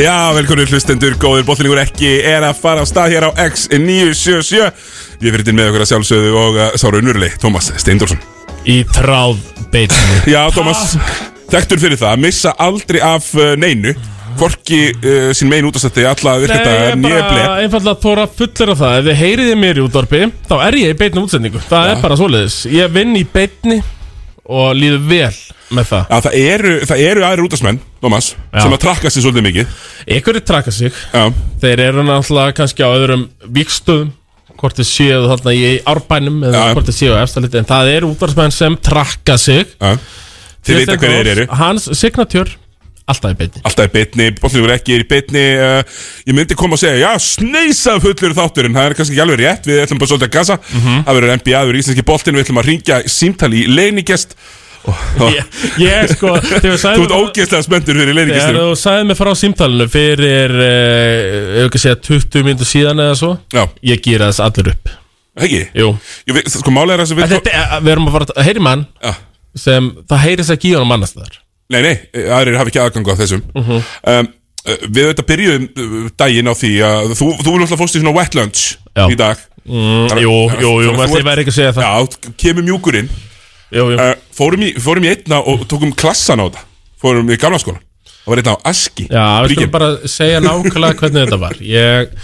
Já, velkomnir hlustendur, góður bóttlingur ekki er að fara á stað hér á X977 Ég fyrir til með okkur að sjálfsögðu og uh, sára unnurli, Tómas Steindórsson Í tráð beitinu Já, Tómas, þekktur fyrir það, missa aldrei af uh, neinu Hvorki uh, sín megin útastætti, alla virkenda njöfli einfallega þóra fullir af það Ef þið heyriði mér í útvarpi, þá er ég í beitni útsendingu Það er bara svoleiðis Ég vinn í beitni og líður vel með það Já, það eru, það eru aðri útastmenn, Tómas, Já. sem að trakka sér svolítið mikið Ykkur er traka sig Já, Þeir eru náttúrulega kannski á öðrum vikstöðum Hvort þið séu þarna í árbænum Eða Já. hvort þið séu efstaliti En það eru útvarpsmenn sem trakka sig já Þið vita hverju þeir eru Hans signatjör, alltaf í beitni Alltaf í beitni, bóttlingur ekki er í beitni uh, Ég myndi koma og segja, já, sneisa fullur þáttur En það er kannski ekki alveg rétt, við ætlum bara svolítið að gasa Mhm. Það verður NBA, það verður íslenski boltinn Við ætlum að ringja símtali í leiningest Ég, ég sko, þegar við Þú sagðum ert ógeðslega spenntur fyrir Þegar leiningestur þú sagði mig frá símtalinu fyrir, eh, ef ekki segja 20 minnir síðan eða svo Já, Ég gýra þess allir upp ekki Jú Ég veit, sko, málega er það sem En við þetta, er- við erum að fara að heyri mann Já. sem það heyrist ekki í honum annars þar Nei, nei, aðrir hafa ekki aðgang á þessum Mhm. um, uh, Við auðvitað byrjuðum uh, daginn á því að Þú, þú vil alltaf fórst í svona wetlands Já. í dag mm, Jú, jú, jú, Þannig að þú ég ert- væri ekki að segja það Já, kemur mjúkurinn Jú, jú, uh, fórum, í, fórum í einna og tókum klassan á þetta Fórum í gamla skólan Það var einna á Aski já, við Bríkin. skulum bara segja nákvæmlega hvernig þetta var Ég,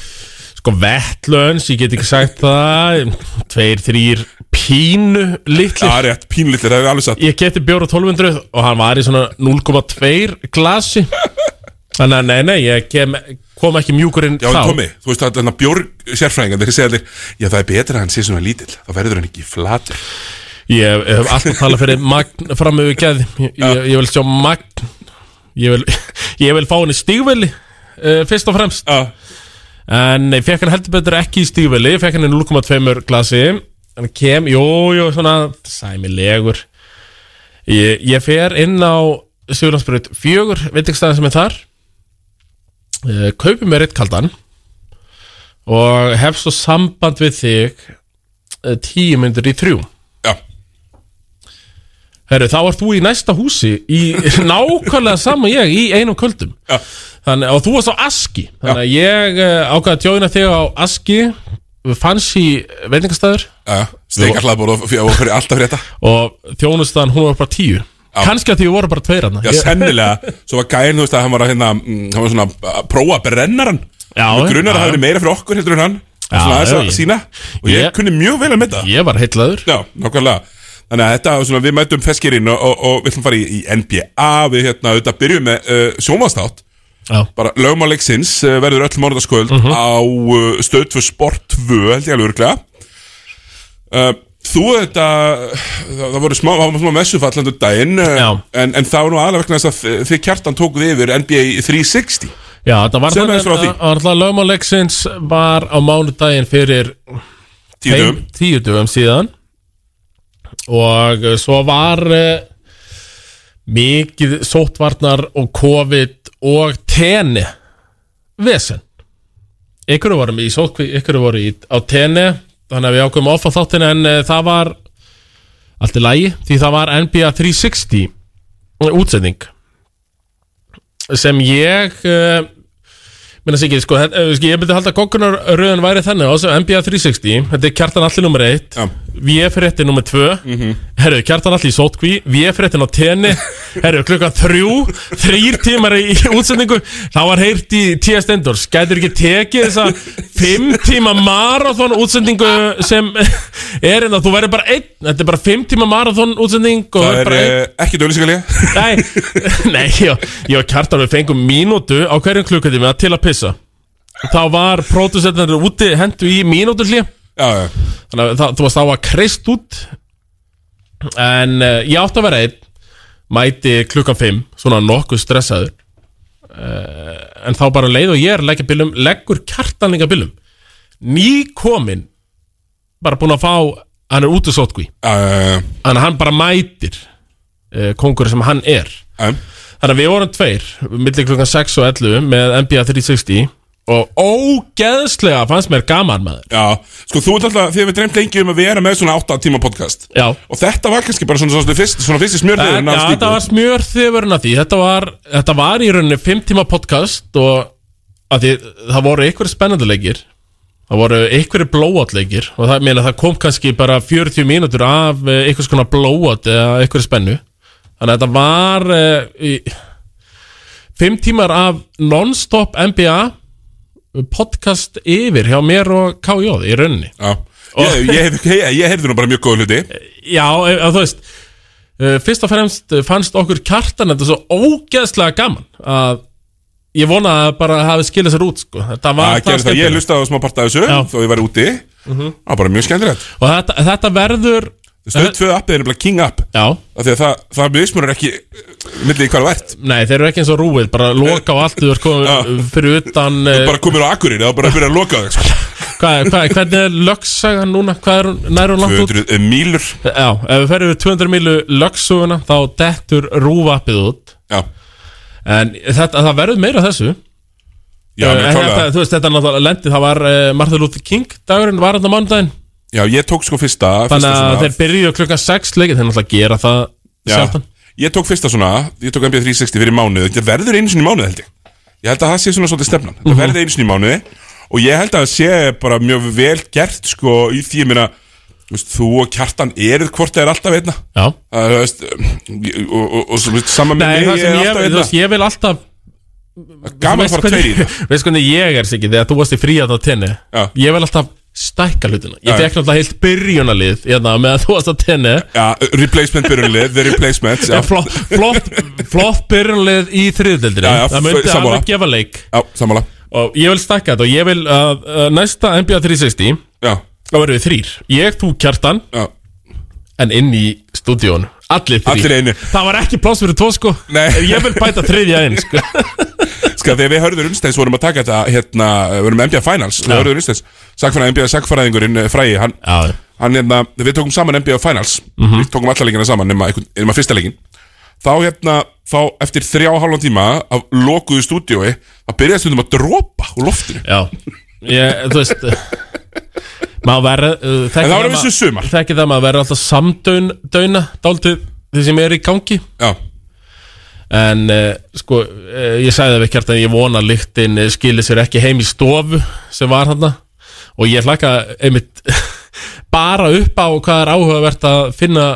sko, vettlöns, ég get ekki sagt það Tveir, þrýr, pínu litli Já, rétt, pínlítið, það er alveg satt Ég kefti bjóra 1200 og hann var í svona 0,2 glasi Þannig að nei, nei, ég kem, kom ekki mjúkurinn Já, þá en Tommi, þú veist að þarna björg sérfræðingan þeir segja allir, já það er betra að hann sé svona lítill þá verður hann ekki flatur Ég hef alltaf talað fyrir magn fram yfir gæð ég, ég, ég vil sjá magn Ég vil, ég vil fá hann í stígveli uh, Fyrst og fremst Já, En ég fekk hann heldur betur ekki í stígveli Ég fekk hann í 0,2 glasi Hann kem, jú, jú, svona Sæmilegur Ég, ég fer inn á Sigurlandsbrut fjögur, veitingstæðin sem er þar Eh, Kaupi mér eitt kaldan Og hef svo samband við þig eh, Tíu myndir í þrjú já, Herru, þá ert þú í næsta húsi í nákvæmlega sama ég í einum kvöldum já, Þannig, og þú varst á Aski Þannig að ég uh, ákvaði að tjóðina þig á Aski fanns í veitingastæður já Steikar hlaðbór og fyrir alltaf fyrir þetta og þjónustan hún var bara tíu kannski að því voru bara tveir hana Já, sennilega, svo var gæðin, þú veist að hann var að hérna, mm, hann var svona að prófa brennaran Já, Mig grunar að já. það hefði meira fyrir okkur heldur en hann Já, Svona aðeins já, að ég- sína Og ég Ég- kunni mjög vel að mynda ég var heitlaður Já, nákvæmlega Þannig að þetta, svona, við mætum feskirinn og, og, og við ætlum að fara í, í NBA Við hérna, auðvitað byrjum með uh, sjónvastátt Já. Bara lögmáleiksins uh, verður öll morðasköld Mhm. á uh, stöð fyrir sport 2, held ég alveg örglega uh, Þú þetta, það, það voru smá, það var smá messufallandu daginn Já. uh, en, en það var nú aðlega vegna þess að þi- þið kjartan tókuð yfir NBA 360 Já, þetta var Segðu mér aðeins frá því. að alltaf lögmáleiksins var á mánudaginn fyrir Tíu dögum tveim- tíu dögum síðan og eh, svo var uh, mikið sóttvarnar og COVID og tenni vesen ykkur vorum í sótkví, ykkur voru í, á tenni þannig að við ákveðum off á þáttin en uh, það var allt í lagi því það var NBA 360 útsending sem ég uh, Minna sig ekki, sko, þetta- eh, sko, ég myndi halda að konkunarröðun væri þannig á þessu NBA 360, þetta er kjartan allir nummer 1, Já. VF-rétti nummer 2, herru, kjartan allir í sótkví, VF-réttin á tenni, herru, klukkan 3, þrýr tímar í í útsendingu, þá var heyrt í T.S. Stendors, gætur ekki tekið þessa 5 tíma marathon útsendingu sem er en að þú væri bara einn, þetta er bara 5 tíma marathon útsending og Það þú er bara einn. eh, ekki dölisingalega Nei, nei, já, já, kjartan við fengum mínútu á hverjum klukkutíma til að pissa Þá var pródusentnar úti hendu í mínútu hlý Já, já Þannig að það, þú varst á að kreist út En uh, ég átti að vera einn Mæti klukkan 5, svona nokkuð stressaður uh, En þá bara um leið og ég er að leggja bílum Leggur kjartan líka bílum Ný komin Bara búin að fá, hann er út úr sótkví Já, Þannig að hann bara mætir uh, Kongur sem hann er já, já Þannig að við vorum tveir millir klukkan 6 og 11 með NBA 360 og ógeðslega fannst mér gaman maður Já, sko þú ert alltaf, þið hefur dreymt lengi um að vera með svona 8 tíma podcast Já, Og þetta var kannski bara svona, svona, svona, fyrst, svona fyrst í smjörliðin en, já þetta var smjörþifurinn af því þetta var, þetta var í rauninni fimm tíma podcast og af því, það voru einhverjir spennanduleikir það voru einhverjir blóatleikir og það, meina, það kom kannski bara 40 mínútur af eh, einhvers konar blóat eða einhverjir spennu þannig að þetta var eh, í, fimm tímar af non-stop NBA podcast yfir hjá mér og KJ í rauninni já Ég, ég, hef- ég, ég heyrði nú bara mjög góð hluti Já, e- að þú veist eh, Fyrst og fremst eh, fannst okkur kjartan þetta svo ógeðslega gaman að ég vona að bara hafi skilja sér út sko. Þetta var Það gerði það, ég skemmtilegt. hlustaði á smá part af þessu Já. Mhm. Þó ég var úti Það var bara mjög skemmtilegt Og þetta, þetta verður Stöð 2 appið er nefnilega King App Já, af Því að það, það mismunur ekki eh, Millið hvað þú ert nei, þeir eru ekki eins og rúið bara loka á allt, þú er komið fyrir utan eh, Bara komir á akkurinn Það var bara að byrja að loka þig sko. hvað, hvað, Hvernig er lögsagan núna? Hvað er hún, nær hún langt út? 200 eh, mílur Já, ef við ferum við 200 milu lögsuguna þá dettur rúvappið út Já, En þetta, það verður meira af þessu já, Uh, mjög en klálega þetta, þú veist, þetta er náttúrulega lendi, það var uh, Martin Luther King dagurinn, var þetta mánudaginn Já, ég tók sko fyrsta fyrsta Þannig að svona- þeir byrjuðu klukkan 6 leikið, þeir náttúrulega gera það Já, sjaldan Ég tók fyrsta svona, ég tók NBA 360 fyrir mánuð Þetta verður einu sinni í mánuð held ég Ég held að það sé svona svolítið stefnan Mhm. Þetta verður einu sinni í mánuði Og ég held að það sé bara mjög vel gert Sko í því að minna veist, Þú og kjartan eruð hvort það er alltaf einna Já, Það er, veist, og, og, og, og svo, veist, sama með Nei, mig það ég sem er ég, alltaf þú veist, einna ég vil alltaf Gaman að veist fara tveir í hvernig- þetta Veist hvernig ég er sikið, þegar þú varst í fríðan á tenni Já. Ég vil alltaf stækka hlutina Ég Já. fekk náttúrulega heilt byrjunalið hérna, með að þú varst á tenni Eh, Já, replacement byrjunlið, the replacement Já, Flott, flott, flott byrjunalið í þriðdeldri Já, já, Það myndi sammála. alveg gefa leik já samanlega Og ég vil stækka þetta og ég vil að uh, næsta NBA 360 Já, þá verðum við þrýr Ég, þú, Kjartan já, En inn í stúdíón Allir þrýr allir einu Það var ekki pláss fyrir tvo sko Nei. Ég vil bæta þriðja inn sko Ska, þegar við hörður Unnsteins vorum að taka þetta hérna, við vorum með NBA Finals, við Já. hörður Unnsteins sagfræðing, NBA sagfræðingurinn eh, frægi hann, Já, hann hérna, við tókum saman NBA Finals, við tókum alla leikina saman nema, einhvern- nema fyrsta leikin þá hérna, þá eftir þrjá og hálfan tíma af lokuðu stúdiói að byrja stundum að dropa úr loftinu já ég, Þú veist Maður verður uh, En Þekkir það var vissu sumar. Þekkir það að maður verður alltaf samdöina Dálítið því sem er í gangi já, En uh, sko uh, Ég sagði það við Kjartan Ég vona að lyktin eh, skili sér ekki heim í stofu Sem var hann Og ég hlaka einmitt Bara upp á hvað er áhugavert að finna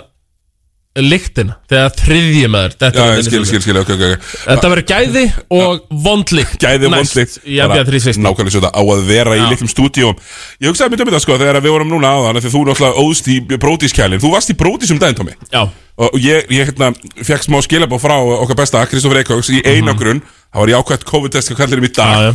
Lyktina Þegar þriðji maður já, já, skil, skil, skil, ok, ok, ok Þetta verður gæði og vondlikt gæði og vondlíkt Í NBA 360 nákvæmlega svo þetta á að vera í Já. litlum stúdíum ég hugsaði mér um þetta sko þegar við vorum núna á þannig þegar þú náttúrulega óðst í brótískælin þú varst í brótís um daginn Tómi Já, og og ég, ég hérna, fekk smá skilabá frá okkar besta Kristoffer Eikóks í einangrun það var í ákvæmt COVID-test hvað kallir um í dag Mhm.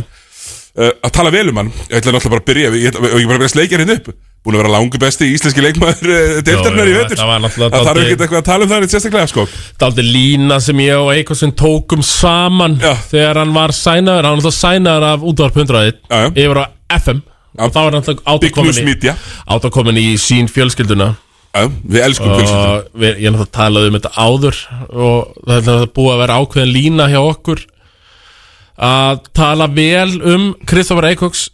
já, já uh, að tala vel um hann ég ætla náttúrulega bara að byrja við- ég, ætla- og ég bara að byrja að sleikja hérna upp búin að vera langu besti íslenski leikmaður uh, deildarinnar Já, í já, vetur það var náttúrulega það þarf dálítið- ekkert eitthvað að tala um það neitt sérstaklega sko Daldi lína sem ég og Eikosin tókum saman Já. Þegar hann var sænaður Hann var alltaf sænaður af útvarp 100 Já, já. Yfir á FM Og þá var hann alltaf Big News átakomin í Media Átakomin í sín fjölskylduna Já, við elskum Og fjölskyldum við, ég náttúrulega talaði um þetta áður Og það er náttúrulega búið að vera ákveðin lína hjá okkur Að tala vel um Kristoffer Eikoks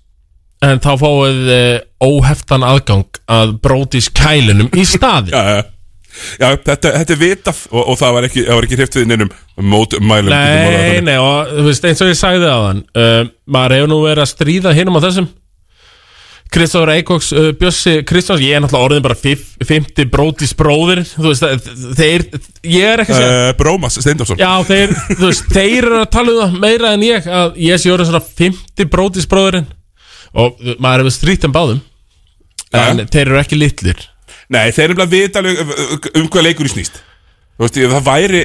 En þá fáið eh, óheftan aðgang að brótis kælinum í staði já, já. já, þetta, þetta er vitað og, og það var ekki, það var ekki hrift við neinum mótmælum getum orðað það Nei, þannig. nei, og þú veist, eins og ég sagði á þann uh, maður hefur nú verið að stríða hinum á þessum Kristóður Eikóks, uh, Bjössi Kristjáns ég er náttúrulega orðin bara fif- 50 brótis bróðir þú veist, það- þeir ég er ekki að segja Eh, Brómas Steindorsson Já, þeir, þú veist, þeir eru að tala um það meira en ég að ég sé orðin svona 50 brótis bróðurinn og uh, maður hefur strýtt um báðum en Ja. þeir eru ekki litlir Nei, þeir eru bara vita alveg um hvað leikur í snýst Þú veist, ef það væri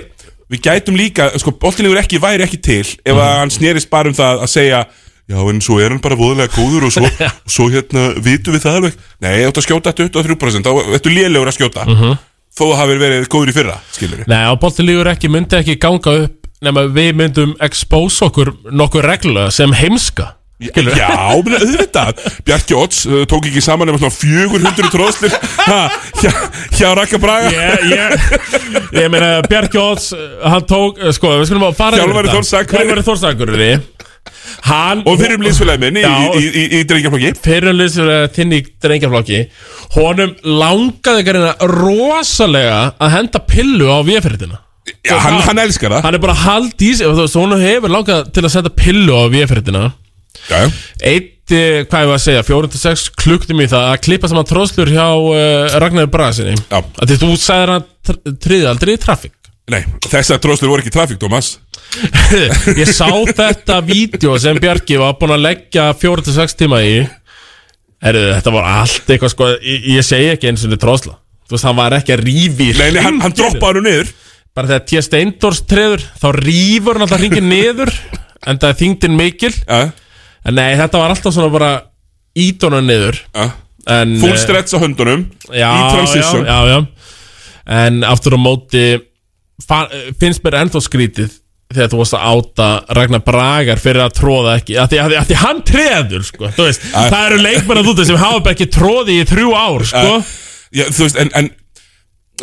Við gætum líka, sko, boltinlegur ekki væri ekki til Ef að Mhm. hann snerist bara um það að segja Já, en svo er hann bara voðalega góður Og svo, og svo hérna, vitum við það alveg Nei, ég átt að skjóta 23% Þá ertu lélegur að skjóta uh Mhm. -huh. Þó hafi verið góður í fyrra, skilur við Nei, og boltilígur ekki myndi ekki ganga upp nema við myndum expose okkur nokkuð reglulega sem heimska Skilur? Já, menn auðvitað Bjarki Odds uh, tók ekki saman um 400 tróðslir ha, hjá, hjá Raka Braga Ég, ég, ég meina Bjarki Óts, hann tók, eh, sko, við skulum að fara Þjálfari Þórs Akureyri. Þjálfari Þórsakurri hann Og fyrir um liðsfélagi minni í, Já. í, í, í drengjaflokki fyrirlýsur eh, þinn í drengjaflokki honum langaði ekki reyna rosalega að henda pillu á véferðina Já, hann, hann elskar það hann er bara hald í sig og þú veist, honum hefur langað til að senda pillu á véferðina Já, já eitt, eh, hvað ég var að segja, 4-6 klukktum í það að klippa saman tróðslur hjá uh, Ragnar Brasinni Já. að því þú sagðir hann tr- tryði aldrei í trafík Nei, þessar tróðslur voru ekki trafík, Thomas ég sá þetta vídeo sem Bjarki var búin að leggja 4-6 tíma í Herðu, þetta var allt eitthvað sko, ég, ég segi ekki eins og þetta tróðsla þú veist, hann var ekki að rífi í Nei, nei, hann, hann hringinn. droppaði hann niður bara þegar T. Steindors treður þá rífur hann alltaf hringin niður en það er þingdin mikil Já, en nei, þetta var alltaf svona bara ídónan niður já en, Full eh, stretch á höndunum já, Í transition já, já, já. En aftur á móti fa- finnst mér ennþá skrítið þegar þú varst að áta Ragnar Bragar fyrir að tróða ekki að því, að því, að því hann treður sko, þú veist, það eru leikmenn að þú sem hafa ekki tróði í þrjú ár sko. Eh, Já, þú veist, en, en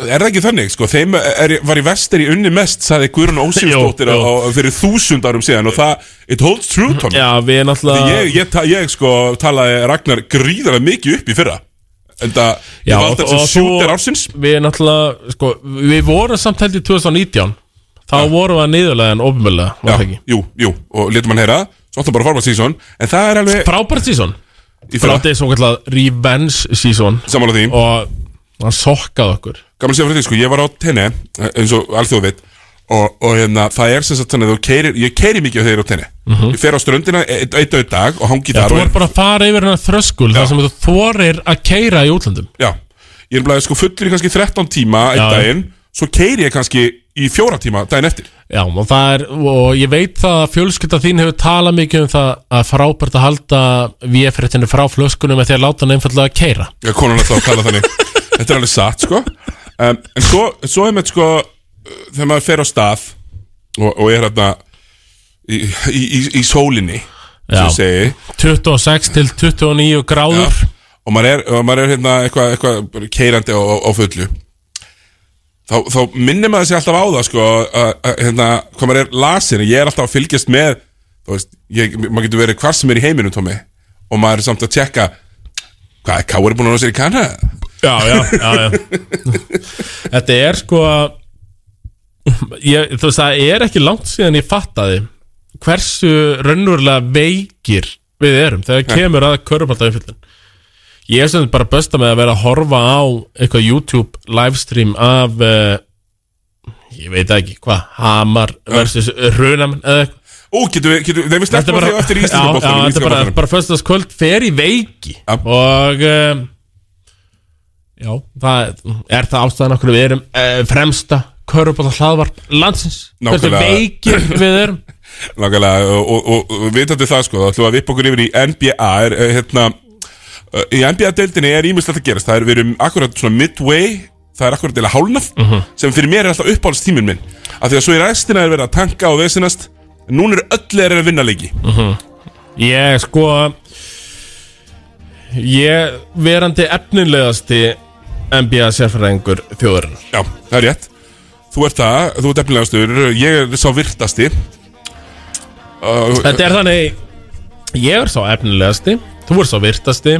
er það ekki þannig, sko, þeim er, var í vestir í unni mest, sagði Guðrún Ósífsdóttir Jú, jú. á- á- fyrir þúsund árum síðan og það, it holds true, Tom já, við náttúrulega ég, ég, ta- ég, sko, talaði Ragnar gríðarlega mikið upp í fyrra en það, Já, ég vald og- þess og að svo- sjúter ársins við náttúrulega, sko, við vorum samt held í 2019 þá vorum við að niðurlega en Já, ofinmjölega jú, jú, og letum hann heyra svo áttum bara að forma sísón, en það er alveg frábært sísón í fyrra, frátið svo kallað revenge sísón sammála því og hann sokkaði okkur gaman að segja frá því, sko, ég var á tenni eh, eins og alþjóð veit og, og hérna, það er sem sagt þannig að þú keirir ég keiri mikið þegar ég er á tenni ég fer á ströndina e, eitt eitt auð dag og hangi Mhm. Já, þar þú og er, er bara að fara yfir hennar þröskul þar sem þú þorir að keira í útlandum já, ég er bara sko fullur í kannski 13 tíma einn Já, já. daginn svo keiri ég kannski í fjóra tíma daginn eftir Já, og það er, og ég veit það að fjölskylda þín hefur talað mikið um það að frábært að halda VF-réttinu frá flöskunum með því að láta hann einfallega að keira Já, konan alltaf að tala þannig Þetta er alveg satt, sko um, En svo, svo er með, sko uh, Þegar maður fer á stað Og, og er hérna í, í, í, í sólinni Já. Svo ég segi 26 til 29 gráður Og maður er, og maður er hérna eitthvað eitthva, keirandi á, á- á fullu Þá, þá minnir maður sig alltaf á það, sko að, að, Hérna, hvað maður er lasin Ég er alltaf að fylgjast með Þú veist, ég, maður getur verið hvar sem er í heiminum, Tómi Og maður er samt að tjekka Hvað, hvað er búin að ná sér í kanna? Já, já, já, já. Þetta er sko ég, Þú veist, það er ekki langt síðan ég fattaði hversu raunverulega veikir við erum þegar kemur að körpalda umfyllin Ég er sem bara besta með að vera að horfa á eitthvað YouTube livestream af uh, ég veit það ekki hvað, Hamar versus Runamenn eða eitthvað Ó, getum við, getum við, nei, við Þetta sleppum að er bara, því á eftir í já, já, þetta er bara, Íslandabóttanum bara föstaskvöld fer í veiki Já. og um, já, það er það ástæðan okkur við erum uh, fremsta körubóta hlaðvarp landsins hversu Nákvæmlega. veikir við erum Nákvæmlega, og, og, og, og vitandi það sko, þá ætlum við að vipa okkur yfir í NBA er, eh, hérna, eh, Í NBA-deildinni er ímislegt að gerast, það er við erum akkurat svona midway Það er akkurat eða hálnað, sem fyrir mér er alltaf uppáhaldstíminn minn Af því að svo í restina er verið að tanka og vesinast en Núna eru öll er að vinna leiki ég sko ég verandi efnilegasti NBA sérfræðingur þjóðurinn Já, það er rétt Þú ert það, þú ert efnilegastur, ég er sá virtasti uh, Þetta er þannig Ég er sá efnilegasti Þú er sá virtasti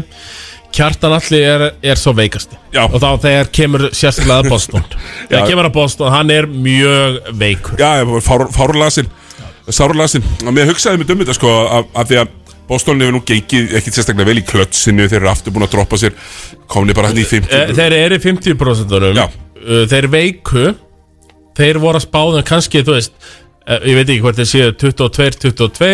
Kjartan Alli er, er sá veikasti Já. Og þá þegar kemur sérstaklega að Boston Já. Þegar kemur að Boston, hann er mjög veikur Já, ég var fár, fárlasin Sárlasin Og mér hugsaði mér dömur þetta sko Af af því að Boston hefur nú gengið ekkit sérstaklega vel í klötsinu Þeir eru aftur búin að droppa sér Komni bara hann í 50 Eh, Þeir eru í 50% Já. Uh, Þeir veiku Þeir voru að spáðum kannski, þú veist eh, Ég veit ekki hvort þeir séu 22-22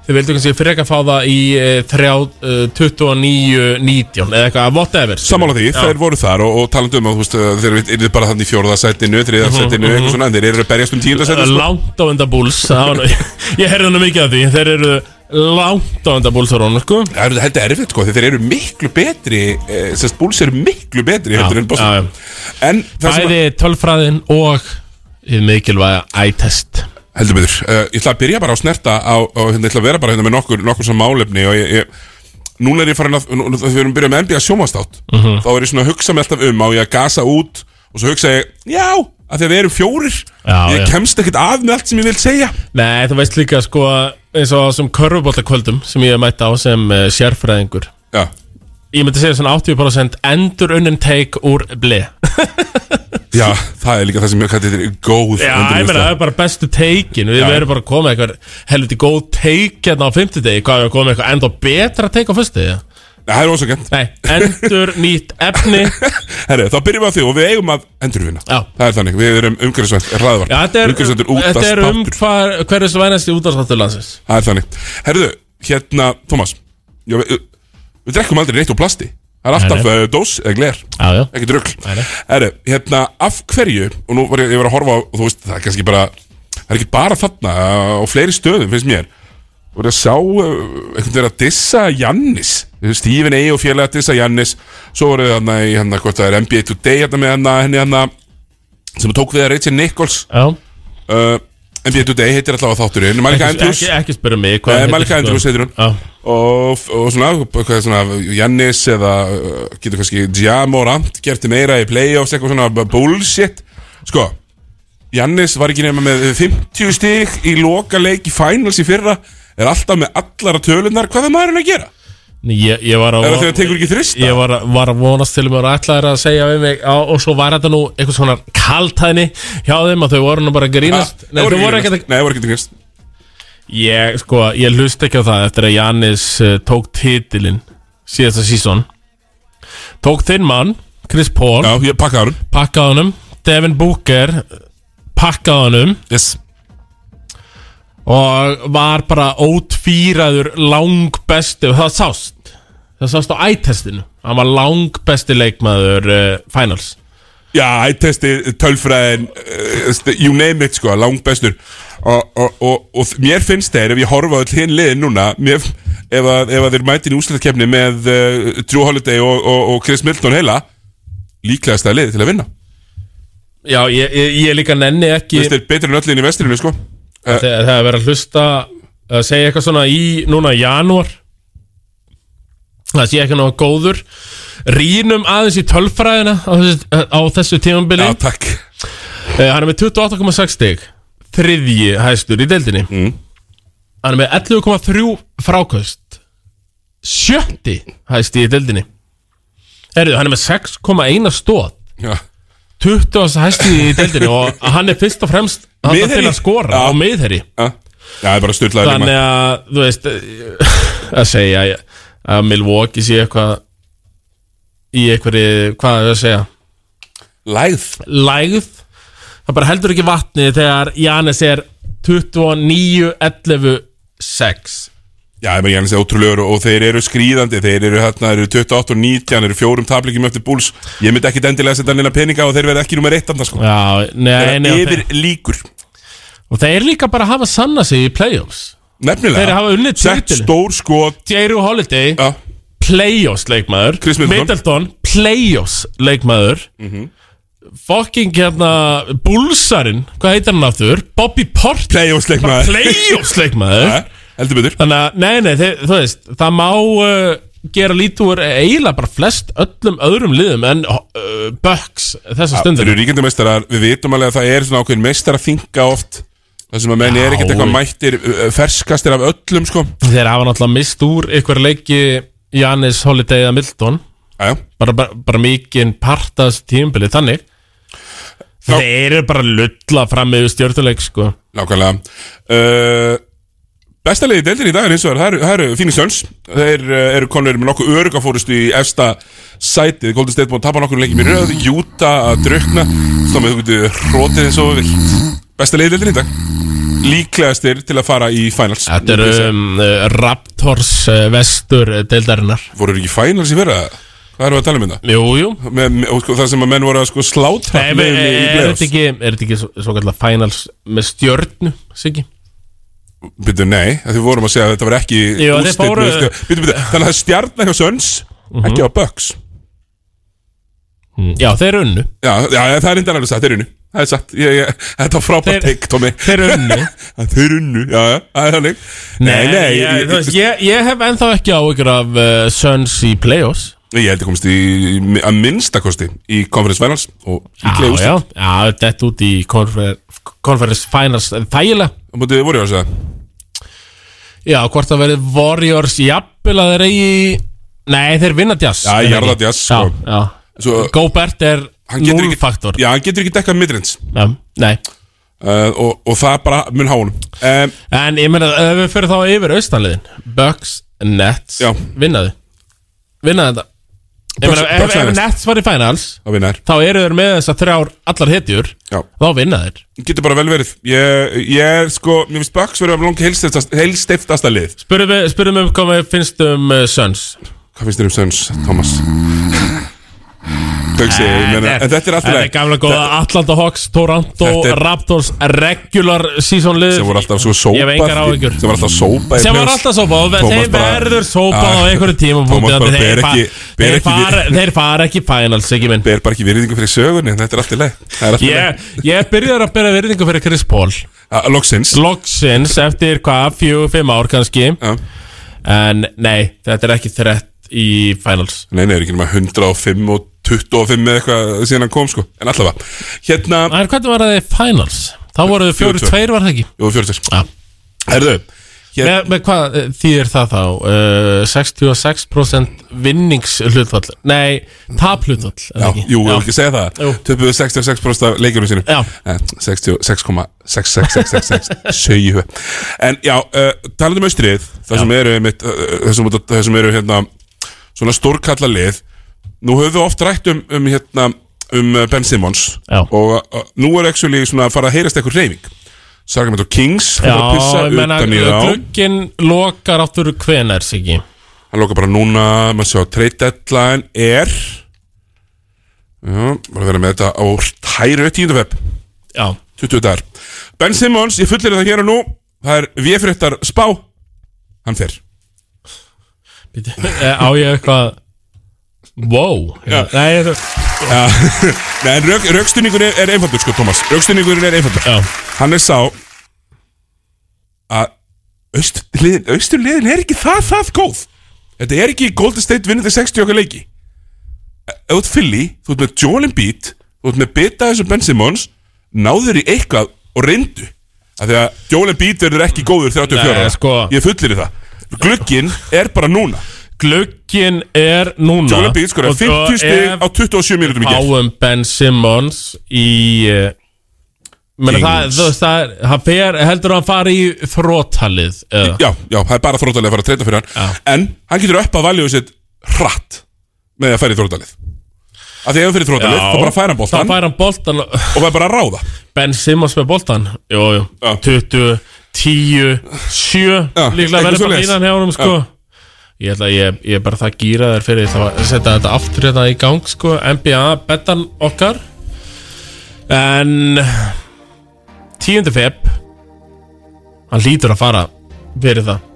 Þeir vildu kannski freka fá það í eh, þrjá- eh, 29-19 Eða eitthvað, whatever Sammála því, þeir voru þar og, og talandi um að þú veist, eh, þeir eru bara þannig í fjórða sætinu, þriða Mhm, sætinu, eitthvað svona, en þeir eru að berjast um tíunda sætinu. Sko. langt á enda búls það var nú- ég heyrði nú mikið af því þeir eru langt á enda búls á rónu sko Það er þetta erfitt sko, þegar þeir eru miklu betri, e, sérst búls eru miklu betri heldur en já, já. Boston. En það sem að, bæði tölfræðin og hið mikilvæga eye-test Heldur betur, uh, ég ætla að byrja bara á snerta á, á, hérna, ég ætla að vera bara hérna með nokkur, nokkur sem málefni og ég, ég, núna er ég farin að nú- nú- þegar við erum Mhm. byrjað með NBA sjómastátt þá er ég svona að hugsa með alltaf um á ég að gasa út og svo hugsa ég, já, að því að við erum fjórir Já, ég já. kemst ekkert af með allt sem ég vil segja Nei, þú veist líka sko eins og á þessum körfubóltakvöldum sem ég hef mætt á sem uh, sérfræðingur já, Ég myndi segja svona 80% endur unnin teik úr ble já, það er líka það sem ég kallir þetta góð Já, ég meina, það er bara bestu teikin Við Já. verðum bara að koma með eitthvað helviti góð teik hérna á fimmtudegi Hvað er að koma með eitthvað enda betra teik á föstudegi? það er ósakent Nei, endur nýtt efni Herri, þá byrjum við á því og við eigum að endurvinna Já. Það er þannig, við erum umhverfisvænt Já, þetta er, Umhverfisvæntur út að þetta er um státtur hvar, hverju svænasti útastáttur landsins Það er þannig Herðu, hérna, Thomas já, við, við drekkum aldrei neitt úr plasti Það er alltaf uh, dós eða gler Já, já Ekki drugl Nei, nei. Herru, hérna, af hverju Og nú var ég, ég var að horfa á, og þú veist, það er kannski bara Það er ekki bara þarna á fleiri stöðum, finnst mér Þú voru að sjá uh, einhvern veginn að dissa Jannis Stífin Ey og félaga dissa Jannis Svo voru þarna í hann hvort það er NBA Today hérna með hann henni hann sem tók við að Rachel Nichols Já uh, NBA Today heitir alltaf þátturinn Malika Ekki, Andrews ekki, ekki spyrja Nei, mig hvað heitir, Eh, Malika sko. Andrews heitir hún. Já, og, og svona, hvað er svona Jannis eða uh, getur kannski Jamorant gerti meira í playoffs eitthvað svona b- bullshit sko, Jannis var ekki nema með 50 stig í loka leik í finals í fyrra er alltaf með allara tölunar hvað er maðurinn að gera? Nei, ég, ég var að Er það þegar það tekur ekki þrista? Ég var, að- var að vonast til mér og ætlaði að segja við mig á, og svo var þetta nú eitthvað svona kaltæðni hjá þeim að þau voru nú bara að grínast Nei, þau voru ekkert að Nei, það voru ekkert að grínast Ég, sko, ég hlust ekki á það eftir að Jannis uh, tók titilinn síðasta sísón Tók þinn mann, Chris Paul Já, ég pakkaði hann pakkaði honum Devin Booker eh, pakkaði honum Yes og var bara ótvíraður langbesti og það sást það sást á ætestinu hann var langbesti leikmaður uh, finals Já, ég testi tölfræðin uh, st- You name it sko, langbestur og, og, og, og mér finnst þeir Ef ég horfa á öll hinn liðin núna mér, ef, að, ef að þeir mætin í úsleitkefni Með uh, Drew Holiday og, og, og Chris Milton heila Líklegast að liði til að vinna já, ég, ég, ég líka nenni ekki Þeir er betur en öll liðin í vestrinu sko uh, þegar það er verið að hlusta að segja eitthvað svona í núna í janúar það sé ekki nóg góður rínum aðeins í tölfræðina á þessu, á þessu tímambili Já, takk Eh, Hann er með 28,6 stig Þriðji hæstur í deildinni Mm. Hann er með 11,3 frákvæst Sjötti hæsti í deildinni Herðu, hann er með 6,1 stóð Já. 20 hæsti í deildinni Og hann er fyrst og fremst Hann er Miðherji. til að skora Já. á miðherri Já, það er bara hérna. styrlaður Þannig að, þú veist eh, Að segja að Milwaukee sé eitthvað Í einhverju, hvað er það að segja Læð lægð það bara heldur ekki vatnið þegar Jannes er 29, 11, 6 Já, ég meina Jannis er ótrúlegur og, og þeir eru skrýðandi Þeir eru hérna, þeir eru 28 og 19 Þeir eru fjórum tapleikum eftir búls Ég myndi ekki endilega setja neina peninga og þeir verða ekki númer eitt andan sko Já, nei, Þeirra nei, og, yfir líkur þeir, og þeir líka bara hafa sanna sig í playoffs Nefnilega Þeir hafa unnið Sett titilinn. stór skot Jairu Holiday, Já, playoffs leikmaður Chris Middleton. Mhm. Middleton, playoffs leikmaður fucking hérna búlsarinn, hvað heitir hann aftur Bobby Porter, playoffs leikmaður playoffs leikmaður Já, Heldur betur Þannig að, nei, nei, þið, þú veist, það má uh, gera lítúr eiginlega bara flest öllum öðrum liðum en uh, Bucks þessa Þeir stundur. eru ríkjandi meistarar Við vitum alveg að það er svona ákveðin meistar að þinga oft Það sem að menn Já. er ekkert eitthvað mættir uh, Ferskastir af öllum sko Þeir hafa náttúrulega mist úr ykkur leiki Janis Holiday eða Milton, Æja bara, bara, bara mikinn partas tímbili, þannig. Já. Þeir eru bara að lulla fram með stjórnuleik, sko. Nákvæmlega uh, Besta liði deildin í dag er eins og það eru- það eru Phoenix Suns Þeir uh, eru konur með nokkuð öruga fórustu í efsta sætið Golden State búin að tapa nokkur leikir mér röð Júta að drukna Stómið þú getur hrótið eins og þú vilt Besta liði deildin í dag Líklegastir til að fara í finals Þetta eru um, uh, Raptors uh, vestur uh, deildarinnar. Voru þeir ekki í finals í fyrra? Hvað erum við að tala um þetta? Jú, jú. Með, með, og sko, það sem að menn voru að sko sláta Nei, liðin í men, er playoffs. þetta ekki, er þetta ekki svo, svo kallar finals með stjörnu, Siggi? Býttu, nei, að því vorum að segja að þetta var ekki Jú, þeir úrslit fóru- Mhm. með stjörn- Bíddu, bíddu, Þannig að það er stjarnar hjá Suns Ekki á Bucks Mm. Já, þeir unnu Já, já já, það er reyndar alveg satt, þeir unnu Það er satt, ég, ég, þetta var Þeir- frábært teik, Tómi Þeir unnu Að Þeir unnu, já, já, það er þannig Nei, nei, ég, ég- þú veist, ég, ég hef ennþá ekki áhyggjur af uh, Suns í Playoffs Ég held að komast í, að minnstakosti í Conference Finals og Já, líklega úst já, já, þetta út í konfer- Conference Finals eh, þægilega á mótið voru ég að segja Já, hvort að verði Warriors jafnvel að þeir eigi Nei, þeir vinna Jazz Já, er það ég jarða ekki? Jazz, sko. Já, já Svo, Gobert er hann getur ekki núlfaktor Já, hann getur ekki dekkað midrins Já, nei uh, og, og það bara mun háunum um, En ég meina, ef við fyrir þá yfir austanliðin Bucks, Nets, Já. vinnaði Vinnaði þetta Ég meina, Bucks- ef, Bucks ef vinna Nets. Nets var í finals Það vinnar Þá eru þeir með þess að þrjár allar hetjur Já, Þá vinna þeir getur bara vel verið Ég, ég er sko, mér finnst Bucks verið að langi heilstiftast, heilstiftasta lið Spurðum við, spurðum við hvað við finnst um uh, Suns Hvað finnst þér um Söns, Thomas? Töksi, ég meina En þetta er alltaf Þetta er gamla góða Atlanta Hawks, Toronto, Þetta er- Raptors Regular season lið sem voru alltaf svo sópað Ég hef engar áhyggjur. sem voru alltaf sópað í sem var playoffs. alltaf sópað og Thomas þeir bara- verður sópað á Ah, einhverju tíma Thomas bara ber ekki ber þeir, ekki far, vi- þeir fara ekki í finals ekki minn ber bara ekki virðingu fyrir sögunni þetta er alltaf leið það er alltaf yeah. ég, ég byrjar að bera verðingu fyrir Chris Paul leið Ah, loksins loksins eftir hvað, fjögur, fimm ár kannski Já. en nei, þetta er ekki þrett í finals nei, nei, er ekki nema 105 og 25 eða eitthvað síðan hann kom sko en allavega hérna en hvernig var það í finals? þá voru þau fjóru Fjögur, tvö. tveir var það ekki jú, 40 ja. herðu hérna- hér, með, með hvað eh, þýðir það þá uh, 66% vinningshlutfall nei, taphlutfall er já, það ekki? jú, ég Já. vil ekki segja Jú. það töpuðu 66% af leikjörnum sínum Já. Eh, 66,66666 en já, uh, talandi um austrið það sem eru, mitt, uh, það sem, það sem eru hérna, svona stórkalla lið nú höfum við oft rætt um, um, hérna, um eh, Ben Simmons Já. og uh, nú er actually svona að fara að heyrast eitthvað reyfing Sargamento Kings fór að Já, pissa ég menna utan í þá glugginn lokar áttur hvenar Siggi hann lóka bara núna, maður sjá trade deadline er já, bara vera með þetta á tæru 10. feb Já, 20 dagar Ben Simmons, ég fullir þetta hér og nú það er viðfréttar spá hann fer býti Eh, Á ég eitthvað Wow Já. Nei, ég- ja. Nei, en rauk, raukstunningur er einfaldur sko, Thomas raukstunningur er einfaldur Já, hann er sá að austurliðin, austurliðin er ekki það það góð þetta er ekki Golden State vinnandi 60 okkar leiki ef þú ert Philly, þú ert með Joel Embiid þú ert með Bita þessu Ben Simmons náður í eitthvað og reyndu af því að Joel Embiid verður ekki góður 34 Nei, ára. sko. ég fullir það glugginn er bara núna glugginn er núna Joel Embiid skoraði og- 50 og stig ef á 27 mínútum í gerð Áum Ben Simmons í eh, Menna það, Kings. þú veist það, er- hann fer, heldur hann fari í þrótalið eða? Já, já, það er bara þróttalega að fara að treyta fyrir hann En hann getur upp að valjóðu sitt hratt Með því að færi þróttalið Af því ef hann fyrir þróttalið, Já. þá bara færa hann Þá boltan fær hann boltan og- Og það er bara að ráða Ben Simmons með boltan Jú, jú, Já. 20, 10, 7 Já, Líklega eitthvað verður bara svoleiðis. línan hjá honum sko Ég ætla að ég, ég er bara það gýra þér fyrir Það að setja þetta aftur þetta í gang sko NBA betan okkar En 10. feb Hann lítur að fara fyrir það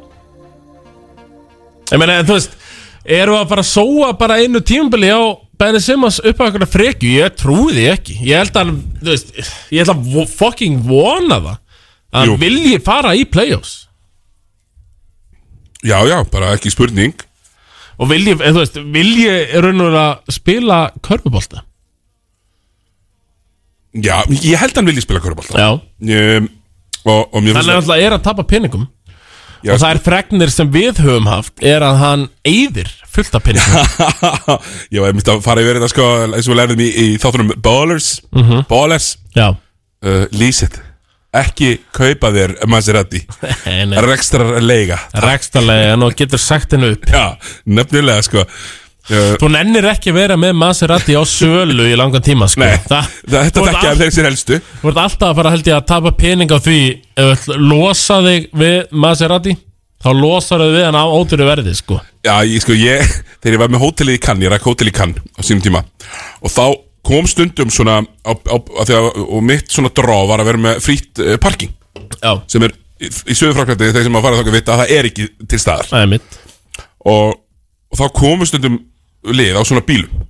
Ég meina, en þú veist Erum við að fara að sóa bara einu tímabili á Ben Simmons upp að einhverja frekju Ég trúi því ekki Ég held að hann, þú veist Ég held að vo- fucking vona það Að hann Jú. vilji fara í playoffs Já, já, bara ekki spurning Og vilji, eh, þú veist, vilji er raun og veru að spila körfubólta Já, ég held að hann vilji spila körubolt Já um, Og, og mér Hann er alltaf er að tapa peningum Já, Og það er fregnir sem við höfum haft Er að hann eyðir fullt af peningum Ég var einmitt að fara yfir þetta sko eins og við lærðum í, í þáttunum Ballers Mhm. Ballers, Já uh, lýs it Ekki kaupa þér Maserati Rekstrar leiga Rækstarlega og eh, getur sagt henni upp Já, nefnilega sko Uh, Þú nennir ekki að vera með Maserati á sölu í langan tíma sko. Nei, Þa, það, þetta þú ert tekja af all- þeir sér helstu Þú ert alltaf að fara held ég að tapa pening á því Ef þú ætl- losa þig við Maserati Þá losar þau við hann á ódýru verði sko. Já, ég sko, ég, þegar ég var með hótelið í Cannes, ég rakk hótelið í Cannes á sínum tíma Og þá kom stundum svona, á, á, á, þegar, og mitt svona drá var að vera með frýtt uh, parking Já, Sem er í, í söðurfraklandi, þeir sem að fara þangað vita að það er ekki til staðar það er mitt Og, og þá komu stundum lið á svona bílum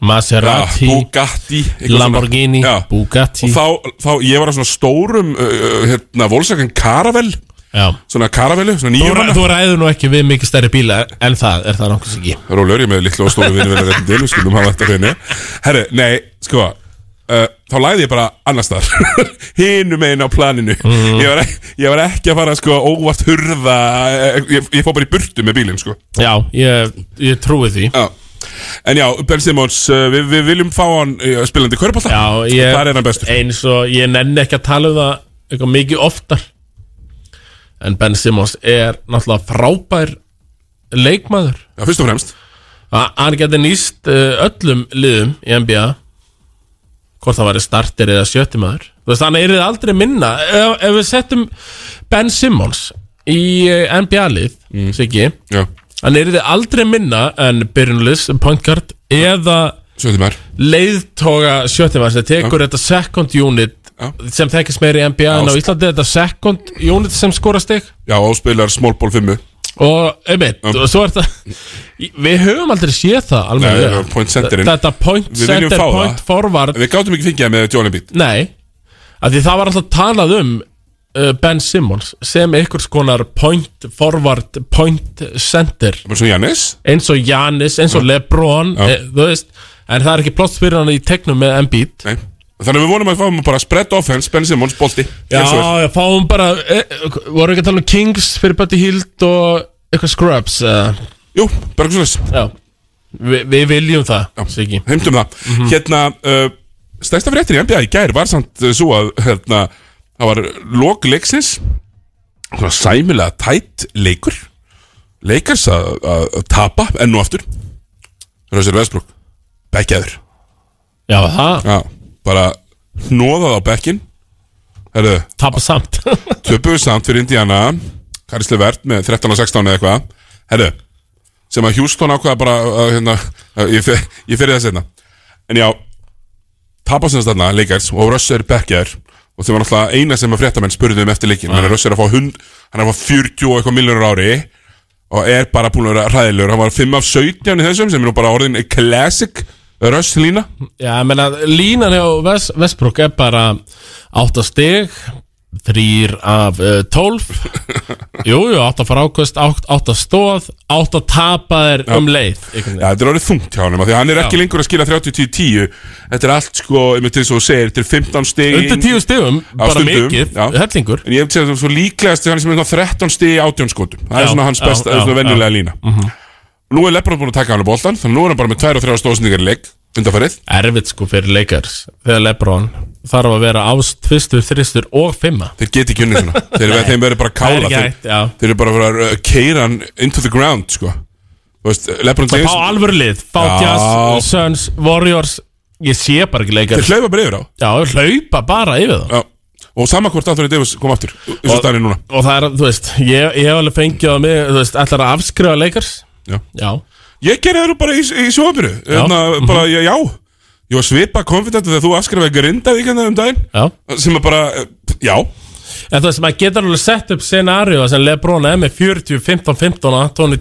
Ah, Maserati, Bugatti eitthvað svona. Lamborghini, Já, Bugatti eh, og þá, þá, ég var á svona stórum, uh, uh, hérna, Volkswagen Caravelle Já. Svona karavellu, svona Þú, nýjum ræ- hana þú ræður nú ekki við mikið stærri bíla en það, er það nokkuð ekki Rólur ég með litlu og stóru vinnu verið þetta til, við skulum hafa þetta hreinu Herru, nei, sko Uh, þá læði ég bara annars þar hinum einn á planinu Mhm. ég, var, ek- ég var ekki að fara sko óvart hurða eh, ég, ég fór bara í burtu með bílinn sko Já, ég, ég trúi því Já. En já, Ben Simmons, uh, við, við viljum fá hann uh, spilandi körbólta Já, ég, Þar er hann bestur eins og ég nenni ekki að tala um það eitthvað mikið oftar en Ben Simmons er náttúrulega frábær leikmaður Já, fyrst og fremst Ha- hann getur nýst uh, öllum liðum í NBA hvort það væri starter eða sjöttimaður þú veist, hann er aldrei minna ef, ef við settum Ben Simmons í eh, NBA lið mm. Siggi, Já, hann er aldrei minna en Byrjunlis, point guard eða sjöndum er leiðtoga sjöttimaður sem tekur þetta second unit Já. sem tekist meira í NBA en á Já. Íslandi er þetta second unit sem skorast þig Já, og spilar small ball fimmu og einmitt, og svo er þetta við höfum aldrei séð það alveg Nei, eh, point centerinn. þetta point Við viljum center, fá það. point forward Við gátum ekki fengið hann með Johnny Beat nei, af því það var alltaf talað um uh, Ben Simmons sem einhvers konar point forward, point center Bara svo Jannis eins og Giannis, eins og Lebron Já. e, þú veist, en það er ekki ploss fyrir hann í tegnum með Embiid Nei Þannig að við vonum að við fáum bara spread offense, Ben Simmons, bolti já, eins og er. já, fáum bara e, voru ekki að tala um Kings fyrir Buddy Hield og eitthvað Scrubs uh, Jú, bara eitthvað svoleiðis. já, Vi, við viljum það Siggi heimtum það Hérna, uh, stærsta fréttin í NBA í gær var samt uh, svo að hérna, það var lok leiksins svona sæmilega tætt leikur leikars að að tapa enn og aftur Rössir Vestbrúk, bekkjaður Já, það Já, bara hnoðað á bekkin Herðu, tapa samt töpuðu samt fyrir Indiana Karisli Vert með 13 og 16 eða eitthvað Herðu, sem að Houston ákvaða bara að, hérna, að ég, fer, ég fyrir þess hérna En já, tapast þess þarna leikars og Russ er bekkjaður og þau var náttúrulega eina sem að fréttamenn spurðu um eftir leikin ah. Russ er að fá hund, hann er að fá 40 og eitthvað miljónur á ári og er bara búin að vera ræðilegur hann var 5 af 17 í þessum sem er nú bara orðin classic Russ lína Já, ég meina, línan hjá Ves Vesbruk er bara 8 stig 3 af uh, 12 Jú, jú, 8 fara ákvöst 8 stóð, 8 tapaðir um leið einhvern veginn. Já, þetta er orðið þungt hjá hann Því að hann er ekki lengur að skila 30-10 Þetta er allt sko, um til svo þú segir Þetta er 15 stig Undir 10 stigum, bara stundum, mikið já. Hellingur En ég hef segja það svo líklegast Hann er sem er svona 13 stig í 18 skotum Það Já, er svona hans já, besta, já, Mhm. svona venjulega lína Nú er Lebron búin að taka hann á boltan Þannig að nú er hann bara með 2 og 3 stóðsendingar í leik Undarfærið Erfitt sko fyrir leikars Þegar Lebron þarf að vera ást Tvistur, þristur og fimma Þeir geti ekki unnið svona Þeir eru þeim verið bara að Það er kála ekki hægt, já. Þeir, þeir eru bara að vera að keira hann into the ground sko. Þú veist, Lebron Fá James alvöru lið, fá Já. Jazz, Suns, Warriors Ég sé bara ekki leikars Þeir hlaupa bara yfir á Já, hlaupa bara yfir það Já. Og sama hvort Anthony Davis kom aftur Þessu Og- stæðin núna og það er, þú veist, ég, ég hef alveg fengið á mig, þú veist, ætlar að afskrifa leikars Já. Já, Ég gerði það nú bara í, í sjófaminu Þannig Mhm. að bara, já, já Ég var svipa konfident þegar þú afskrifaði grindaði ekki um daginn já Sem er bara, eh, já En þú veist, maður getur alveg sett upp scenaríu sem Lebron er með 40, 15, 15 og Anthony,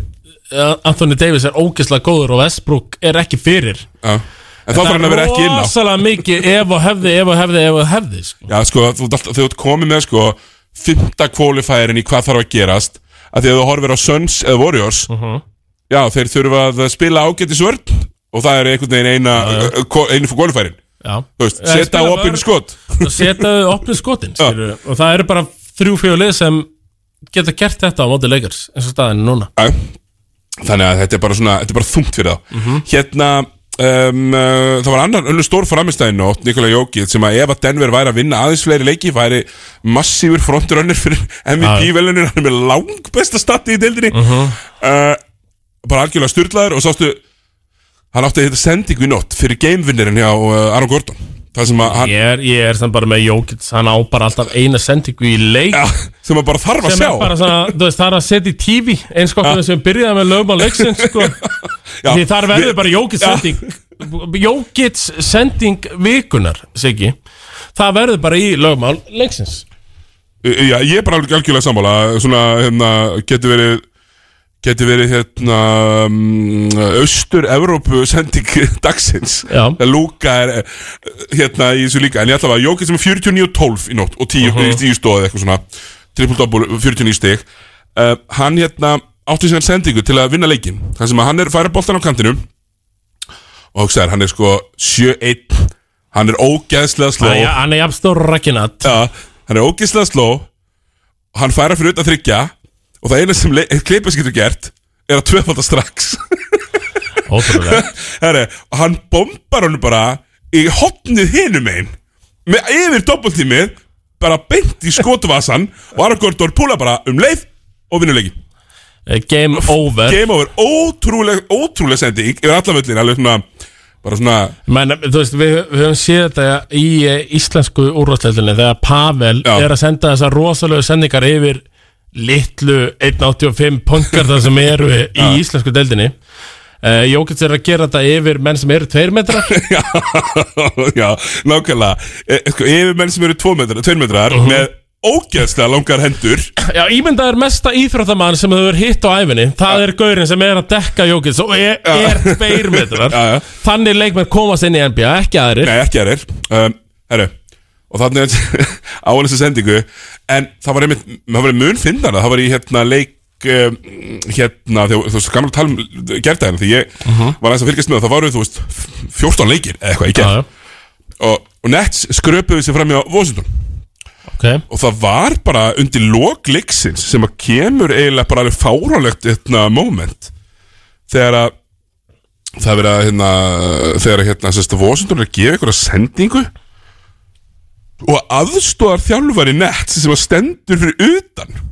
eh, Anthony Davis er ógeðslega góður og Westbrook er ekki fyrir já. En þá þarf hann að vera ekki inn á rosalega mikið ef og hefði, ef og hefði, ef og hefði sko. Já, sko, þú ert alltaf- þú ert komið með, sko Fymta kvalifærin í hvað þarf að gerast Af því að þú horfir á Suns eða Warriors Mhm. Já, þeir þurfa að spila ágæti svörn Og það er einhvern veginn eina, eh, ko- einu fyrir kvalifærin Já Þú veist, Eða setja spila opinn vörn. skot Og setjaðu opnið skotin, skilur og það eru bara þrjú, fjóðu lið sem geta gert þetta á móti leikars eins og staðinu núna Já. Þannig að þetta er bara svona, þetta er bara þungt fyrir þá Mhm. Hérna, um, uh, það var annar önnur stór framistæðin og Nikola Jókið sem að ef að Denver væri að vinna aðeins fleiri leiki væri massífur frontrunner fyrir MVP velunin, hann er með langbesta stati í deildinni Mhm. uh, bara algjörlega styrlaður og sástu hann átti þetta sendingu í nótt fyrir gamevinnerinn hjá uh, Aron Gordon það sem að hann, Ég er, ég er sem bara með Jókits, hann á bara alltaf eina sendingu í leik ja, sem að bara þarf að sem er sjá bara svona, þú veist, það er að setja í tífi eins og okkur sem byrjaði með lögum á leiksin sko. Já, því þar verður við- bara Jókits Já. sending Jókits sending vikunar, Siggi það verður bara í lögum á leiksins Eh, Já, ég er bara alveg algjörlega sammála Svona, hérna, getur verið Getur verið, hérna um, Austur-Evrópu sending dagsins Já. Lúka er eh, hérna í þessu líka En ég ætla að Jókis sem er 49 og 12 í nótt Og 10, uh 10 stóð eða eitthvað svona triple-double, 49 stig uh, Hann hérna átti síðan sendingu til að vinna leikin Það sem að hann er færa boltan á kantinum Og hugsaður, hann er sko 7-1 Hann er ógeðslega sló Æja, hann er jafnstór rakkinat Já, hann er ógeðslega sló Hann færa fyrir utan þryggja Og það eina sem kleipis getur gert Er að tvöfalda strax Ótrúlega Herre, og hann bombar honum bara í hotnið hinum einn með yfir doppeltímið bara beint í skotvasan og Aron Gordor púla bara um leið og vinnuleiki Eh, Game over Game over, ótrúleg, ótrúleg sending yfir allavöllin, alveg svona bara svona, Men eh, þú veist, við, við höfum séð þetta í eh, íslensku úrvarsleitinni þegar Pavel Já. er að senda þessar rosalegu sendingar yfir litlu 1.85 punkar þar sem eru í íslensku deildinni uh, Jókits er að gera þetta yfir menn sem eru 2 metrar já, já nákvæmlega, e, sko, yfir menn sem eru tvo metrar, tveir metrar með ógeðslega langar hendur Já, ímyndaður mesta íþróttamann sem þú er hitt á æfinni það er gaurinn sem er að dekka Jókits og er, er 2 metrar Já, já. Þannig leikmenn komast inn í NBA, ekki aðrir Nei, ekki aðrir um, Herru, og þannig að á hann þessu sendingu En það var einmitt, það var mun finnara Það var í hérna leik um, Hérna, þegar- þú veist, gamla tala um Gerðaðina, því ég var aðeins að fylgjast með og Það varu, þú veist, 14 leikir eða eitthvað í gerð Já, já, og, og Nets skröpuðu sér fram í á Washington ok Og það var bara undir lokleiksins Sem að kemur eiginlega bara alveg fáránlegt Hérna, moment Þegar að Það er verið að hérna Þegar að hérna, sérst að Washington er að gefa einhverja sendingu Og aðstóðar þjálfari nett Sem að stendur fyrir utan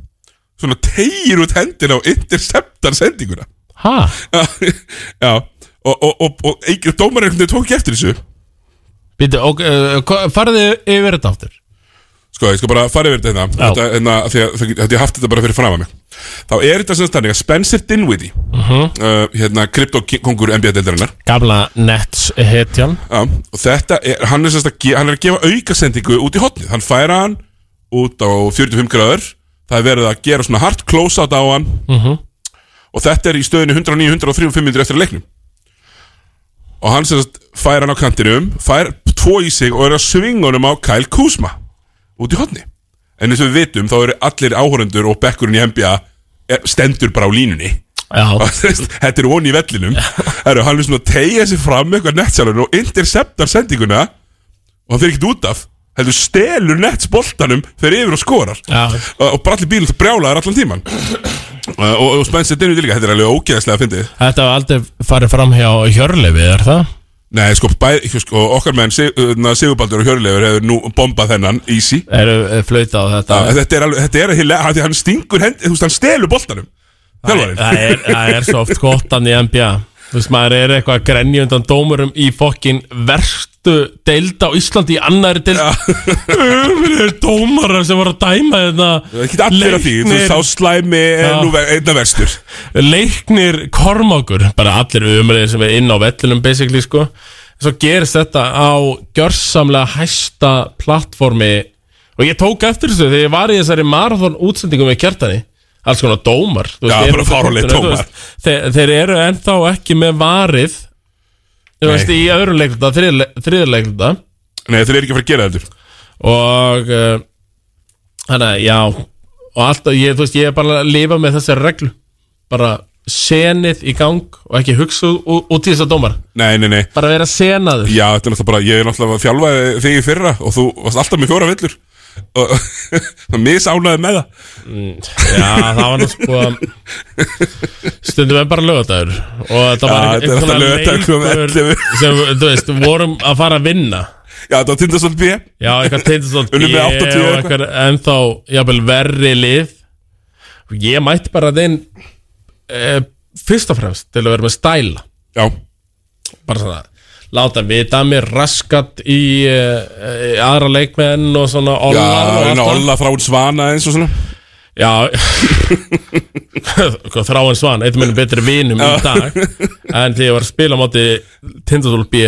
Svona tegir út hendina Og interceptar sendinguna Ha? Já Og, og, og, og, og dómarinn einhvern veginn tók ekki eftir þessu Býtu, ok, uh, farðu yfir þetta aftur Sko, ég skal bara fara yfir þetta hérna, Já. þetta, hérna af því að það get- ég haft þetta bara fyrir fram að mig Þá er þetta sem stannig að Spencer Dinwiddie uh, hérna, kryptokongur NBA-deildarinnar Gamla Nets hetjan Já, og þetta er, hann er, sem sagt að ge- hann er að gefa aukasendingu út í hotnið Hann færa hann út á 45 gráður Það er verið að gera svona hard close-out á hann Og þetta er í stöðinu 109, 103 og 500 eftir að leiknum Og hann sem sagt færa hann á kantinum Fær tvo í sig og er að svinga honum á Kyle Kuzma Út í hotni En eins og við vitum þá eru allir áhórendur og bekkurinn í NBA er- Stendur bara á línunni Já, Þú veist, Þetta er onni í vellinum Heru, Hann er svona að tegja sig fram með eitthvað nettsjálfur og interceptar sendinguna og hann fyrir ekkert út af heldur stelur nettsboltanum fyrir yfir og skorar Já. og, og bralli bíl brjálaður allan tíman Uh, og, og Spencer Dinwiddie líka, þetta er alveg ógeðslega að fyndið þetta var aldrei farið fram hjá Hjörlefi, er það? Nei, sko, bæ, sko okkar menn Sig- na, Sigurbaldur og Hjörleifur hefur nú bombað þennan easy Eru eh, flauta á þetta? uh, Þetta er alveg, þetta er að hila Hann stingur hendi, þú veist, hann stelur boltanum Þjálfarinn það, er, það er svo oft gottan í NBA Þú veist, maður er eitthvað að grenja undan dómurum í fokkin verstu deild á Íslandi í annari deild Öfnir dómarar sem voru að dæma hérna Það þetta er ekki allir af því, þú veist, þá slæmi er Já. nú ver- einna verstur leiknir kormákur bara allir umræðir sem er inn á vellinum basically sko svo gerist þetta á gjörsamlega hæsta plattformi og ég tók eftir þessu þegar ég var í þessari marathon útsendingum með kjartani alls konar dómar þú Já, eru bara á fáránlegir fundinu, þú dómar. veist, þeir, þeir eru ennþá ekki með varið þú veist í öðru leikluta þriðja leikluta Nei, þeir eru ekki að fara að gera þetta og uh, hann að já og alltaf, ég, þú veist, ég er bara að lifa með þessari reglu bara senið í gang og ekki hugsa ú- út í þessa dómar Nei, nei, nei bara vera senaður Já, þetta er náttúrulega bara, ég er náttúrulega að þjálfa þig í fyrra og þú varst alltaf með fjóra villur og það misánaði með það já, það var nú sko stundum við bara lögadagur og þetta Já, var þetta er einhver- alltaf einhver laugardagur klukkan leikur 11. sem, þú veist, vorum að fara að vinna Já, þetta var tindastótt B Já, eitthvað tindastótt Unnum við 80 og eitthvað. eitthvað ennþá jafnvel verri lið og ég mætti bara þeim e, fyrst og fremst til að vera með stæla Já, bara svona láta vita af mér raskat í e, e, aðra leikmenn og svona já, ollar og en allt það. olla frá hún svana eins og svona Já Hvað, Þráin Svan, eitt minnum betri vinum í dag en þegar ég var að spila á móti Tindastól B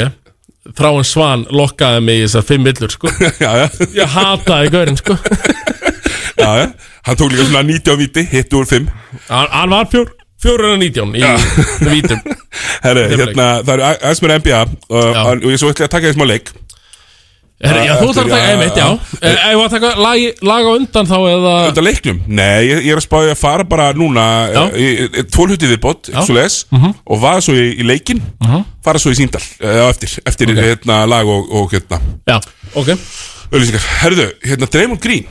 Þráin Svan lokkaði mig í þessar fimm villur sko. Já, já, ég hataði gaurinn sko. já, já Hann tók líka svona 90 á viti, hittu úr 5 Hann, hann var fjór, fjórun og nítján í vítum Herru, hérna, það eru aðeins mér NBA uh, Já. og ég svo ætla að taka þessum á leik Herri, já, Ja, þú eftir- þarf að taka, ja, einmitt, já Eh, Ef við að taka lag, lag á undan þá eða Þetta leiknum? Nei, ég, ég er að spáði að fara bara núna eh, Já. Tvólhuti viðbót, Já. Mhm. svo les Og vaða svo í, í leikin Fara svo í síndal, eða eftir Eftir hérna, lag og, og hérna Já, ok Ölýsingar, herðu, hérna Draymond Green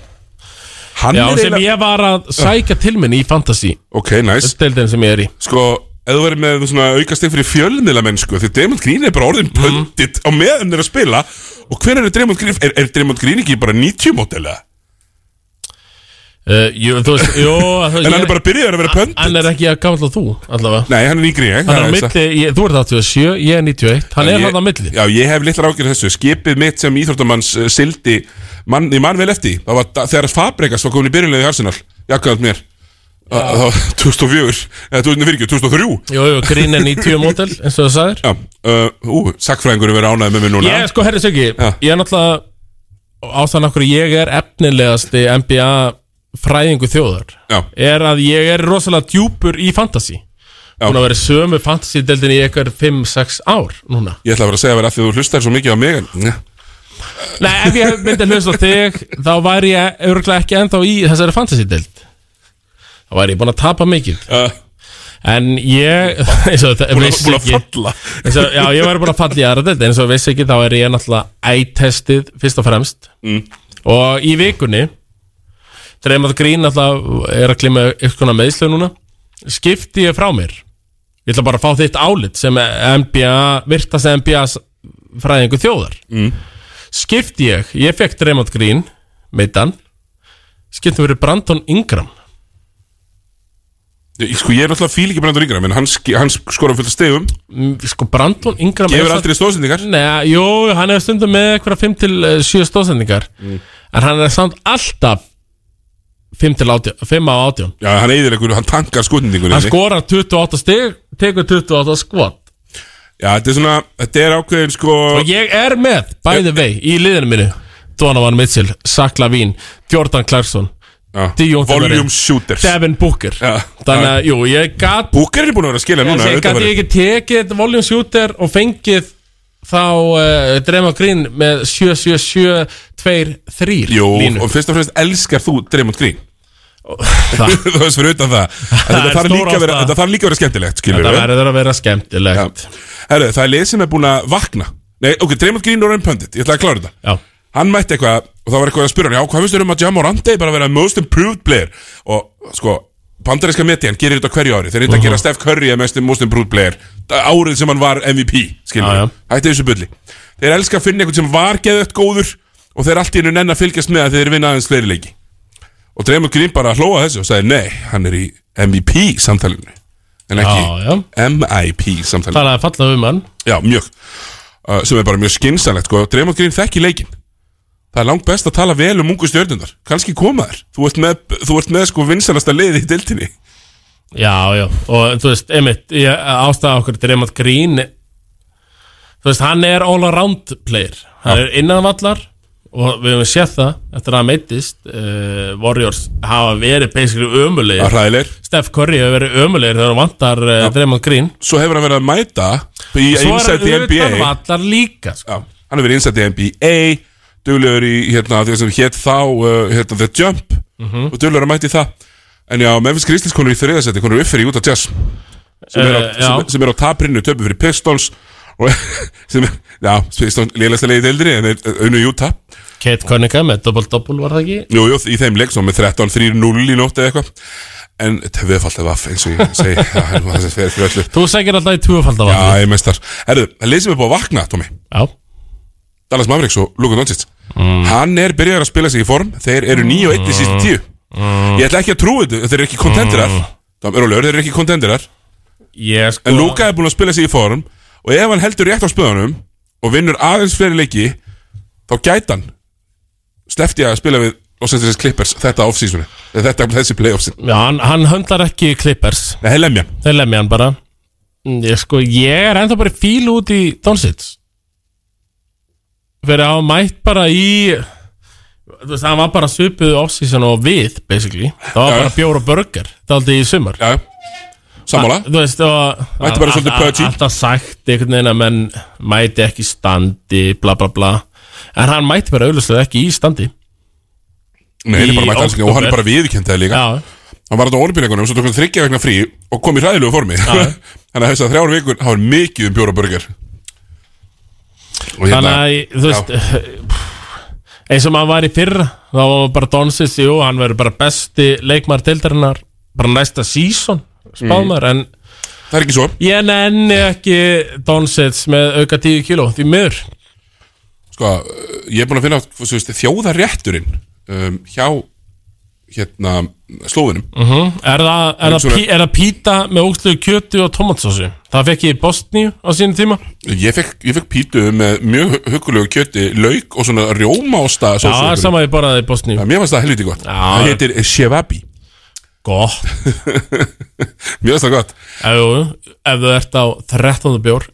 Hann Já, er sem ég var að sækja til minni í Fantasy Ok, nice Deildin sem ég er í Sko, ef þú verður með svona aukastig fyrir fjölmiðla mennsku Því Draymond Green er bara Mhm. orðin pöndit Á meðan er að spila Og hver er Draymond Green? Er, er Draymond Green ekki bara 90 mótilega? uh, jú, Þú veist, jú þú, En hann er bara byrjaður að vera pöndit Hann er ekki að gamla þú, allavega Nei, hann er yngri en ég Hann það er á satt. milli, ég, þú ert 87, ég er 91 Hann er Ég- hann á milli Já, ég hef litlar ágjörð þessu Skipið mitt sem íþróttamanns uh, sildi mann, Ég man vel eftir því. Það var da- þegar Fabregas var komin í byrjunlega í Arsenal Jakkaðan mér Það var 2004 Eða 2004, 2003 Jú, jú, Green er 90 mótel, eins og það sagðir Já, uh, ú, sakfræðingur er verið ánæðið með mér núna Ég, sko, herri Siggi, Já. ég er náttúrulega Ástæðan okkur ég er efnilegasti NBA fræðingu þjóðar Já, Er að ég er rosalega djúpur í Fantasy Já. Búin að vera í sömu Fantasy-deildin í eitthvað 5-6 ár núna ég ætla bara að segja verið að því að þú hlustar svo mikið á mig en, Nei. Nei, ef ég myndi að hlusta á þig þá væri ég örgulega ekki ennþá í þessari fantasy-dild þá væri ég búin að tapa mikið uh, en ég eins og það Búin að, Uh, vissi búin að ekki falla eins og, Já, ég væri búin að falla í aðra dild eins og vissi ekki þá er ég náttúrulega ætestið fyrst og fremst Mm. og í vikunni Dreymað Grín náttúrulega er að klima eitthvað konar meðslu núna skipti ég frá mér ég ætla bara að fá þitt álit sem NBA, virtast NBA fræðingu þjóðar Mm. skipti ég, ég fekk Draymond Green meittan skipti verið Brandon Ingram Ég- Sko, ég er náttúrulega fíl ekki brandur yngra En hann, sk- hann skora fullt af stegum Mm, sko Brandon Ingram Gefur aldrei stóðsendingar Nei, jú, hann er stundum með eitthvað 5 til 7 stóðsendingar Mm. en hann er samt alltaf 5 til 18, 5 á 18 Já, hann eiðilegur, hann tankar skotninguna hann sko- skorar 28 stig tekur 28 skot Já, þetta er svona, þetta er ákveðin sko og ég er með, by the way, í liðinu mínu Donovan Mitchell, Zach Lavine Jordan Clarkson, Já, Dion Tavares. Volume shooters Devin Booker Já, þannig að, jú, ég gat Búker er búin að vera að skila núna Ég auðvitað gæti verið. ekki tekið Volume Shooter og fengið þá uh, Draymond Green með 7-7-7-2-3 Jú, línu. og fyrst og fremst elskar þú Draymond Green Það, Þú veist fyrir utan það En Þetta Það er þarf stór líka að vera- ástæða. þetta þarf líka að vera skemmtilegt skilur það við verður að vera skemmtilegt. Herru, það er lið sem er búin að vakna Nei, ok, Draymond Green er enn pöndit, ég ætla að klára þetta Já. Hann mætti eitthvað og það var eitthvað að spura hann Já, hvað finnst þér um að Jamal Randey bara að vera most improved player Og sko, bandarinska meti hann gerir þetta á hverju ári Þeir reynda að Mhm. gera Steph Curry að mest most improved player Það er Árið sem hann var MVP, skilur Já, já. við Hætti þessu bulli Þeir elska að finna eitthvað sem var geðvægt góður Og þeir allt í hennu nenn að fylgjast með að þeir vinna aðeins fleiri leiki Og Draymond Green bara hlóa þessu og sagði Nei, hann er í MVP samtalinu En ekki Já, já. MIP samtalinu Þannig að falla um hann. Já, mjög uh, sem er bara mjög skinsanlegt sko. Draymond Green þekki leikinn Það er langt best að tala vel um ungu stjörnundar Kanski koma þær Þú ert með, þú ert með sko vinsalasta liði í deltinni Já, já. Og þú veist, einmitt, ég ástæða okkur Draymond Green. Þú veist, hann er all-around player. Hann er innanvallar og við höfum séð það eftir að hann meittist. Uh, Warriors hafa verið basically Það ömulegir. er hræðilegir Steph Curry hefur verið ömulegir þegar hann vantar uh, Draymond Green. Svo hefur hann verið að mæta í Inside the NBA Svo er Já, vallar líka sko. Hann hefur verið Inside the NBA Duglegur í hérna, því sem hétt þá uh, hérna, The Jump og duglegur að mæta í það En já, Memphis Grizzlies konur í þriðasetti konur upp fyrir Utah Jazz sem er á, Eh, já. sem, sem er á taprinu töpu fyrir Pistons og sem er, já, Pistons lélægsta leiði deildri en er unnu Utah Kate Cunningham með double-double var það ekki Jú, jú, í þeim leik, svo með 13-3-0 í nótt eða eitthvað En þetta er viðfaldið vaff, eins og ég segi Já, það er fyrir fyrir öllu Þú segir alltaf í tvöfaldavalli Já, ég meist þar Herðu, það leysum við búið að vakna, Tómi Já. Dallas Mavericks og Luka Doncic Hann er byrjaður að spila sig í form Þeir eru 9 og 1 í sístu 10 Ég ætla ekki að trúi þetta, þeir eru ekki kontenderar Það er alveg, þeir eru ekki kontenderar Ég sko En Luka er búin að spila sig í form Og ef hann heldur rétt á spöðunum Og vinnur aðeins fleiri leiki Þá gæti hann Slefti að spila við Los Angeles Clippers Þetta off-seasoni Þetta þessi playoffsin Já, hann, hann höndlar ekki Clippers Nei, lemja Þeir lemja hann bara Mm, Ég sko, ég er ennþá bara í fíl út í Donsits Fyrir að hafa mætt bara í Þú veist, hann var bara svipuð off-season og við, basically Það var Já. bara bjór og burger Það aldrei í sumar Já, sammála Þú veist, og Mætti bara svolítið all- all- pudgy. Alltaf sagt einhvern veginn að menn mæti ekki í standi, bla bla bla en hann mætti bara auðvitað ekki í standi Nei, hann er Í bara mætt aðsynning og hann er bara viðkjöndaði líka já, Hann var þetta á olimpíuleikunum, svo tók hann þryggja vegna frí og kom í hræðilegu formi Þannig að þess að þrjár vikur, það var mikið um bjóra burger Og þannig hérna, að þú veist eins og maður var í fyrra þá var bara Donsis, jú, hann verður bara besti leikmaður tildarinnar bara næsta síson Mm. spáðmaður, en það er ekki svo Ég nenni ekki Donsets með auka 10 kíló Því miður Sko, ég er búin að finna þú veist, þjóðarrétturinn um, hjá hérna, slóðinum Mm. Er það, er það, Hugsunum. pí, er það píta með ógsluðu kjötu og tomatsósu Það fekk ég í Bosníu á sínum tíma Ég fekk, ég fekk pítu með mjög huggulegu kjöti, lauk og svona rjómaosta Já, það er sósuhöggulegu. sama ég borðaði í Bosníu Mér fannst það helviti gott Já. Það heitir shevabi Gott Mér fannst það gott Ef, þú- ef þú ert á 13. bjór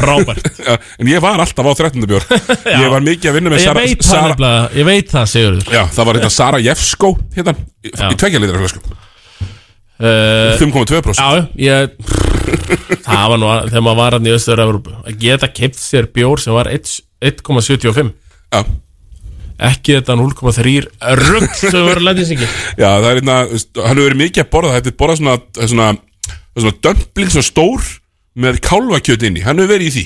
Rábært Já, En ég var alltaf á 13. bjór Ég var mikið að vinna með Ég Sara, veit það Sara nefnilega Ég veit það, Sigurður Já, það var hérna Sara Jefsko hérna, í, í tvekja litra flösku uh, 5,2% Já, ég Það var nú að, þegar maður var hann í Östur-Európu Að geta keipt sér bjór sem var 1 1,75 Já. ekki þetta 0,3 rugg sem við vorum lendið singi Já, það er hérna þú veist, Hann hefur verið mikið að borða Það hefði borða svona það er svona, það er svona dömpling svona stór með kálfakjöt inn í Hann hefur verið í því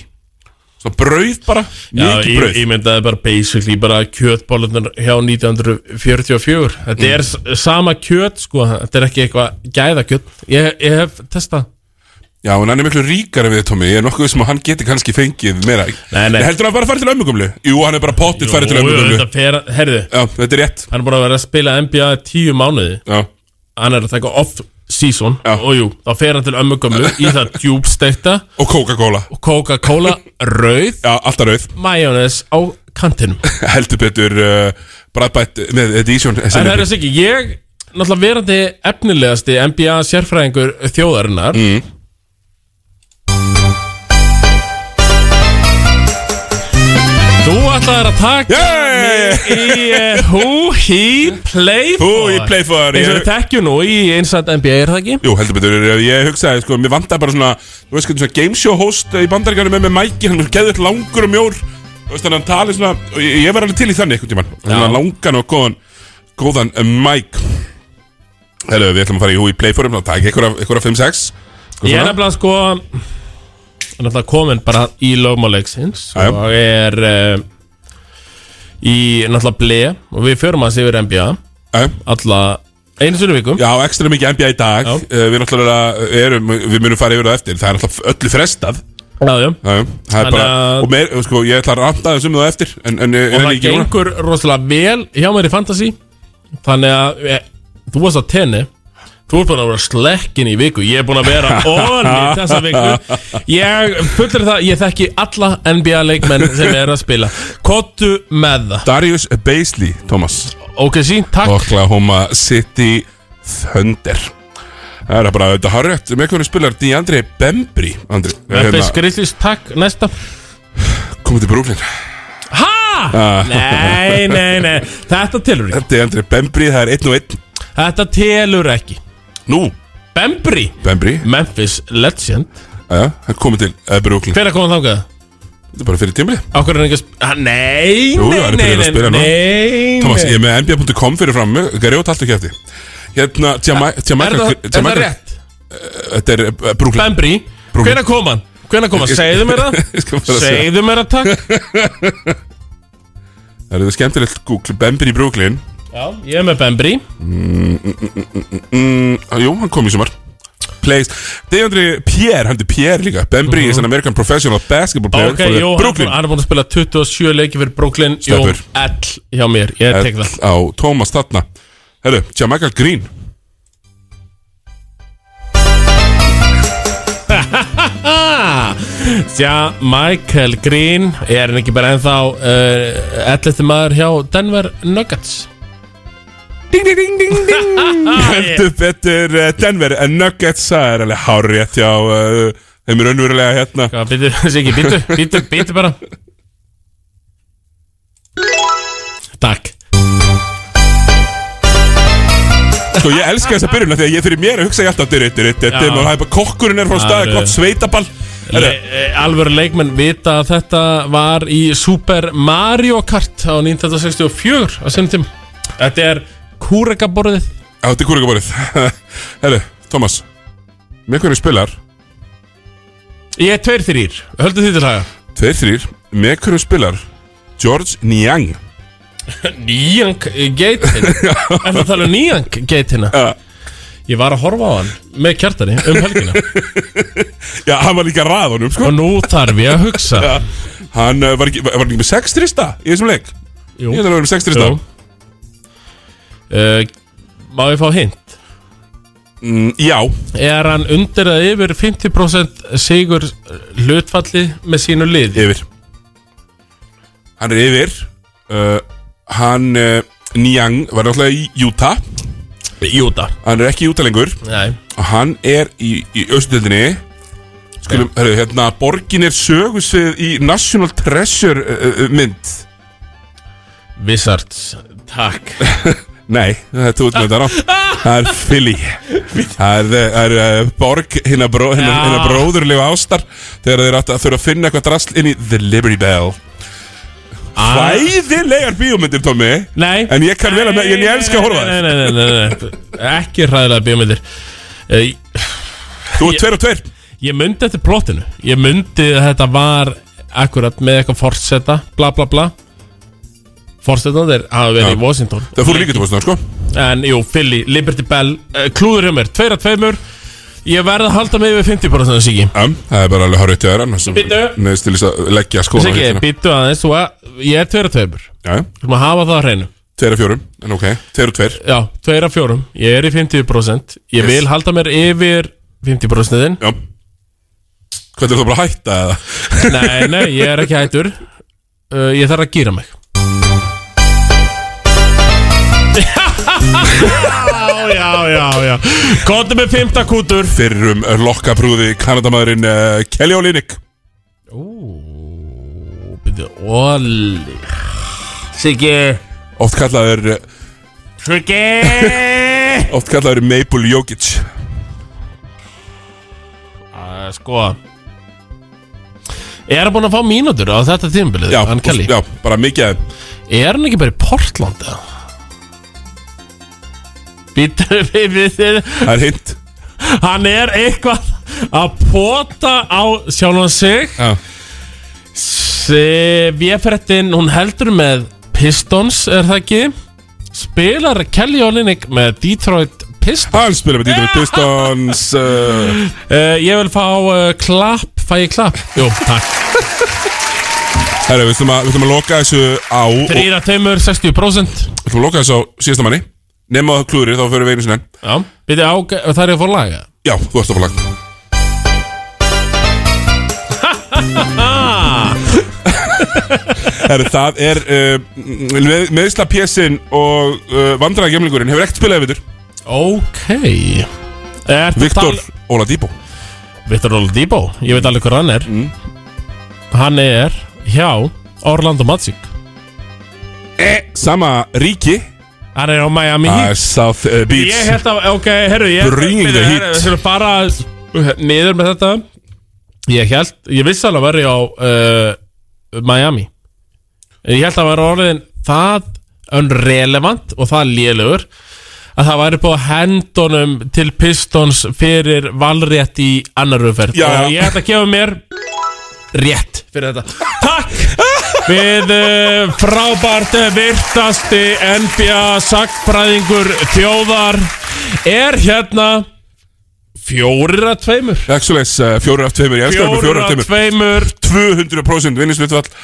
Svona brauð bara, Já, mikið ég, brauð ég myndaði bara basically bara kjötbólunar hjá 1944 Þetta er s- sama kjöt sko, þetta er ekki eitthvað gæðakjöt Ég, ég hef testað Já, en hann er miklu ríkari við Tommy Ég er nokkuð sem að hann geti kannski fengið meira Nei, nei. Heldur hann bara að fara til ömmugumlu? Jú, hann er bara pottitt farið til Jú, ömmugumlu þetta fer, herðu, Já, þetta er rétt hann er búin að vera að spila NBA í tíu mánuði Já, Hann er að taka off season Já. og jú, þá fer hann til ömmugömmu í það djúbstekta og Coca-Cola Coca-Cola rauð, Já, alltaf rauð majónes á kantinum heldur betur uh, bræðbætt með þetta ísjón En það er þess ekki, ég Náttúrulega verandi efnilegasti NBA sérfræðingur þjóðarinnar mm. Þú ætlaðir að taka Yeah! mig í uh, Who He Play For Who He Play For, Eins og ég- við tekjum nú í einsat NBA er það ekki? Jú, heldur betur, eh, ég hugsaði, sko, mér vantaði bara svona Þú veist, hvernig svona gameshow host í bandaríkjörnum með með Mæki Hann er geðið langur og mjór Þú veist, þannig að hann tali svona og Ég, ég var alveg til í þannig einhvern tímann Þannig að langan og góðan, góðan eh, Mike Heldur, við ætlum að fara í hú í playforum Það takk einhverja, einhverja 5-6 Sko Ég er svona nefnilega sko Náttúrulega komin bara í lögmáleiksins Já, já. Og er uh, Í náttúrulega ble Og við förum að yfir NBA Jæja. alla einu sinni í viku Eh? Já, ekstra mikið NBA í dag Já. uh, Við náttúrulega erum, við munum fara yfir það eftir Það er náttúrulega öllu frestað já, Já, já, já. það er Þannig bara, að- og meir, sko, ég ætla að ranta þessum það eftir En, en, en, og en það ekki núna gengur rosalega vel hjá mér í fantasy þannig að e, þú varst á tenni þú ert búin að vera slekkin í viku ég er búin að vera onni þessa viku ég fullir það, ég þekki alla NBA leikmenn sem er að spila kottu með það Darius Beisley, Thomas ok, sí, takk Oklahoma City Thunder Það er bara, þetta har rétt, með hvernig spilar D'Andre Bembri Andri, hérna, Memphis Grizzlies, takk, næsta komið til Brooklyn Ha? Ah. Nei, nei, nei Þetta telur ekki D'Andre Bembri, það er 1 og 1 Þetta telur ekki Nú, Bembri Bembri, Memphis Legend aðja, hann komið til uh, Brooklyn Hver er komað þangað? Þetta er bara fyrir tímli Akkur er hann ekki að spila Nei, Jú, nei, hann er nei, byrjaður að nei, spila núna. nei Thomas, ég er með NBA.com fyrir fram mig, Garjótt allt ekki eftir Hérna, Tjama- Er Jamaica það, er það Jamaica- rétt? Þetta er uh, Brooklyn Bembri, Brúmi. hvenær kom hann? Hvenær kom hann? Segðu mér það Ég skal bara segja. Segðu mér það, takk Það eru skemmtilegt Google, Bembri í Brooklyn Já, ég er með Bembri mm, Jú, hann kom í sumar Plays Deandri Pierre, hann er Pierre líka Bembry is an American professional basketball player Mhm. Ok, for the jú, hann er búinn- Brooklyn hann er búin að spila 27 leiki fyrir Brooklyn Jú, Sleppur. L hjá mér, ég tek það Á Thomas þarna Herru, Jamaica Green Já, Michael Green Er hann ekki bara ennþá uh, 11. maður hjá Denver Nuggets Ding, ding, ding, ding, ding Heldur betur eh, Denver eh, Nuggets Það er alveg hárétt hjá eh, Þeim er önnverulega hérna Hvað, býttu, Siggi, býttu, býttu, býttu bara Takk Sko, ég elska þessa byrjun af Því að ég fyrir mér að hugsa ég alltaf Dyrir, dyrir, dyrir Og það er bara kokkurinn er frá Já, staði það er- Gott sveitaball Le eh, alvöru leikmenn vita að þetta var í Super Mario Kart á 1964 á sinni tím Þetta er kúrekaborðið Já, þetta er kúrikaborið Herru, Thomas Með hvernig spilar Ég er tveir þrýr, höldu því til haga Tveir, þrýr Með hvernig spilar George Niang Nýjang geitin En það tala um nýjang geitina Já. Ég var að horfa á hann með kjartari um helgina Já, hann var líka að raða honum, sko Og nú þarf ég að hugsa Já. Hann uh, var ekki, var var hann ekki með sex trista í þessum leik Jú, Ég held að hann var með sex trista Jú. uh, Má ég fá hint? mm, Já, Er hann undir að yfir 50% sigur hlutfalli með sínu lið? yfir Hann er yfir uh, Hann, uh, Niang Var náttúrulega í Utah Júta Hann er ekki í Utah lengur Nei Og hann er í, í austildinni Skulum, herru, hérna Borgin er sögusvið í National Treasure uh, uh, mynd Wizards Takk Nei, þetta út með þetta rátt Það er Philly Það er, það er uh, borg hinna, bró, hinna, Já. hinna bróðurlega ástar Þegar þeir áttu að þurfa að finna eitthvað drasl inn í The Liberty Bell Ah. Hræðilegar bíómyndir, Tommy Nei En ég kann vel að, en ég elska að horfa Nei, þér nei, nei, nei, nei, nei. Ekki hræðilega bíómyndir Eh, Þú er tveir og tveir Ég myndi eftir plotinu Ég myndi að þetta var Akkurat með eitthvað forseta Bla bla bla Forsetan þeir hafa verið Já. í Washington Það fóru líka til bóðsna, sko En jú, Philly, Liberty Bell uh, Klúður hjá mér, tveir að tveimur Ég verð að halda mig yfir 50% Siki um, Það er bara alveg horrið til þér annars Bíddu. Neðist til þess að leggja skóna Siki, býttu aðeins þú að, Ég er tveir að tveimur Já, Þú maður hafa það á hreinu tveir og fjórum, en ok, tveir og tveir Já, tveir að fjórum Ég er í 50% Ég Yes. vil halda mér yfir 50% -in. Já Hvernig er það bara að hætta eða? Nei, nei, ég er ekki hættur uh, Ég þarf að gýra mig Já, já, já, já Kondu með fymta kútur Fyrrum lokkaprúði kanadamaðurinn uh, Kelly Olynyk Ú, byrju, óli Siggi Oft kallaður, eh, Siggi oft kallaður Maple Jokic Æ, Sko Er hann búin að fá mínútur á þetta tímbilið Já, hann Kelly? já bara mikið af þeim. Er hann ekki bara í Portland eða? Býttu við þið Það er hint Hann er eitthvað að pota á sjálfan sig Já, Véfrettin, hún heldur með Pistons, er það ekki? Spilar Kelly Olynyk með Detroit Pistons hann spila með Dieter Pistons uh, uh, Ég vil fá uh, klapp, fæ ég klapp? Jú, takk Herra, við ætlum að, við ætlum að loka þessu á og, Við 3 tveimur, 60% ætlum að loka þessu á síðasta manni Nefn á klúri, þá fyrir við einu sinni enn. Já, byrja á, það er að fór laga Já, þú ert að fá lag Herra, það er uh, með, meðsla pjesin og uh, vandræða gemlingurinn hefur ekkert spilað yfir Ok Ertu Viktor tal- Oladipo Viktor Oladipo, ég veit alveg hver hann er Mm. Hann er hjá Orlando Magic e, Sama ríki Hann er á Miami Það Heat er South uh, Beach Ég held að, ok, herru ég, Bring the byrju, heat. herru, Við skulum fara niður með þetta Ég held, ég vissi alveg að verði á uh, Miami Ég held að verði orðin það unrelevant og það lélugur að það væri búið að hendunum til Pistons fyrir valrétt í annar umferð Já, og já. ég ætla að gefa mér rétt fyrir þetta Takk við uh, frábært virtasti NBA sagfræðingur þjóðar er hérna fjórir að tveimur Exoleis, uh, fjórir af tveimur, ég elskar það með fjórir af tveimur tveimur 200% vinningslutvall og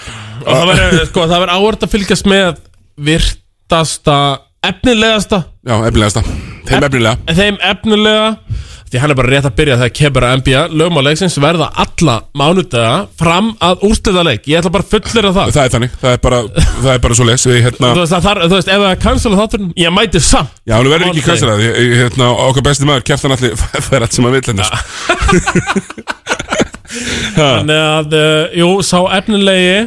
Ah, það verður sko, það verður áhört að fylgjast með virtasta efnilegasta Já, efnilegasta Þeim efnilega þeim efnilega því hann er bara rétt að byrja þegar kemur að NBA lögmáleiksins verða alla mánudaga fram að úrslita leik ég ætla bara fullir að það Það er þannig, það er bara, það er bara svo les Við hérna, þú veist, það þar, þú veist, ef það er cancela þátturinn ég mæti samt já, hún verður ekki kansar Málsveg. að Hérna, okkar besti maður, kjartan allir Það er allt sem hérna. að vil hennar þannig að, uh, jú, sá efnilegi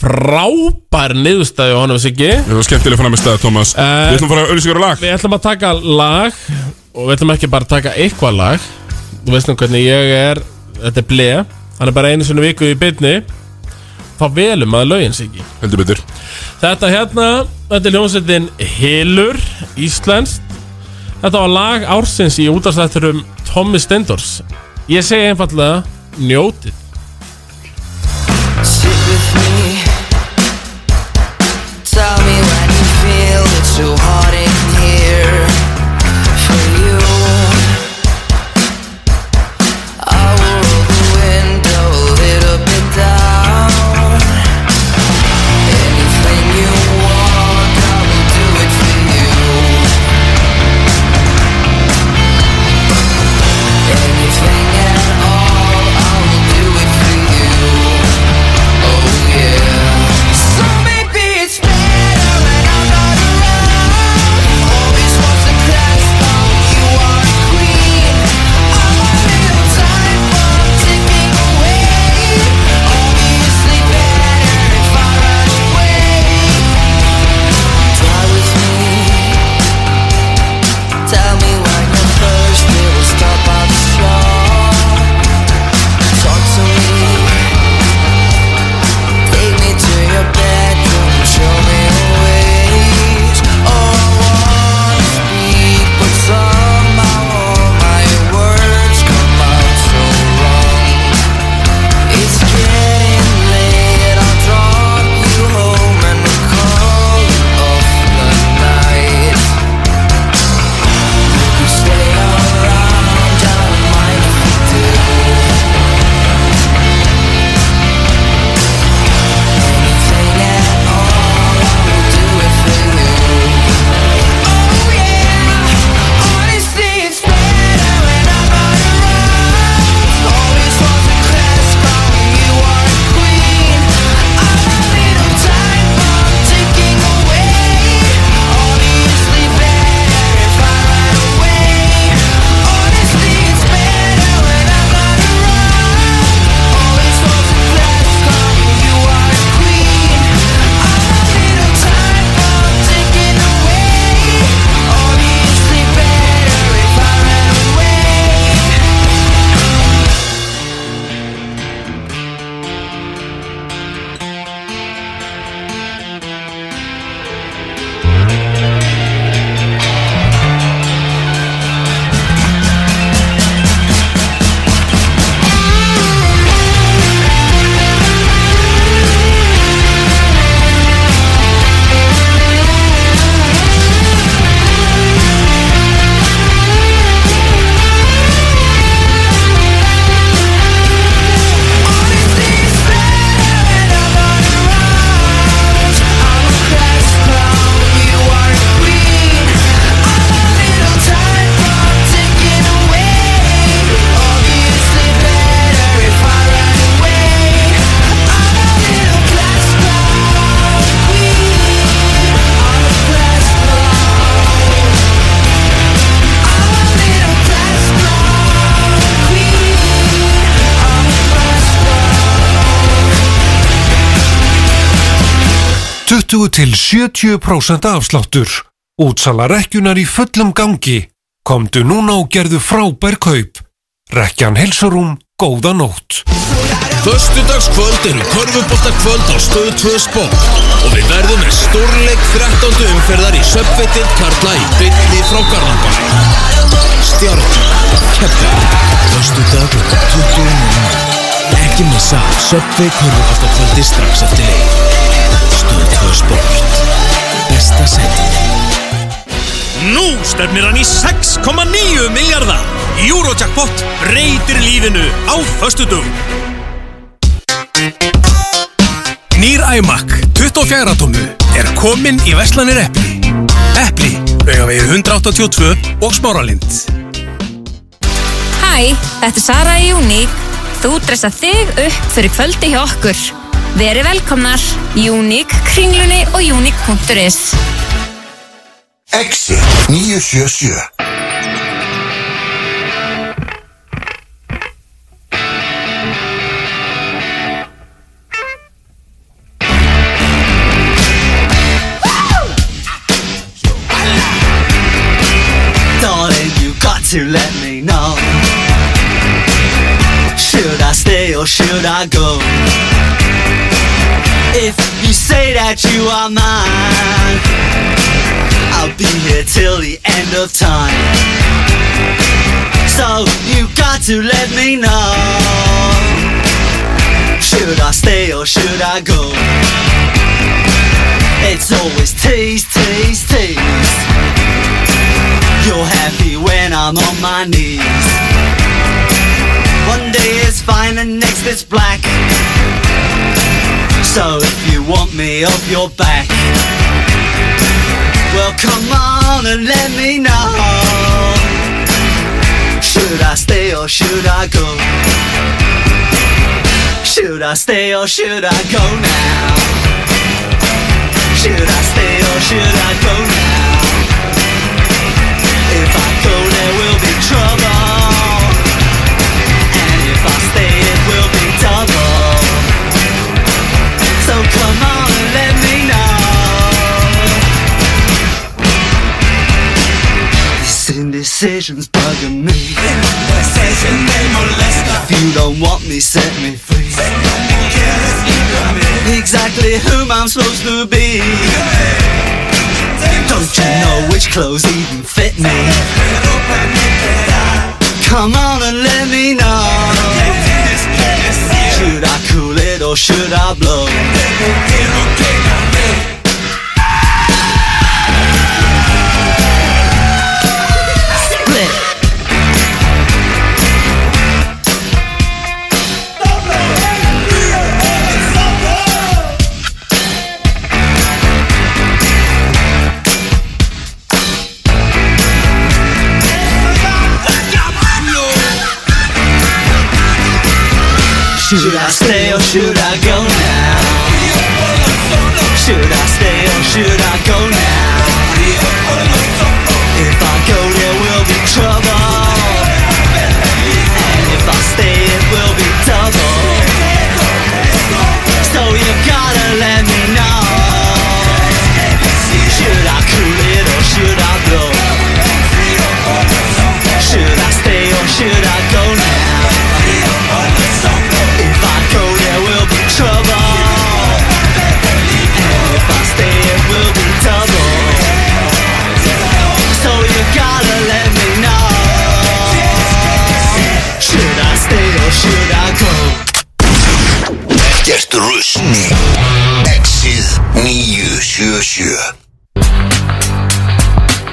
frábær niðurstæði á honum Siggi Það var skemmtileg fram með staða, Thomas Við ætlum að fara að auðvitað lag Eh, við ætlum að taka lag og við ætlum ekki bara að taka eitthvað lag þú veist nú hvernig ég er þetta er bleið hann er bara einu sinni í viku í byrni þá velum maður um lögin sig ekki heldur betur þetta hérna, þetta er hljómsveitin Hilur, Íslands þetta var lag ársins í útastætturum Tommy Stendors ég segi einfallega njótið Sit with me. Tell me when you feel it's too hot in here for you. I will roll the window a little bit down. Anything you want, I will do it for you. Anything at all, I will do it for you. Tell me when you're thirsty, we'll stop at the shore. Talk to me. Take me to your bedroom, show me the ways. Oh, I wanna speak, but somehow all my words come out so wrong. It's getting late, I'll drop you home and we'll call it off the night. You can stay around, I don't mind if you do. til 70% afsláttur. Útsala rekkjunar í fullum gangi. Komdu núna og gerðu frábær kaup. Rekkjan helsarum, góða nótt. Föstudagskvöld eru korfuboltakvöld á stöðu 2 sport og við verðum með stórleik 13. umferðar í söpveitin Karla í bytni frá Garðanbæ Stjarnan, Keflavík Föstudag kl. 20.00 Ekki missa söpvei korfuboltakvöldi strax eftir leik Stöðu 2 sport Besta setið Nú stefnir hann í 6,9 miljardar Eurojackpot breytir lífinu á föstudum Nýr æmak 24 tómu er komin í Veslanir Eppli Eppli, augavegið 182 og smáralind Hæ, þetta er Sara í Júník. Þú dressa þig upp fyrir kvöldi hjá okkur. Veri velkomnar, Júník, kringlunni og júník.is. Exit 977 Darling, you got to let me know. Should I stay or or should I go? If you say that you are mine, I'll be here till the end of time. So you got to let me know. Should I stay or should I go? It's always tease, tease, tease. You're happy when I'm on my knees. One day is fine and next it's black. So if you want me off your back, well come on and let me know. Should I stay or should I go? Should I stay or should I go now? Should I stay or should I go now? If I go there will be trouble. And if I stay, it will be double. So come on and let me know. This indecision's bugging me. If you don't want me, set me free. Exactly whom I'm supposed to be. Don't you know which clothes even fit me? Come on and let me know. Should I cool it or should I blow? Split. Should I stay or should I go now? Should I stay or should I go now? If I go there will be trouble And if I stay it will be double So you gotta let me know Should I cool it or should I blow? Should I stay or should I go now? If I go, there will be trouble. And if I stay, it will be double. So you gotta let me know. Should I stay or should I go? Ekkert rusni Exið 977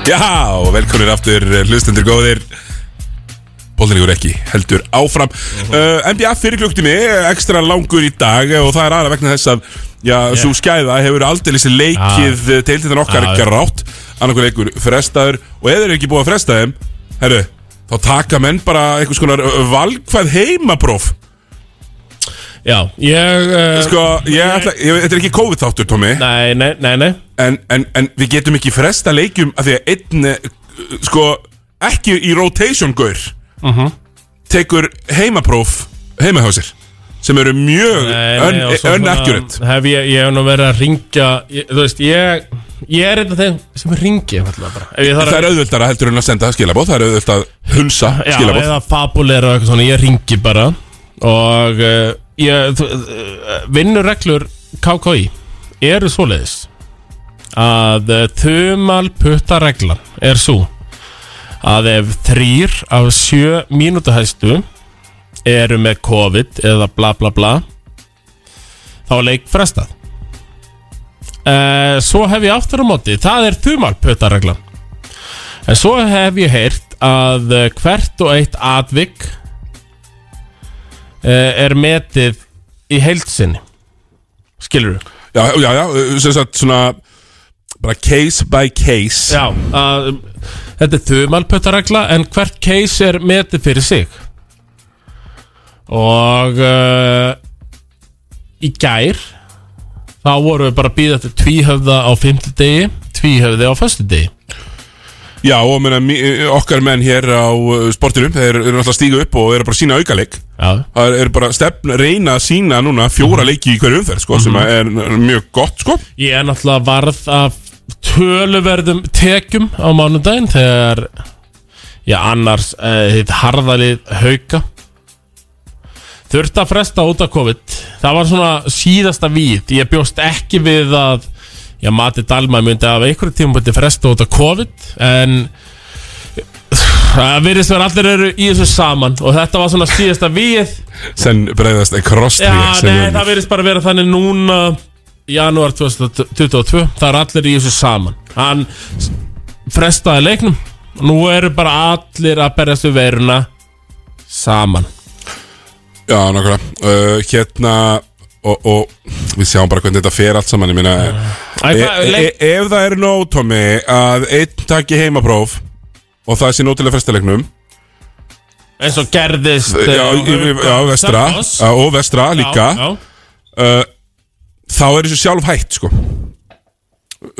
Já, og velkomnir aftur eh, hlustendur góðir Bóðinlegur ekki, heldur áfram uh, NBA fyrir klukktími, ekstra langur í dag eh, Og það er aðra vegna þess að Já, svo skæða hefur aldrei leikið ja. Teiltindan okkar Já, já. grátt Annarkur leikur frestaður Og ef þeir eru ekki búið að fresta þeim Herru, þá taka menn bara einhvers konar ö, ö, Valkvæð heimapróf Já, ég uh, Sko, ég ætla, ég, þetta er ekki COVID-þáttur, Tommy Nei, nei, nei, nei en, en, en við getum ekki fresta leikjum af því að einn eh, sko, ekki í rotation gaur Mhm. tekur heimapróf heima hjá sér sem eru mjög Nei, un, nei, og svo unaccurate svona Hef ég, ég hef nú verið að ringja ég, Þú veist, ég Ég er einn af þeim sem ringi einfaldlega bara Ef ég þarf það að- er auðvöldara heldur en að senda skilabóð það er auðvöldara að hunsa Já, skilabóð eða fabulera og eitthvað svona Ég ringi bara Og uh, ég uh, Vinnureglur KKI Eru svoleiðis Að uh, þumal puttareglan Er svo Að ef þrýr af sjö mínútuhæstu Eru með COVID Eða bla bla bla Þá er leik frestað uh, Svo hef ég aftur á móti Það er þumal puttareglan En svo hef ég heyrt að eh, hvert og eitt atvik eh, er metið í heilsinni. Skilur þú? já, já, já, sem sagt svona bara case by case Já. Að, um, þetta er þumalpötaregla en hvert case er metið fyrir sig. Og uh, í gær þá vorum við bara að býða eftir tvíhöfða á fimmtudegi, tvíhöfði á föstudegi. já og menna, okkar menn hér á eh, sportinum þeir eru náttúrulega að stíga upp og eru bara að sína aukaleik Já. Það er bara stefn, reyna að sína núna fjóra Mhm. leiki í hverju umferð, sko, sem er mjög gott, sko. Ég er náttúrulega varð af töluverðum tekjum á mánudaginn þegar eh, já, annars uh, hitt harðalið hauka Þurfti að fresta út af COVID Það var svona síðasta víð Ég bjóst ekki við að Já, Mati Dalma myndi af einhverjum tíma búið fresta út af COVID En Það virðist vera allir eru í þessu saman Og þetta var svona síðasta víð Sen bregðast ein krosstré Já, sem nei, við- það virðist bara vera þannig núna Janúar 2022 Það er allir í þessu saman Hann s- frestaði leiknum Nú eru bara allir að berjast við veiruna Saman Já, nákvæmlega uh, Hérna og, og við sjáum bara hvernig þetta fer allt saman Ég meina Æ, e, hvað, e, leik, Ef það er nóg, Tommy að einn taki heimapróf og það sé nóg til að frestalegnum eins og gerðist e- já, eh, já, já, vestra Selfoss. já, og vestra Já, líka já. þá er þessu sjálf hætt sko.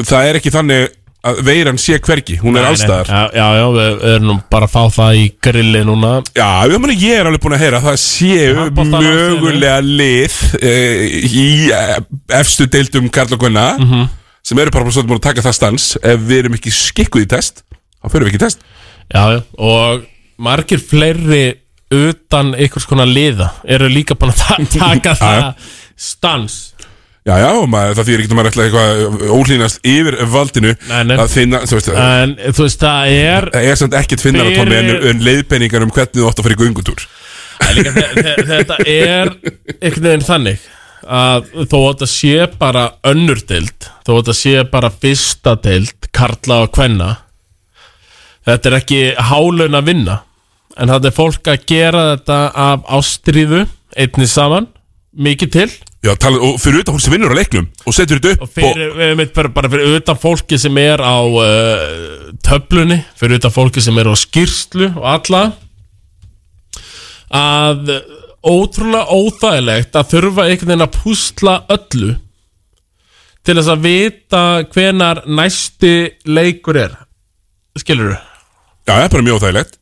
það er ekki þannig að veiran sé hvergi, hún er Nei, nei. allstaðar Já, já, já, við erum nú bara að fá það í grilli núna Já, ég, meni, ég er alveg búin að heyra að það séu Handboltalandsliðinu. mögulega lið e, í e, efstu deildum Karla Gunna Mhm. sem eru bara bara svolítið búin að taka það stans ef við erum ekki skikkuð í test þá fyrir við ekki í test Já, já, og margir fleiri utan einhvers konar liða eru líka búin að ta- taka Já, það stans Já, já, og maður, það þýr ekki að maður ætla eitthvað ólínast yfir valdinu Nei, nei. að finna, þú veist, það En þú veist, það er er samt ekkert finnara Fyrir- tómi en, en leiðpenningar um hvernig þú átt að fara í göngutúr líka, þe- þe- Þetta er einhvern veginn þannig að þó að þetta sé bara önnur deild, þó að þetta sé bara fyrsta deild, karla og kvenna þetta er ekki hálaun að vinna en það er fólk að gera þetta af ástríðu, einni saman mikið til Já, tala, og fyrir utan hún sem vinnur á leiknum og setur þetta upp og fyrir, einmitt, bara, bara fyrir utan fólki sem er á uh, töflunni, fyrir utan fólki sem er á skýrslu og alla að ótrúlega óþægilegt að þurfa einhvern veginn að púsla öllu til þess að vita hvenar næsti leikur er skilur þú? Já, það er bara mjög óþægilegt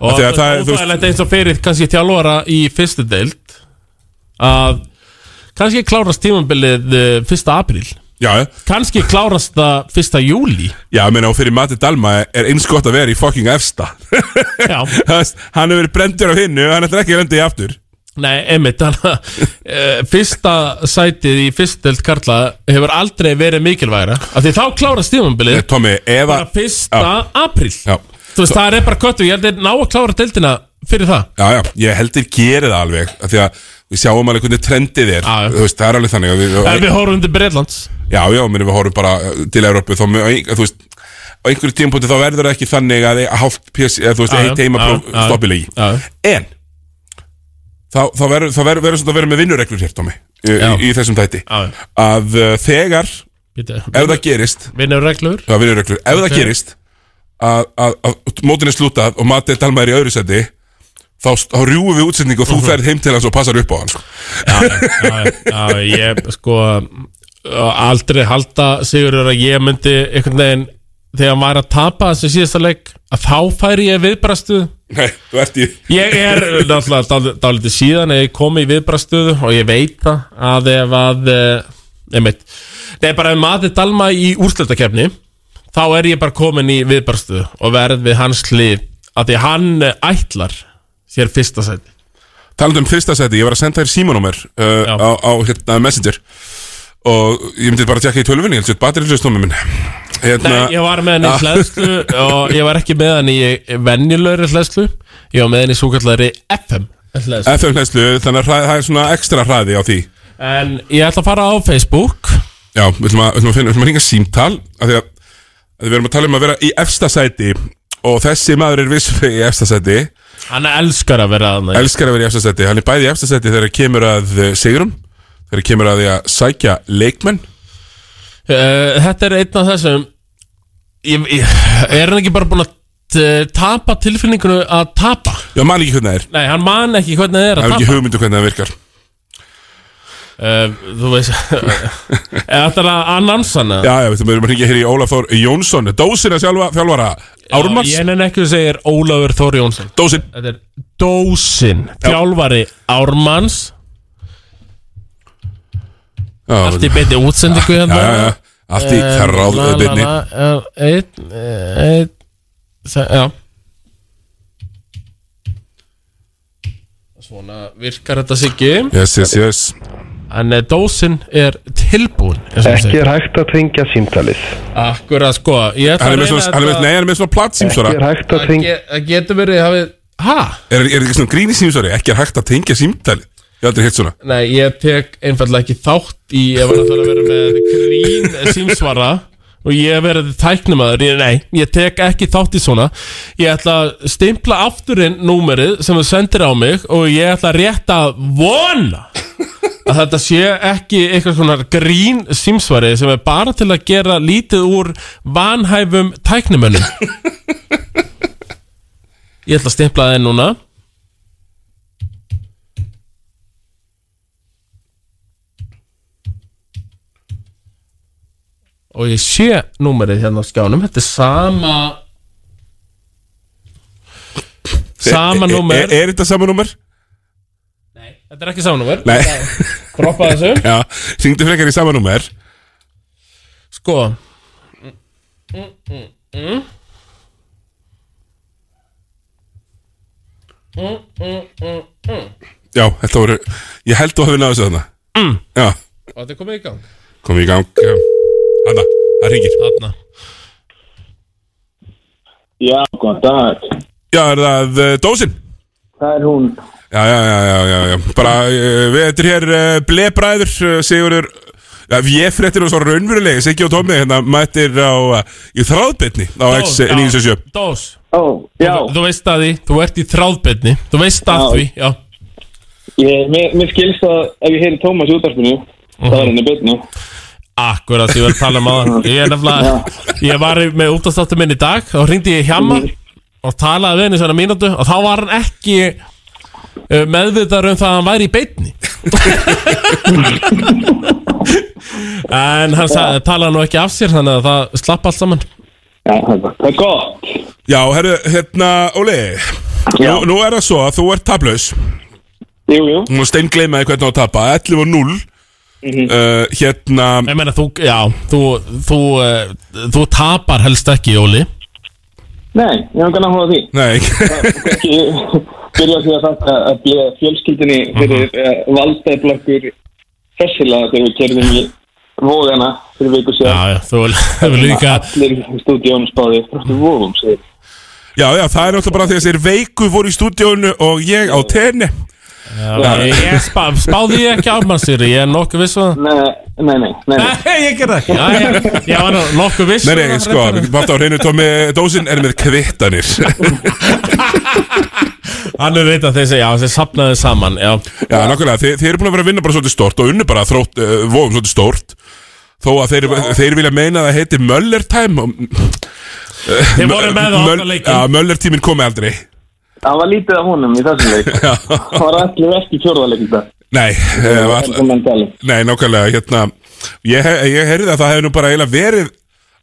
og Af því að það það er, er þú veist- óþægilegt eins og fyrir kannski þjálfara í fyrstu deild að kannski klárast tímambilið eh, 1. apríl Já, já kannski klárast það fyrsta júli Já, ég meina, og fyrir Mati Dalma er eins gott að vera í fucking efsta Já. Þú veist, Hann hefur verið brendur á hinnu hann ætlar ekki að lenda í aftur Nei, einmitt þannig að eh, Fyrsta sætið í fyrstdelt Karla hefur aldrei verið mikilvægra af því þá klárast tímambilið Eh, Tommy, ef bara að fyrsta Já. apríl Já. Þú veist, það er bara köttu, ég held að ná að klára deildina fyrir það Já, já, ég heldur geri það alveg af Því að við sjáum alveg hvernig trendið er Já, já. Þú veist, það er alveg þannig að við, En við horfum til Breitlands Já, já, meni, við horfum bara uh, til Európu Þá, með- á ein- þú veist, á einhverju tímpúti þá verður það ekki þannig að að hálft PS, eða þú veist, Já, já, heitt heima já, já. stoppilegi Já. En þá, þá verður það verður svona að vera með vinnureglur hér, Tommy í, Já. í þessum tæti Já, já. Að uh, þegar, ef það gerist Vinnur reglur Já, vinnureglur. Ef það gerist að, að, að mótin er slútað og Matti Dalma er í öðru seti þá, þá rjúum við útsendingu og Mhm. þú ferð heim til hans og passar upp á hans já, já, ég sko aldrei halda Sigurður að ég myndi einhvern veginn þegar maður er að tapa þessi síðasta leik að þá færi ég viðbrastuð Nei, þú ert í Ég er náttúrulega dál- dálítið síðan að ég kom í viðbrastuðu og ég veit það að ef að neitt, nei bara ef maður dalma í úrslutakefni þá er ég bara komin í viðbrastuðu og verð við hans hlið að því hann eh, ætlar sér fyrsta sæti Talandi um fyrsta seti, ég var að senda þér símanúmer uh, Já. á, á hérna, Messenger og ég myndi bara að tjekka í tölvunni ég held sér batterilslustómi minn hérna, Nei, ég var með henni í hlæðslu og ég var ekki með henni í venjulegri hlæðslu ég var með henni í svo kallari FM hlæðslu FM hlæslu, þannig að hra- það er svona ekstra hraði á því En ég ætla að fara á Facebook Já, við ætlum að, við ætlum að finna, við ætlum að ringa símtal af því að, að við erum að tala um að vera í efsta sæti og þessi maður er vissulega í efsta sæti Hann elskar að vera að elskar að vera í efstasetti hann er bæði í efstasetti þegar kemur að eh, sigurum þegar kemur að því að sækja leikmenn Uh, þetta er einn af þessum ég, ég, Er hann ekki bara búin að eh, tapa tilfinningunu að tapa? já, man ekki hvernig það er Nei, hann man ekki hvernig það það er að er ekki tapa hugmyndu hvernig það virkar uh, Þú veist Þetta er að annansa hann já, já, við erum að ringja hér í Ólaf Þór Jónsson dósina sjálfa, fjálfara Ármanns Ég nenni ekki að segja er Ólafur Þóri Jónsson dósin Þetta er Dósin Þjálfari Ármanns já, Allt í Eh, beinni útsendingu já, hérna já, já, allt í þerráð byrni Einn Einn Já Svona virkar þetta siggi Yes, yes, yes En eh, dósin er tilbúin Ekki er hægt að tengja símtalið Akkurat sko Ég ætla Hann er að með reyna svona, hann er með, þetta nei, hann er með svona platsímsvara Ekki er hægt að Það tengja ge- Það getur verið hafið Ha? Er, er ekki svona grínisímsvari, ekki er hægt að tengja símtali Ég hef aldrei hitt svona Nei, ég tek einfallega ekki þátt í Ef hann ætlar að vera með grín símsvara Og ég verið tæknumæður ég, Nei, ég tek ekki þátt í svona Ég ætla að stimpla afturinn númerið Sem þú sendir á mig Og ég ætla að rétta að vona að þetta sé ekki eitthvað svona grín símsvari sem er bara til að gera lítið úr vanhæfum tæknimönnum Ég ætla að stimpla það inn núna og ég sé númerið hérna á skjánum þetta er sama sama Er- númer Er, er þetta sama númer? þetta er ekki sama númer Nei, droppa þessu já, syngdu frekar í sama númer Sko Já, þetta voru, ég held þú hafi náðu þessu þarna mm. Já, Og þetta er komið í gang komið í gang já. Hanna, það ringir Þarna Já, góðan dag. Já, er það uh, dósin? Það er hún. Já, já, já, já, já, já. Bara, uh, við þetta er hér uh, blebræður, uh, Sigurður Já, ég fréttir og svo raunverulegi, Siggi og Tómi hérna mættir á, uh, í þráðbytni á já. X977 Dós Ó, já, Þú veist að því Þú ert í þráðbyrni Þú veist að Já. því Já ég, mér, mér skilst að ef ég heyri Tómas í útarpinu, það er henni byrnu. Akkurat Ég var að tala um aðan Ég er nefnilega Ég var í- með útastáttum minn í dag Þá hringdi ég hjama Mhm. Og talaði við henni svona mínútu Og þá var hann ekki eh, Meðvitaður um það að hann væri í beinni En hann sagði, talaði nú ekki af sér Þannig að það slapp allt saman Já, það er gott. Það er gott. Já, herru, hérna, Óli Já, nú, nú er það svo að þú ert tablaus jú, jú. Nú stein gleymaði hvernig á að tapa 11 og 0 uh, Hérna Ég meina þú, já, þú, þú, eh, þú tapar helst ekki, Jóli Nei, ég hef kannan hóða því. Nei, Ekki byrja á því að þakka að byrja fjölskyldinni fyrir uh valdaðblökkur þessilega þegar við kerðum í vóðana fyrir viku síðan. Já, já, þú hefur líka Allir í stúdíónum spáði, þráttu vóðum, segir. já, já, það er náttúrulega bara því að þessir veiku voru í stúdíónu og ég á tenni Já, Ég spá, spáði ég ekki ármannsýri, ég er nokkuð viss um það Nei, nei, nei, nei, nei. Nei, ég gerði ekki Já, ég, ég var nú nokkuð viss Nei, um nei, það. sko, bátt á hreinu Tómi Dósin er með kvittanir Hann er veit að þeir segja, já, þeir sapnaði saman Já, Já, nákvæmlega, þið, þið eru búin að vera að vinna bara svolítið stórt og unnu bara þrótt, uh, vofum svolítið stórt Þó að þeir, þeir vilja meina að það heiti Möller time og- þeir voru með á Möll- okkar Já, leikin Möller tíminn komi aldrei Það var lítið af honum í þessum leik. Það var allir ekki fjórðarleik í dag. Nei, eh, var- Það er mann talið. Nei, nákvæmlega, hérna Ég, ég heyrði að það hefur nú bara eiginlega verið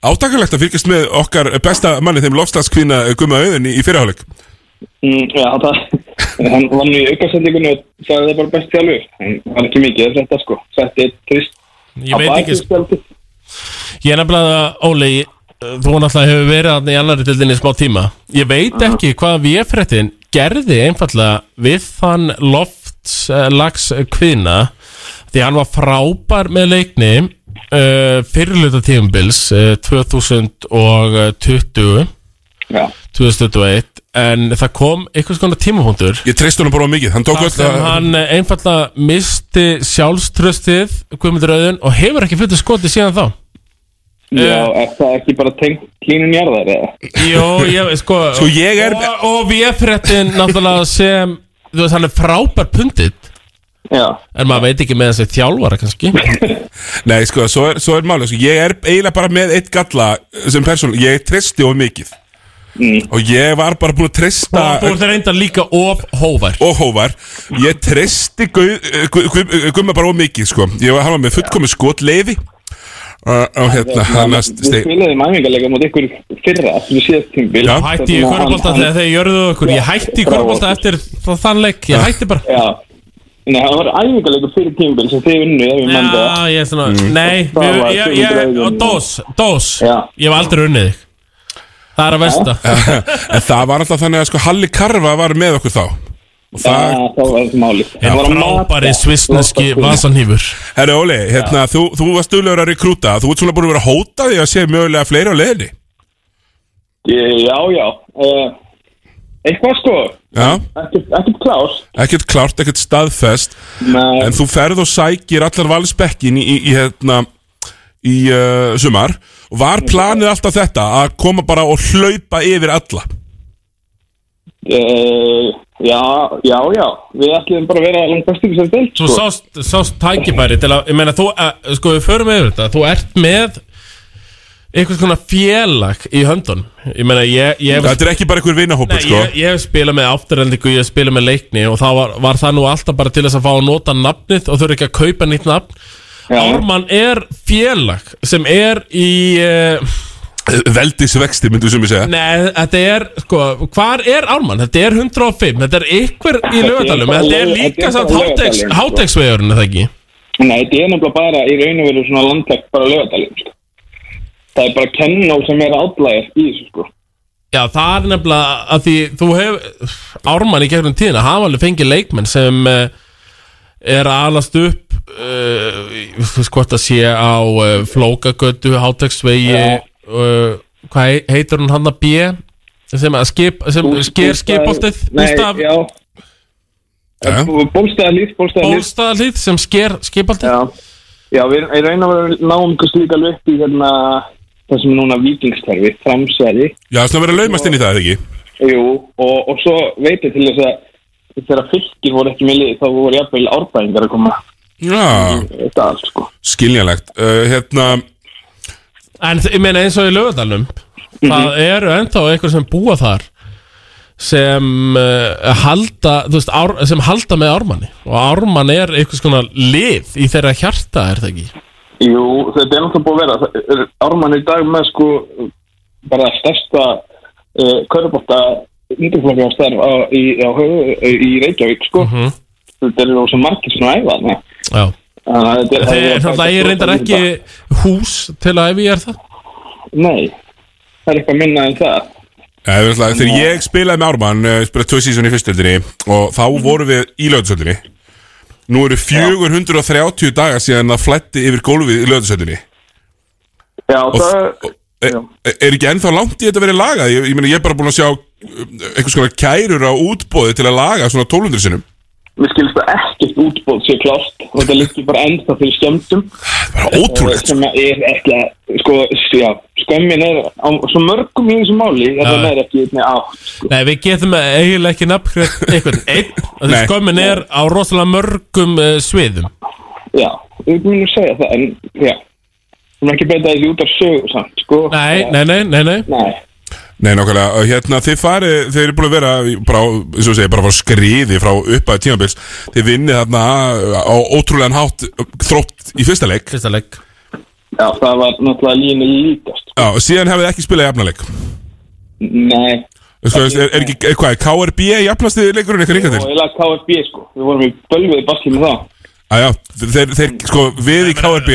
átakalegt að fylgjast með okkar besta manni þeim lofslagskvinna Guma Auðun í, í fyrirháleik Mm, já, það, hann var nú í aukasendingunni og sagði það bara best til alveg. En það var ekki mikið eftir þetta sko. Þetta er trist. Ég veit ekki, sko. Spjaldi. ég er nefnilega, Óli ég- Þú náttúrulega hefur verið þarna í annari dildinni í smá tíma Ég veit ekki hvað VF-réttin gerði einfallega við þann loftslags kvinna því hann var frábær með leikni uh, fyrirluta tímubils uh, 2020 Já, 2021 en það kom einhvers konar tímapunktur Ég treyst honum bara of mikið, hann tók þar öll sem að hann eh, einfallega misti sjálfströstið Guðmundur Auðun og hefur ekki fyrir skotið síðan þá já Eh. er það ekki bara tengt klínun jarðar eða? Jó, ég, sko, Sko, ég er- Og, og VF-réttin náttúrulega sem Þú veist, hann er frábær pundit Já, En maður veit ekki með þessi þjálfara kannski Nei, sko, svo er, svo er málið, sko, ég er eiginlega bara með eitt galla eh, sem persón Ég treysti of mikið Og ég var bara búin að treysta Og þú ert reynda líka of hóvar og hóvar Ég treysti Gau- eh, Gu- Gu- Gumma bara of mikið, sko Ég var hann var með fullkomi skotleifi Uh, og hérna, hann að við stein spilaðum æfingarleika mút ykkur fyrra eftir síðast tímbil. Já. Hætti ég körubólta þegar þeir jörðu okkur Ég hætti í körubólta eftir þá þann leik Ég hætti bara Já, Nei, það var æfingarleikur fyrir tímbil sem þið unnu ef ég mann það. Já, ég er svona Mm. Nei, Það ég, var ég, Guðmundur ég, Auðun. og dós, dós Já. Ég hef aldrei unnið þig Það er að versta En það var alltaf þannig að sko Halli Karfa var með okkur þá Og það, ja, það var máli En frábæri svissneski vasanhýfur Herra Óli, hérna, þú, þú varst duðlegur að rekrúta Þú ert svona búin að vera að hóta því að sé mögulega fleiri á leiðinni Já, já uh, Eitthvað sko Já, Ekkert ekkert klár ekkert klárt, ekkert staðfest Nei. En þú ferð og sækir allar valsbekkin í, í, í, hérna, í uh, sumar Og var planið alltaf þetta að koma bara og hlaupa yfir alla uh, Já, já, já Við ætlum bara að vera langt bestur í sér deild Þú sko. sást, sást tækifæri til að Ég meina, þú, að, sko, við förum yfir þetta Þú ert með einhvers konar félag í höndun Ég meina, ég, ég Þetta er ekki bara einhver vinahópur, Nei, sko ég, ég hef spilað með afturhendingu, ég hef spilað með leikni og það var, var það nú alltaf bara til þess að fá að nota nafnið og þurfa ekki að kaupa nýtt nafn Ármann er félag sem er í uh, Eh, Veldisvexti, myndu sem ég segja Nei, þetta er, sko, hvar er Ármann? Þetta er 105, þetta er ykkur í lögadalum en Þetta er líka samt háteks, háteksvegurinn, er það ekki? Nei, þetta er nefnilega bara í raun og veru svona landtækt bara lögadalinn sko. Það er bara kennó sem er átlægir í þessu sko Já, það er nefnilega að því þú hef Ármann í gegnum tíðina hafa alveg fengið leikmenn sem eh, er að alast upp uh, þú veist hvort að sé á uh, Flókagötu, Háteksvegi uh, hvað he- heitir hún hann að B sem, að skip, sem sker skipoltið Nei, Gustaf? já Bólstaðalíð, bólstaðalíð Bólstaðalíð sem sker skipoltið Já, já við erum- í raun og veru náum kannski líka alveg upp í hérna það sem er núna vikingstarfi, framsæri Já, það er svona verið að laumast inn í það, eða ekki? Jú, og, og svo veit ég til þess að þegar fylgir voru ekki með lið þá voru jafnvel árbæðingar að koma Já, Mm. þetta allt sko skiljanlegt uh, Hérna, En ég meina eins og í lögadalum Það eru ennþá einhver sem búa þar sem uh, halda þú veist, ár, sem halda með ármanni og ármann er einhvers konar lið í þeirra hjarta er það ekki Jú, þetta er náttúrulega búið að vera það er- Ármann er í dag með sko bara stærsta uh, körbóta undirflokki á starf á, í, á, höfu, í Reykjavík sko Mhm. þetta er rosa margir sem æfa þarna. Já. Þannig að þetta þeir er er náttúrulega ég reyndar ekki hús til að ef ég er það Nei, það er eitthvað minna en það Ja, Eh, við ætla, þegar ég spilaði með Ármann uh, spilaði tvö sísón í fyrstöldinni og þá vorum við í löðsöldinni Nú eru 430 dagar síðan það flætti yfir gólfið í löðsöldinni Já, Og- það er, er ekki ennþá langt í þetta verið lagað ég, ég, meina, ég er bara búin að sjá uh, einhvers konar kærur á útbóði til að laga svona 1200 sinnum Mér skilst að ekkert útbóð sé klárt og þetta liggur bara ennþá fyrir skemmtum Bara ótrúlegt, Sem að er ekki að, sko, já, skömmin er á svo mörgum í þessu máli að það Já. er ekki með átt Nei, við getum eiginlega ekki nafngrétt einhvern einn af því Nei. skömmin er á rosalega mörgum uh, sviðum Já, við munum að segja það, en já Við erum ekki beita þessi út af sögu samt, sko Nei, nei, nei, nei, nei Nei, Nei, nákvæmlega, og hérna, þið farið, þið eru búin að vera, bara, á- eins og segja, bara að fara skriði frá uppaði tímabils, þið vinnið þarna uh, á ótrúlegan hátt uh, þrótt í fyrsta leik, Fyrsta leik já, það var náttúrulega línu lítast já, og síðan hefðið ekki spilað jafnaleik. Nei, Sko, er, er ekki, er, hvað, er KRB jafnasti leikurinn eitthvað ríka og til? eiginlega KFB, sko Við vorum í bölviði basli með það Æja, þeir, þeir, sko, við í KRB,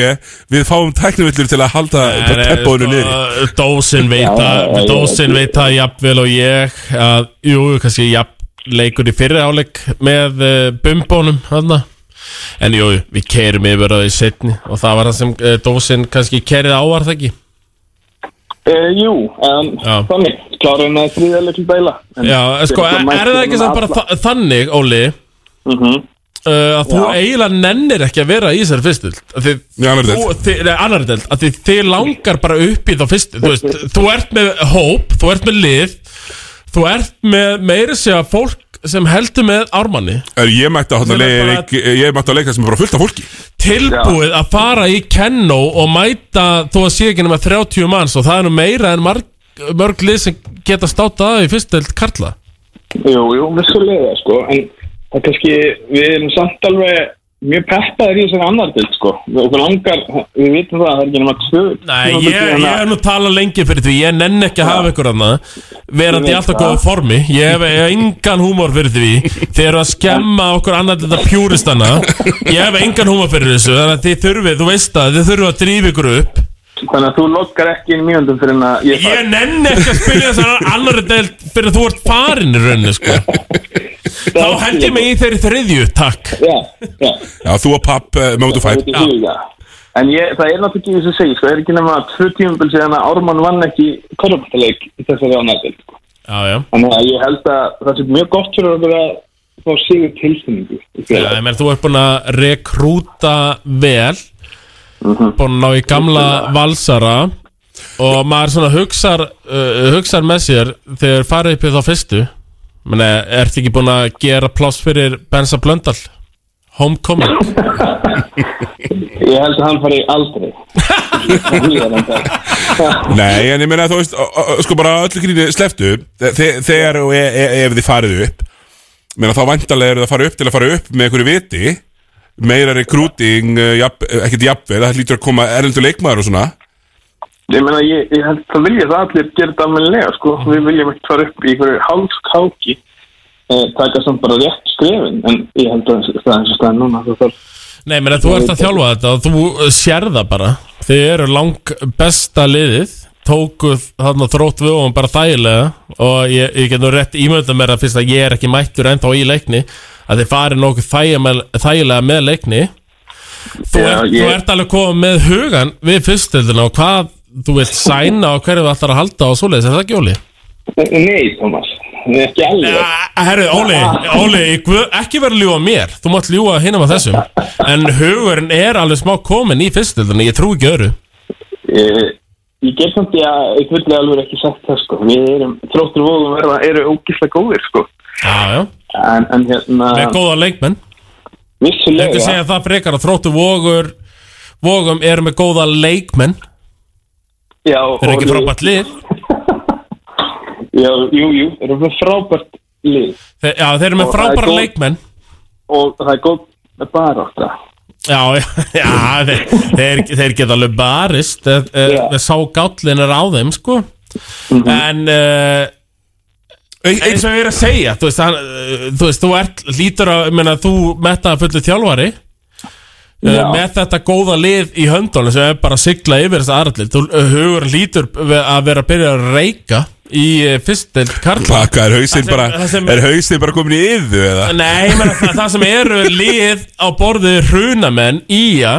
við fáum tæknivillur til að halda peppónu niður. sko, Dósin veit Já, að já, Dósin já. veit að jafnvel og ég að, Jú, kannski jafn leikur í fyrri áleik með uh, bumbónum hana. En jú, við kerum yfir að því setni og það var það sem uh, Dósin kannski kerið ávar það ekki Uh, jú, en Já. þannig, klárum að þriðja litlu dæla En Já, en sko, þetta er, er mætti það ekki samt núna bara alla- þa þannig, Óli Mhm. uh, að þú Já. eiginlega nennir ekki að vera í þessari fyrstild að þið, Í annarri deild. þú- þið, nei, annarri deild að þið, þið langar bara upp í þá fyrst þú, veist, þú ert með hóp, þú ert með lið þú ert með meiri segja fólk sem heldur með ármanni Er, Ég mætti á þarna Meina bara- leik, ég mætti á leika sem er bara fullt af fólki. tilbúið að fara í kennó og mæta þó að sé ekki nema 30 manns og það er nú meira en marg, mörg lið sem geta státað af í fyrstild karla Jú, jú, vissulega, sko, en það er kannski, við erum samt alveg mjög peppaðir í þessari annar dild, sko. Við okkur langar, við vitum það, það er ekki nema tvö. Nei, tímabil ég, ég hérna. er nú tala lengi fyrir því Ég nenn ekki að hafa ykkur annað Verandi í Ég veit alltaf það. góða formi Ég hef ég hef engan húmor fyrir því Þið eru að skemma okkur annað þetta pjúristana Ég hef engan húmor fyrir þessu Þannig að þið þurfið, þú veist það, þið þurfið að drífa ykkur upp Þannig að þú lokkar ekki inn mínundum fyrir en að ég Ég nenn ekki að spila þessar annarri deild Fyrir að þú ert farin í rauninni sko. Þá hendi mig í þeirri þriðju, takk Já, já Já, þú og papp uh, Mount of Fight Já. Já. En ég, það er náttúrulega ekki þess að segja, sko, er ekki nema tvö tímabil síðan að Ármann vann ekki körfuboltaleik í þessari ánæðil, sko. Já, já Þannig að ég held að það sé mjög gott fyrir okkur að fá sigur tilfinningu. Já, ég menn, þú ert búin að rekrúta vel Búin að ná í gamla valsara Og maður svona hugsar, uh, hugsar með sér Þegar farið upp í þá fyrstu Menni, ertu ekki búin að gera pláss fyrir Bensa Blöndal? Homecoming Ég held að hann fari aldrei. Nei, en ég meina þú veist, ö- ö- sko bara öllu gríni sleftu þe- Þegar og e e ef þið farið upp Meina þá vantarlega eru það að fara upp til að fara upp með einhverju viti Meira recruiting, eh, jafn- eh, ekkert jafnvel, það hlýtur að koma erlendur leikmaður og svona Ég meina, ég, ég held að vilja það allir gera þetta almennilega, sko. Við viljum ekki fara upp í einhverju hálfkáki, eh, taka samt bara rétt skrefin, en ég held að það er eins og staðan núna, það þarf Nei, menn, þú ert að þjálfa þetta og þú eh, sér það bara Þið eru lang besta liðið Tókuð þarna þrótt við og bara þægilega Og ég, ég get nú rétt ímönda mér að fyrst að ég er ekki mættur ennþá í leikni Að þið farið nokkuð þægjamel- þægilega með leikni Þú, Já, ert, ég- þú ert alveg komið með hugan við fyrstildina og hvað þú vilt sæna og hverju þú ætlar að halda og svoleiðis, er það ekki Óli? Eh, Nei, Thomas, ekki alveg Herru, Óli, Óli ég guð, ekki vera að ljúa mér þú mátt ljúa hinum að þessum en hugurinn er alveg smá komin í fyrstildina ég trú ekki öru Ég, Eh, ég get samt ég að ég vilja alveg ekki sagt það sko Við erum, þróttur vóðum verða, eru ógislega góðir sko Já, já En, en hérna með góða leikmenn Vissulega. ekki segja það frekar að þróttu vogur vogum eru með góða leikmenn Já, þeir eru ekki og- frábært lið Já, jú, jú, erum við frábært lið Þeir, já, þeir eru með Og það er frábæra góð- leikmenn Og það er góð bara átta Já, já, já þeir, þeir, þeir geta alveg barist eh, eh, Já. Mhm. með sá gállin er á þeim sko en uh, eins og ég er að segja þú veist, hann, eh, þú, veist þú ert lítur að ég meina, þú metta fullu þjálfari Já. uh, með þetta góða lið í höndunum sem er bara að sigla yfir þess aðrallið þú eh, hugur lítur ve- að vera að byrja að reyka í eh, fyrst deild karla Baka, er hausinn bara, það sem- er hausinn bara komin í yðu eða? Nei, ég meina það, það sem eru lið á borðið hrunamenn íja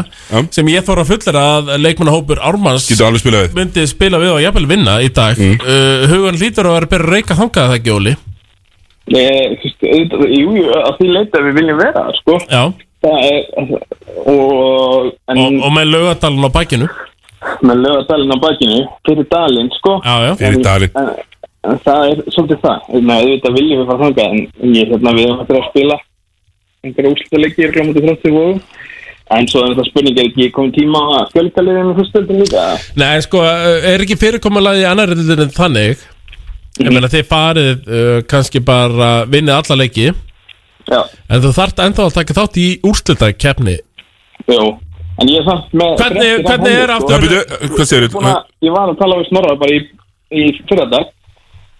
sem ég þóra fullir að leikmannahópur Ármanns Getur alveg spilað við myndi spila við og jafnvel vinna í dag uh, Hugan lítur að vera byrja að reyka þangað það ekki, Óli Ég, þú veist, auðvitað- Jú, jú, á því leita við viljum vera það, sko Já, Það er, og, en og, og með laugadalun á bakinu með löga dalinn á bakinu fyrir dalinn sko Já, já. Fyrir dalinn. en, en það er svolítið það Nei, auðvitað viljum við fara þangað en, en ég hérna við höfum eftir að spila einhverja úrslutaleiki í grámandi þrjóttu vóðum en svo er þetta spurning er ekki komin tíma að fjölga liðinu fyrstöldum líka Nei, sko, eh, er ekki fyrirkomulagið í annar reyndin en þannig Ég meina þið farið uh, kannski bara vinnið alla leiki Já. En þú þart ennþá að taka þátt í úrslutakeppni Jú, en ég er samt með Hvernig- fréttir af hvernig honum, er sko. Já, byrju, hvað segir Búin að- Ég var að tala við Snorra bara í, í fyrradag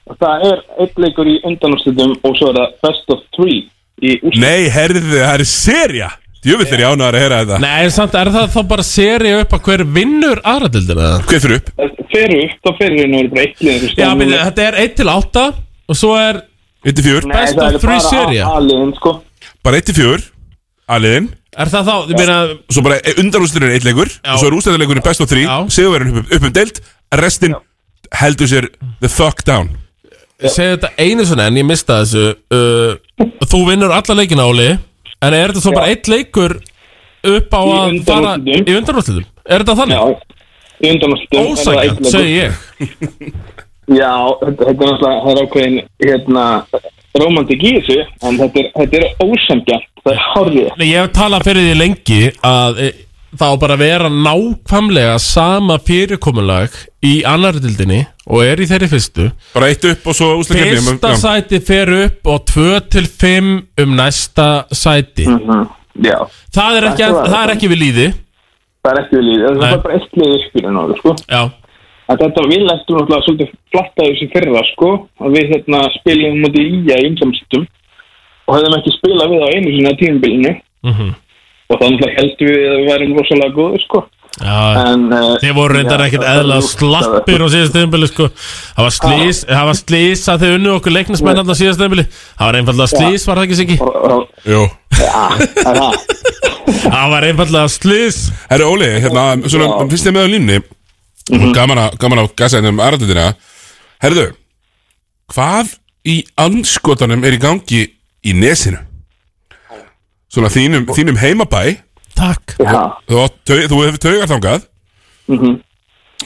og það er einn leikur í undanúrslutum og svo er það best of three í úrslutum Nei, herðið þið, það er serja Djöfið þeir jánaðar að heyra þetta Nei, en samt er það þá bara seri upp að hver vinnur aðra deildina eða? Hver fyrir upp? fyrir upp, þá fyrir henni verið bara eitt lið Mm. Já, meni, þetta er 1 til 8 og svo er 1-4 best of 3 seria aðliðin sko Bara 1-4 Aliðin Er það þá, ég meina, Svo bara undanústurinn er eitt leikur Og svo er ústæðarleikurinn best of 3 Sigurverðin upp, upp um deilt Restin heldur sér the fuck down segja þetta einu svona en ég mista þessu uh, Þú vinnur alla leikina áli En er þetta svo bara eitt leikur upp á Í að fara undanúrslitum. í undanrúslitum? Er þetta þannig? í undanúrslitum er það eitt Ósækjant, leikur. segi ég já, þetta þetta er náttúrulega það er ákveðin hérna romantik í þessu en þetta er, þetta er ósamgjart það er horrið Nei, ég hef talað fyrir því lengi að e, það á bara að vera nákvæmlega sama fyrirkomulag í annar dildinni og er í þeirri fyrstu Bara eitt upp og svo ústæðarleikurinn Fyrsta sæti fer upp og 2 til 5 um næsta Mm. sæti já, Það er ekki, Þetta var- það er ekki við líði það er ekki við líð það Nei. er bara eitt lið upp í henni sko Já, að þetta við lættum náttúrulega svolítið flatta þessu fyrra sko að við hérna spilum múti í að ymsamstum og hefðum ekki spilað við á einu sinna tímabilinu Mhm. og þannig að heldum við að við værum rosalega góður sko En, eh, Þeir voru reyndar já, ekkert það- eðla það- slappir á síðast eðinbili sko. Það var slís Það var slís að þau unnu okkur leiknismenn Þannig að síðast eðinbili Það var einfallega slís var það ekki Siggi Jú Það var einfallega slís Herri Óli, hérna, svona, fyrst ég með á línni Gaman að, gaman að gasa hérna um aðrættina Herðu, hvað í anskotanum er í gangi í nesinu? Svona þínum, þínum heimabæ Takk Þú, átt tau- þú hefur taugar þangað Mhm.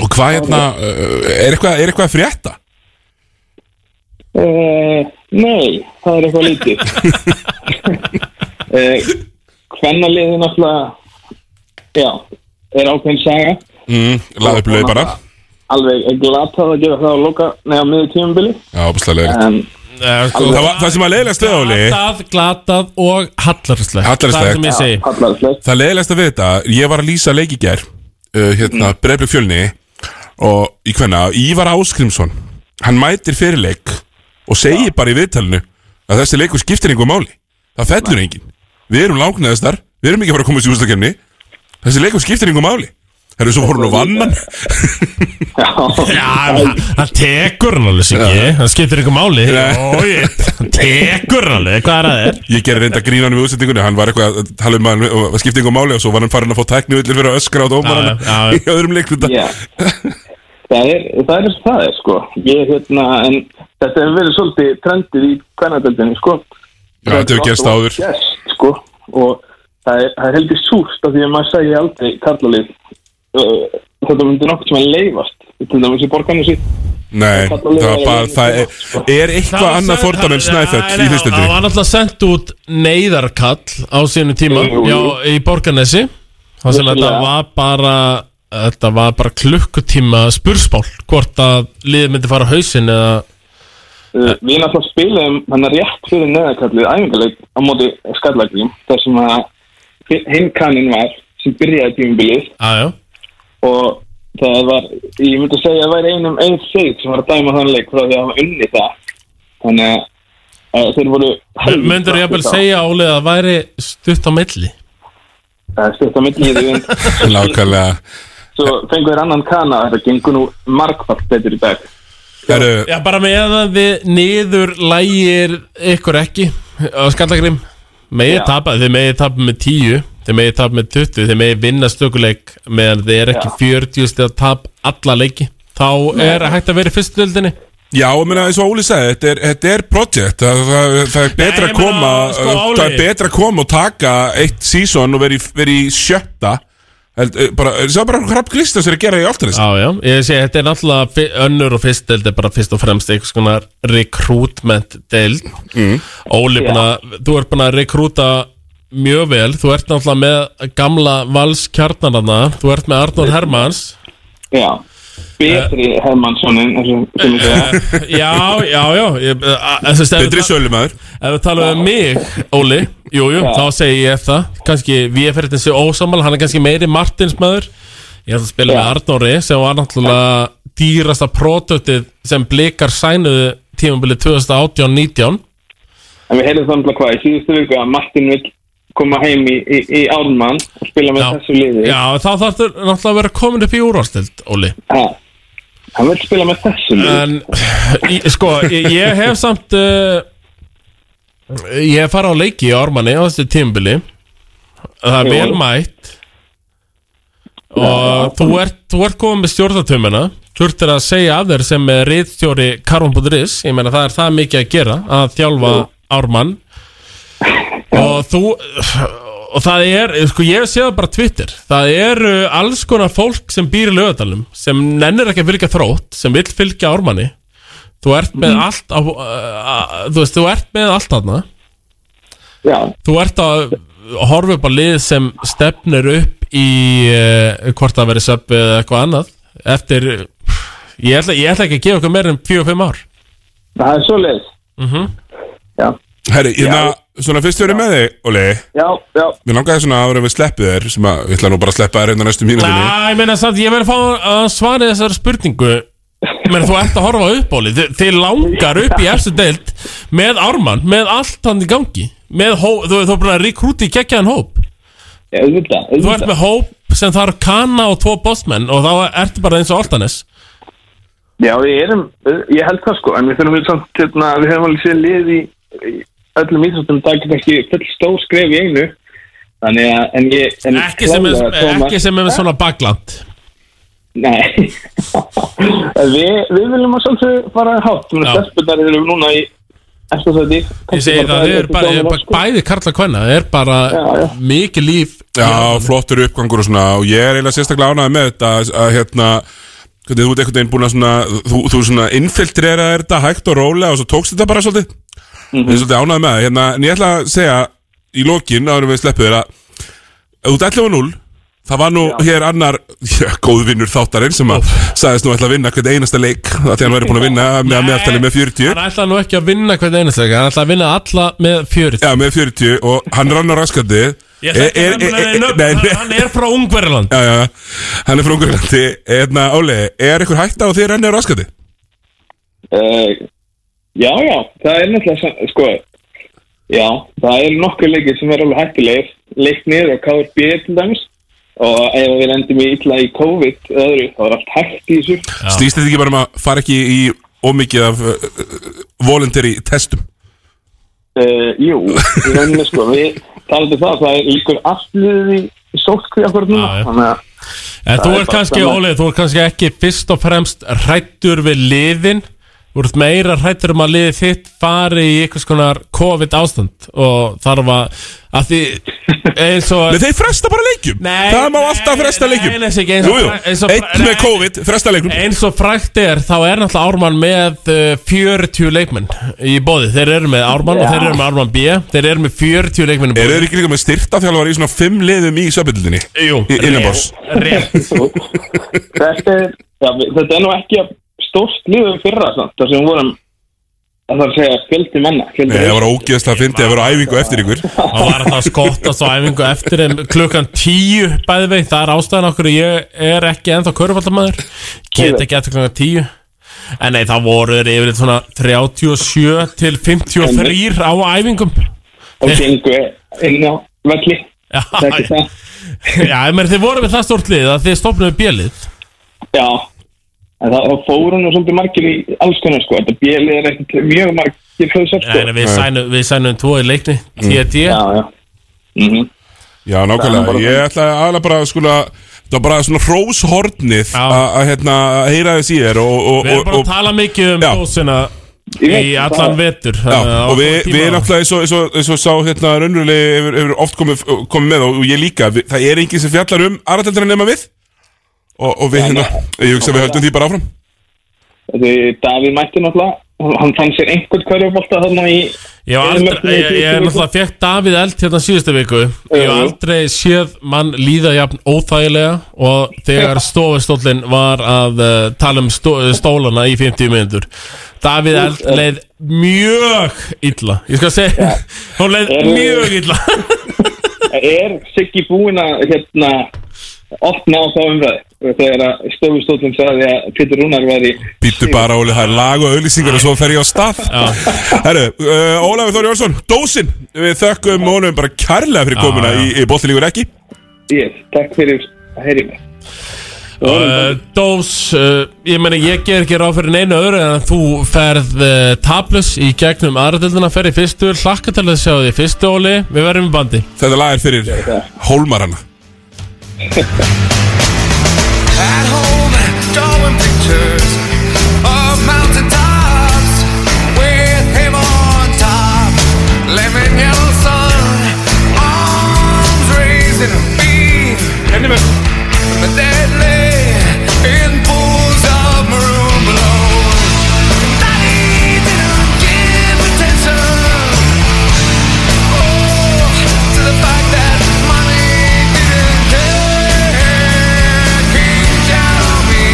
Og hvað hérna, uh, er eitthvað, er eitthvað að frétta? Eh, Nei, það er eitthvað lítið uh, Hvernaliðin alltaf Já, er ákveðin saga Mm, Laðu upp lög bara Alveg glatað að gera það á loka Nei, á miður tímabili Já, óbúslega En- leiðilegt Eh. Það var- það sem var leiðilegast við, Óli sko Glatað, glatað og hallarslegt Það sem ég segi Hallarslegt Það leiðilegast að við þetta Ég var að lýsa leik í gær uh, Hérna, mm. fjölni Og í hvenna Ívar Áskrimsson Hann mætir fyrirleik Og segir bara í viðtalinu Að þessi leikur skiptir einhver máli Það fellur enginn Við erum langneðastar Við erum ekki að fara að komast í ústakefni Þessi leikur skiptir einhver máli Herru, svo voru nú vannan Já, en hann- hann tekur hann alveg Siggi Það skiptir ykkur máli Jói, Hann tekur hann alveg Hvað er að þér? Ég gerði reynda grínanum í útsendingunni Hann var eitthvað að tala um að hann skipti einhver máli Og svo var hann farin að fá tækni öllir fyrir að öskra á dómarann Í öðrum leikluta Já Það er, það er, það er sko Ég, hérna, en þetta hefur verið svolítið trendið í kvennadeldinni, sko Já, þetta hefur gerst áður. Gerst, sko Og það er, það er heldur súrt af því að maður segi aldrei kallalið uh, Þetta myndi nokkuð sem að leifast Til dæmis í Uh, borgarnu síð Nei, Það það var var bara, leiðilegt. það er, er eitthvað annað fordæmi en snæfell í Það hlustendri var náttúrulega sendt út neyðarkall á sínu tíma Jú, jú. Já, í Borgarnesi Það sem þetta Vissulega. var bara Þetta var bara klukkutíma spurspál Hvort að liðið myndi fara á hausinn eða Uh, við náttúrulega spilaðum hann rétt fyrir neðakallið æfingarleik á móti skallagrím þar sem að hinkaninn var sem byrjaði tímubilið Aðjó og það var, ég myndi segja að það væri einum einn seg sem var að dæma þann leik frá því að hafa unni það þannig að, að þeir voru helvíti sko. Myndur ég að flottir þá. segja Óli að það væri stutt á milli Það er stutt á milli í því vind. Lákvæðlega svo fengur þeir annan kana þetta gengur nú margfalt betur í dag Herru, Já, bara meðan þið niður lægir ykkur ekki á skallagrim Megið Já. tapa, þið megið tapa með 10 Þið megið tapa með 20, þið megið vinna stökuleik meðan þið er ekki 40 stið að tapa alla leiki Þá er hægt að vera í fyrstu dildinni Já, ég meina, eins og Óli sagði, þetta er, þetta er project það, það, það er betra ég að meina, koma sko, það er Óli. betra að koma og taka eitt sísón og vera í, vera í sjötta Held, eh, bara, það er bara hrapp glista sem er að gera í alltaf Já, já, ég sé, þetta er náttúrulega fi- önnur og fyrst deild er bara fyrst og fremst einhvers konar recruitment deild mm. Óli, búin að, þú ert búin að rekrúta mjög vel, þú ert náttúrulega með gamla valskjarnarna þú ert með Arnór Hermans já, betri Eh. uh, Hermansson en þessum Já, já, já ég, eh, a- a- þessi, Betri sölumæður Ef við talum um mig, Óli Jú, jú, þá segi ég það Kanski við fyrir þessi ósamal Hann er kannski meiri Martinsmaður Ég ætla að spila með Arnóri sem var náttúrulega dýrasta produktið sem blikar sænuðu tímabilið 2018-19 En við heyrðum þannig hvað í síðustu viku að Martin vill koma heim í, í, í Ármann og spila með Já. þessu liði. Já, þá þarf þetta náttúrulega að vera komin upp í úrvalstild, Óli Ha, hann vill spila með þessu liði. En, í, sko, ég, ég hef samt uh, Ég hef farið á leiki í Ármanni á þessu tímabili Það er Jú. vel mætt Og þú ert, þú ert komið með stjórnatömmina Þú ert að segja af þér sem er reyðstjóri Karvon.is Ég meina það er það mikið að gera Að þjálfa Ármann Og þú Og það er, sko ég sé það bara á Twitter Það eru alls konar fólk sem býr í lögadalum Sem nennir ekki að fylgja þrótt Sem vill fylgja Ármanni Þú ert með allt á, uh, Þú veist, þú ert með allt þarna Já, Þú ert að horfa upp á lið sem stefnir upp í uh, hvort það verið söp eða eitthvað annað eftir, ég ætla, ég ætla ekki að gefa okkur meira en 4-5 ár það er svo leiðis. Mhm. Já, Herri, hérna, svona fyrst verið með þig, Óli já, já. Mér langaði svona að vera við sleppið þér sem að, ég ætla nú bara að sleppa þér hérna næstu mínútinni Næ, ég meina samt, ég verið að fá að svara þessari spurningu Ég meina, þú ert að horfa upp á lið Þi, þið langar upp í efstu deild með ármann, með allt hann í gangi með hó, þú, þú er búin að rekrúti í geggjaðan hóp auðvitað, Þú ert auðvitað. með hóp sem þarf kanna og tvo bóstmenn og þá ertu bara eins og Altanes Já, við erum, ég held það sko, en við þurfum við samt, hérna, við höfum alveg séð lið í, í öllum íþróttum, það geta ekki full stór skref í einu, þannig að, en ég, en Ekki sem er, klálega, Thomas- ekki sem er svona bagland Nei, En við, við viljum að svolítið fara hátt, þannig að stelpunar eru núna í eftir sæti. Ég segi það, þið eru bara, er bara bæði karla kvenna Það er bara mikið líf Já, flottur uppgangur og svona og ég er eiginlega sérstaklega ánægð með þetta að, að hérna, hvernig þú ert einhvern veginn búin að svona, þú, þú svona infiltrera þetta hægt og rólega og svo tókst þetta bara svolítið Mhm. ég er svolítið ánægð með það, hérna, en ég ætla að segja í lokin, árum við sleppu þér að ef þú ert 11 og 0 það var nú hér annar já, góðvinnur þáttarinn sem að sagðist nú ætla að vinna hvern einasta leik, það því hann væri búin að vinna með meðaltali með 40 Hann ætlaði nú ekki að vinna hvernig einastlega Hann ætlaði að vinna alla með 40 Já, með 40 og hann rann á raskandi Ég ætla ekki að nefna nein nöfn, hann- hann er frá Ungverjaland Já, já, hann er frá Ungverjalandi Eðna, hérna, Óli, er ykkur hætta á því að renni á raskandi? Uh, já, já, það er náttúrulega, sann- sko, já, það er nokkuð leikir sem er alveg hættilegir, leiknir og KRB til dæmis, og ef við endum í illa í COVID eða öðru, þá er allt hægt í þessu. Snýst þetta ekki bara um að fara ekki í ómikið af uh, uh, voluntary testum? Uh, jú, í rauninni sko við talaðum um það, það er líkur aflöðið í sótkví akkur núna já. þannig að En það þú ert er bara kannski, þannig. Ólið, þú ert kannski ekki fyrst og fremst hrættur við liðin Þú ert meira hrættur um að liðið þitt fari í einhvers konar COVID ástand og þarf að, að því eins og Nei, þeir fresta bara leikjum Nei, Það má alltaf fresta leikjum Nei, nei, þessi ekki eins Jú, og jú, fra- eins og fra- einn með nei. COVID, fresta leikum Eins og frækt er, þá er náttúrulega Ármann með uh, 40 leikmenn í bóði Þeir eru með Ármann og Já. þeir eru með Ármann B Þeir eru með 40 leikmenn í Eru bóði þeir ekki líka með styrta þjálfari í svona fimm liðum í söpildinni? Jú, Innanbors þetta er, já, við- þetta er nú ekki stórst liðum fyrra samt, þar sem við vorum að það er að segja fjöldi manna fjöldi Nei, það var ógeðslega fyndið að vera á æfingu eftir ykkur Það var alltaf að skottast á æfingu eftir þeim klukkan tíu bæði vei Það er ástæðan okkur ég er ekki ennþá körfaldamaður Get ekki eftir klukkan tíu En nei, það voru þeir yfirleitt svona 37 til 53 á æfingum og gengu inn á velli Já, það er ekki það Já, menn þið voru með það stórt lið að þið stopnuðu bjölið já, en það það fóru nú svolítið margir í alls konar sko þetta bjelið er ekkert mjög margir hljóðsar sko Nei, nei, við sænum, við sænum tvo í leikni T.D. Mm. já, já Mhm. Já, Það er nákvæmlega, bara ég ætla aðla bara að skula Það var bara svona hróshornið að að, hérna, að heyra þess í þér og, og, Við erum og, bara og, að tala mikið um dósina í allan vetur Já, þannig að á og við, góðan tíma. við erum alltaf eins og, eins og, eins og sá hérna raunverulegi hefur, hefur oft komið, komið með og, og ég líka, við, það er enginn sem fjallar um aðrætteldur nema við og, og við hérna, ég hugsa að við höldum því bara áfram Því Davíð mætti náttúrulega hann- hann fann sér einhvern hverjubólta þarna í Ég hef aldrei, ég, ég er náttúrulega fekk Davíð Eld hérna síðustu viku Ég hef Jú. aldrei séð mann líða jafn óþægilega og þegar stofustóllin var að uh, tala um stó, stólana í 50 minnundur Davíð Eld leið mjög illa Ég skal segja, hún leið Eru- mjög illa er Siggi búinn að hérna opna á þá umræði þegar að stofustóllum sagði að Pétur Rúnar væri Býttu bara, Óli, það er lag og auðlýsingar og svo fer ég á stað Herru, uh, Ólafur Þóri Jónsson, Dósin Við þökkum honum bara kærlega fyrir Já, komuna já. í, í Bóttilíkur ekki ég, takk fyrir að heyri mig Uh, Dós, uh, ég meni ég ger ekki ráð fyrir neina öðru en að þú ferð uh, tablus í gegnum aðradildina ferð í fyrstu, hlakka til að sjá því fyrstu óli, við verðum í bandi Þetta lag er fyrir Hólmarana At home, drawing pictures of mountaintops with him on top. Lemon yellow sun, arms raising a beam. But deadly in pools of maroon blow. Daddy didn't give attention. Oh, to the fact that money didn't care. King shall be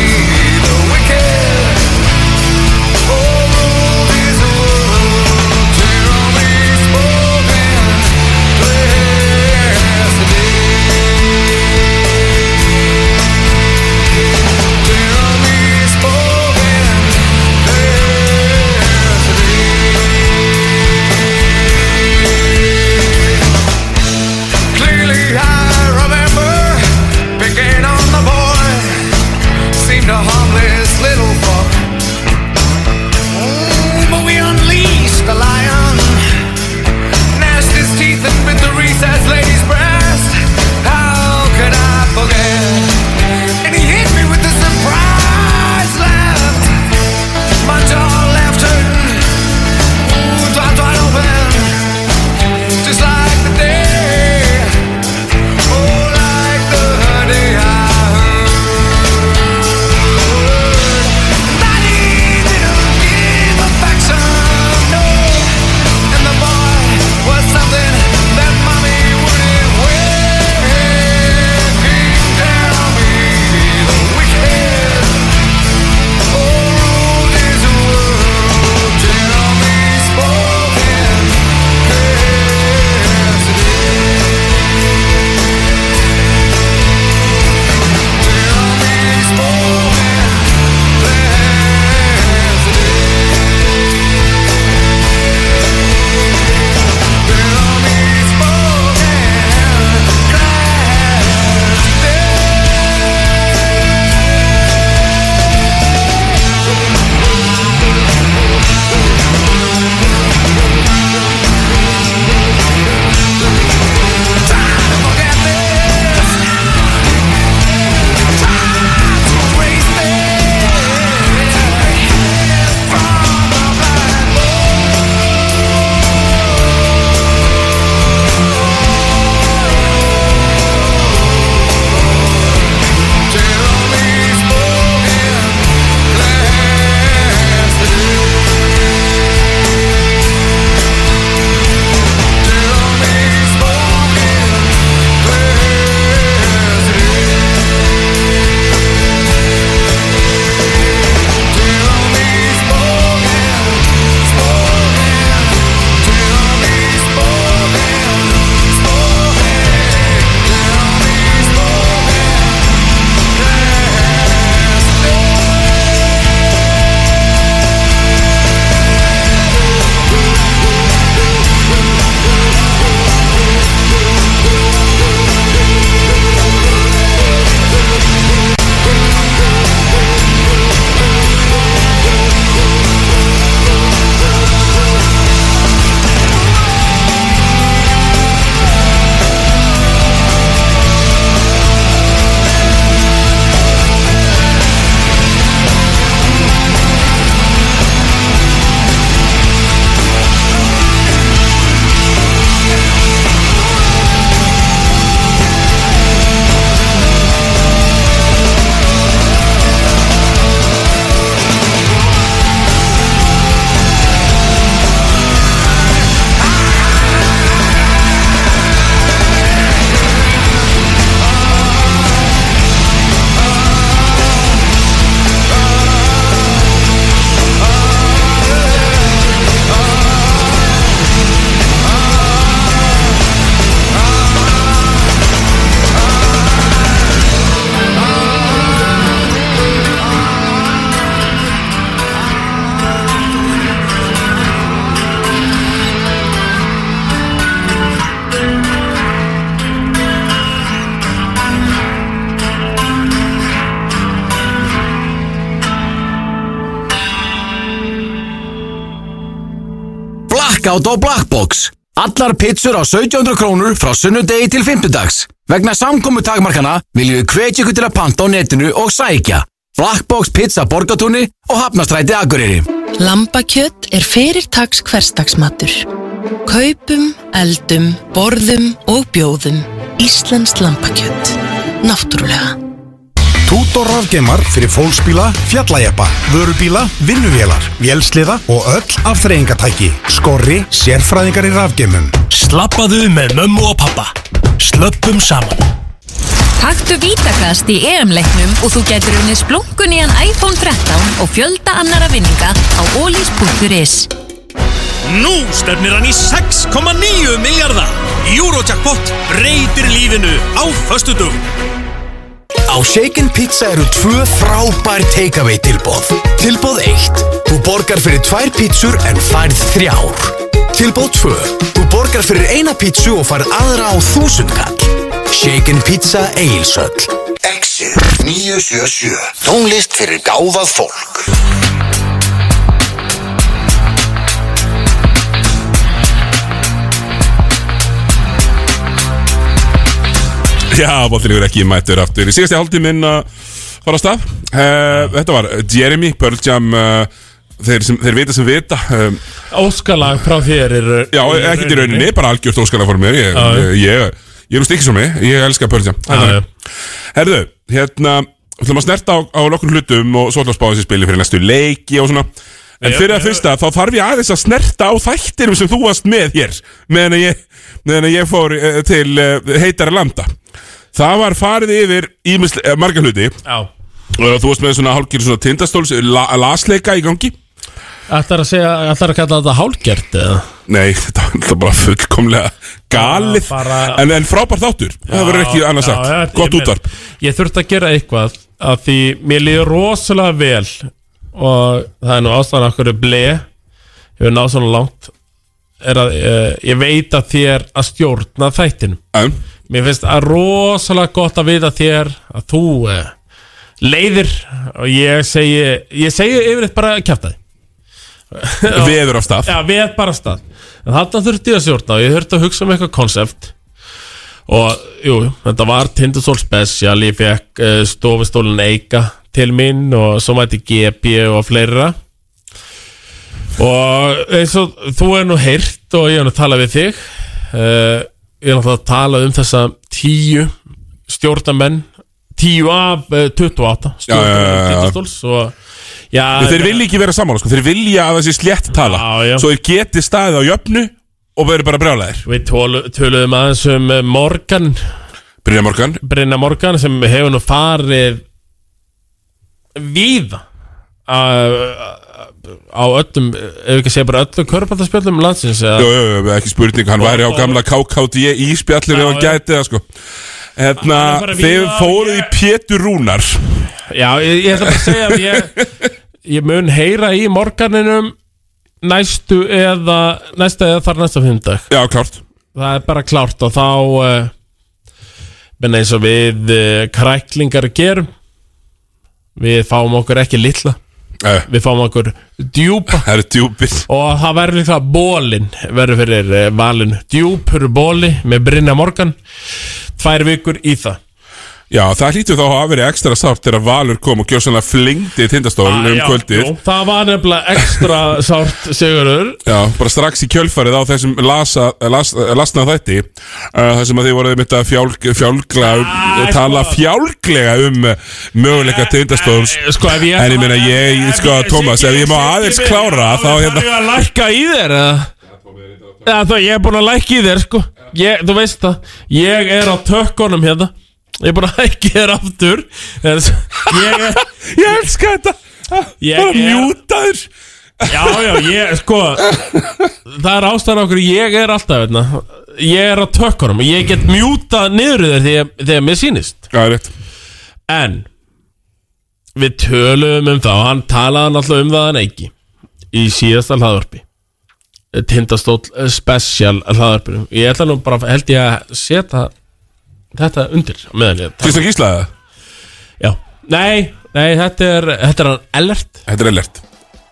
the wicked. Oh, Oh, Oh, Blackout og Blackbox. Allar pizzur á 1700 krónur frá sunnudegi til fimmtudags. Vegna samkomu takmarkana viljum við hvetja ykkur til að panta á netinu og sækja. Blackbox Pizza Borgatúni og Hafnastræti Akureyri. Lambakjött er fyrirtaks hverstaksmatur. Kaupum, eldum, borðum og bjóðum. Íslands lambakjött. Náttúrulega. Tútor rafgeimar fyrir fólksbíla, fjallajeppa, vörubíla, vinnuvélar, vélsliða og öll afþreyingatæki. Skorri, sérfræðingar í rafgeimum. Slappaðu með mömmu og pappa. Slöppum saman. Taktu vítakast í EM-leiknum og þú getur unnið splunkun í hann iPhone 13 og fjölda annara vinninga á olís.is. Nú stefnir hann í 6,9 miljardar Eurojackpot breytir lífinu á föstudum Á Shaken Pizza eru tvö frábær takeaway tilbóð. Tilbóð 1. Þú borgar fyrir tvær pizzur en færð þrjár. Tilbóð 2. Þú borgar fyrir eina pizzu og færð aðra á þúsundkall. Shaken Pizza Egilsöll. Exið 977 Tónlist fyrir gáfað fólk Já, bóttilegur ekki mættur aftur Í síðasti hálftíminn að fara á stað uh, Þetta var Jeremy, Pearl Jam uh, þeir, sem, þeir vita sem vita um, Óskalag frá þér er Já, ekkert í rauninni, bara algjört óskalag fyrir mér Ég, Já, já. ég, ég, ég er úr stikki svo mig, ég elska Pearl Jam Það er Já, þannig. Herðu, hérna Þú ætlum að snerta á, á lokkur hlutum og svo ætlum að spá þessi spili fyrir næstu leiki og svona En Já, fyrir já. að fyrsta, þá þarf ég aðeins að snerta á þættinum sem þú varst með hér meðan að ég, meðan að ég fór uh, til uh, heitara landa Það var farið yfir ímisl, uh, marga hluti Já Og þú varst með svona hálfgjörn svona tindastóls la, lasleika í gangi Ætlar að segja, ætlar að kalla þetta hálgert eða? Nei, þetta var náttúrulega bara fullkomlega galið Já, bara- en, en frábær þáttur, það verður ekki annars já, já, sagt Gott ég meina, útvarp Ég þurfti að gera eitthvað að því mér líður rosalega vel og það er nú ástæðan af hverju ble hefur náð svona langt er að uh, ég veit að þér að stjórna þættinum um. Mér finnst að rosalega gott að vita þér að þú uh, leiðir og ég segi ég segi yfirleitt bara kjaftaði Veður af stað Já, veð bara af stað En þarna þurfti ég að stjórna og ég þurfti að hugsa um eitthvað konsept Og jú, jú, þetta var Tindastól Special Ég fekk uh, stofustólin Eika til mín Og svo mætti GB og fleira Og eins og þú er nú heyrt og ég er nú talað við þig uh, Ég er náttúrulega að tala um þessa tíu stjórnamenn Tíu af uh, 28 Já, já, já, já. stjórnamenn Tindastóls Og já, Já, þeir vilja ekki vera saman, sko. þeir vilja að það sé slétt tala Svo þeir geti staðið á jöfnu og verður bara brjálæðir Við tölu- töluðum aðeins um eh, Morgan Brynja Morgan Brynja Morgan sem hefur nú farið víða á á öllum ef ekki að segja bara öllum körpandarspjöldum landsins eða Jú, jú, jú, ekki spurning, hann væri á gamla KKD í spjallinu ef E hann gæti það sko Hérna, Hann er bara þeir víða, fóruð í Pétur Rúnar Já, ég, ég ætla bara að segja að ég, ég mun heyra í Morganinum næstu eða næsta eða þar næsta fimmdag Já, klárt Það er bara klárt og þá eh, menn eins og við eh, kræklingar gerum við fáum okkur ekki litla Nei. við fáum okkur djúpa Eh, Það eru djúpir og það verður líka bólin verður fyrir eh, valin djúpur bóli með Brynja Morgan tvær vikur í það Já, það hlýtur þá að hafa verið ekstra sárt þegar Valur kom og gjör svona flingdi tindastólin um Ah, Já, kvöldið jú, það var nefnilega ekstra sárt Sigurður Já, bara strax í kjölfarið á þessum lasa, las, lasna þætti uh, þar sem að þið voruð mitt að fjálg, fjálgla Ah, um, tala fjálglega um uh, möguleika tindastóls sko, ég- en ég meina ég, sko, Tómas ef ég má aðeins klára þá Þarf ég hérna að lækka í þér eða? Já, þá ég er búin að lækka í þér sko ég, Þú veist það, ég er á tökkunum hérna Ég er búin að lækka í þér aftur En s- Ég er Ég elska þetta Ég Bara er- mjúta þér Já, já, ég, sko Það er ástæðan okkur, ég er alltaf veitna Ég er á tökkunum og Ég get mjútað niður í þér þegar, þegar mér sýnist Já, rétt En Við töluðum um það og hann talaði náttúrulega um það hann ekki Í síðasta hlaðvarpi Tindastóll eh, special hlaðvarpinu Ég ætla nú bara, held ég að setja Þetta undir á meðan ég Fyrst að gísla það? Já Nei, nei, þetta er, þetta er hann Ellert Þetta er Ellert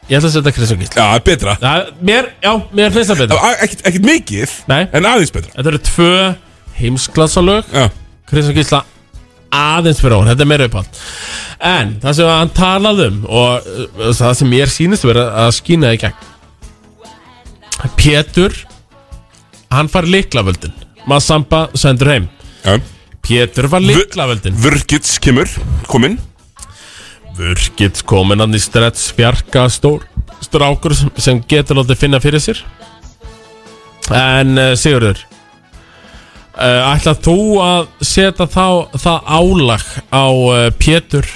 Ég ætla að setja Chris og Gísli Já, betra mér, Já, mér finnst það betra Ekkert, ekkert mikið, Nei. en aðeins betra Þetta eru tvö heimsklassalög já. Chris og Gísla aðeins fyrir hún, þetta er meira uppátt En það sem hann talaði um og uh, það sem mér sýnist vera að skína í gegn Pétur hann fær líklavöldin Massamba sendur heim já. Pétur var líklavöldin Vurkits kemur, kominn Vurkits kominn hann í stretts fjarka stór strákur sem- sem getur látið finna fyrir sér En uh, Sigurður uh, Ætlað þú að setja þá, það álag á uh, Pétur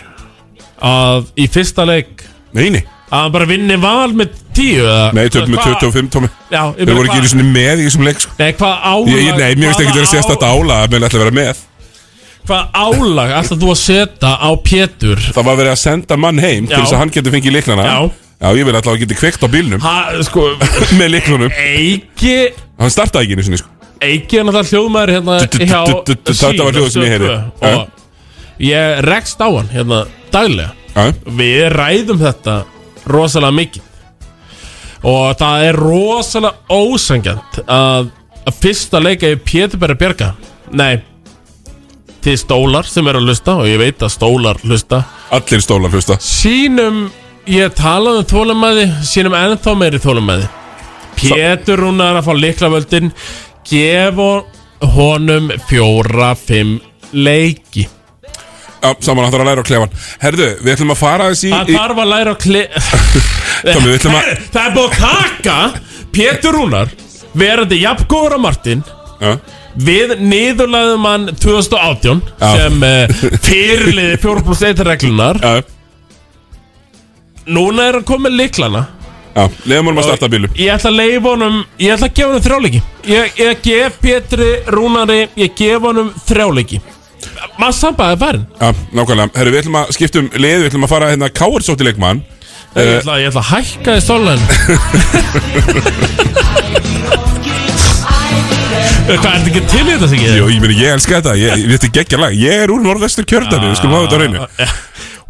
að í fyrsta leik Neini Að hann bara vinni val með 10 eða- Nei, töpum með Hva- 25, Tómi Já, ég Þeir meina, voru ekki hvað- einu sinni með í þessum leik sko. Nei, hvað álag ég, ég, Nei, mér finnst ekki hvaða verið að sérst þetta ála að mér ætla að vera með Hvað álag ætlað þú að setja á Pétur Það var verið að senda mann heim til Já. þess að hann getur fengið líknana Já. ég vil alltaf að geta kveikt á bílnum ha, sko, Með líknunum Eiki Hann startaði ekki einu sinni sko. Eiki er náttúrulega hljóðmaður hérna Du- du- du- hjá du- du- du- Sýn þetta var á hljóðið sem ég heyrði. Eh? Stöð 2 og ég rekst á hann hérna daglega Já. við ræðum þetta rosalega mikið og það er rosalega ósangjant að, að fyrsta leika er Pétur Berri Bjarga nei þið stólar sem eru að hlusta og ég veit að stólar hlusta Allir stólar hlusta sínum ég talaði um þólumæði sínum ennþá meiri þólumæði Pétur hún er að fá liklavöldin gefa honum fjóra, fimm leiki Já, saman hann þarf að læra á klefan Herðu, við ætlum að fara þessi Það þarf að læra að kli... Tómi, við ætlum að Herri, Það er búið að taka Pétur Rúnar verandi jafngóður á Martin Já. Við niðurlæðum hann 2018 Já. sem uh, fyrirliði 4 plus 1 reglunar Já. Núna er hann komið liklana Já, leiðum honum að starta bílnum Ég ætla að leifa honum Ég ætla að gefa honum þrjáleiki ég, ég gef Pétri Rúnari Ég gef honum þrjáleiki Massamba er farin Já, nákvæmlega Herru, við ætlum að skipta um lið Við ætlum að fara hérna Káursótti leikmann Eh. Ég ætla, ég ætla að hækka í stólan Eh, Hvað, er þetta ekki til í þetta sig? Jú, ég meni, ég elska þetta Ég, ég þetta er geggja lag Ég er úr norðvestur kjördæmi Við skulum hafa þetta á reynu Eh,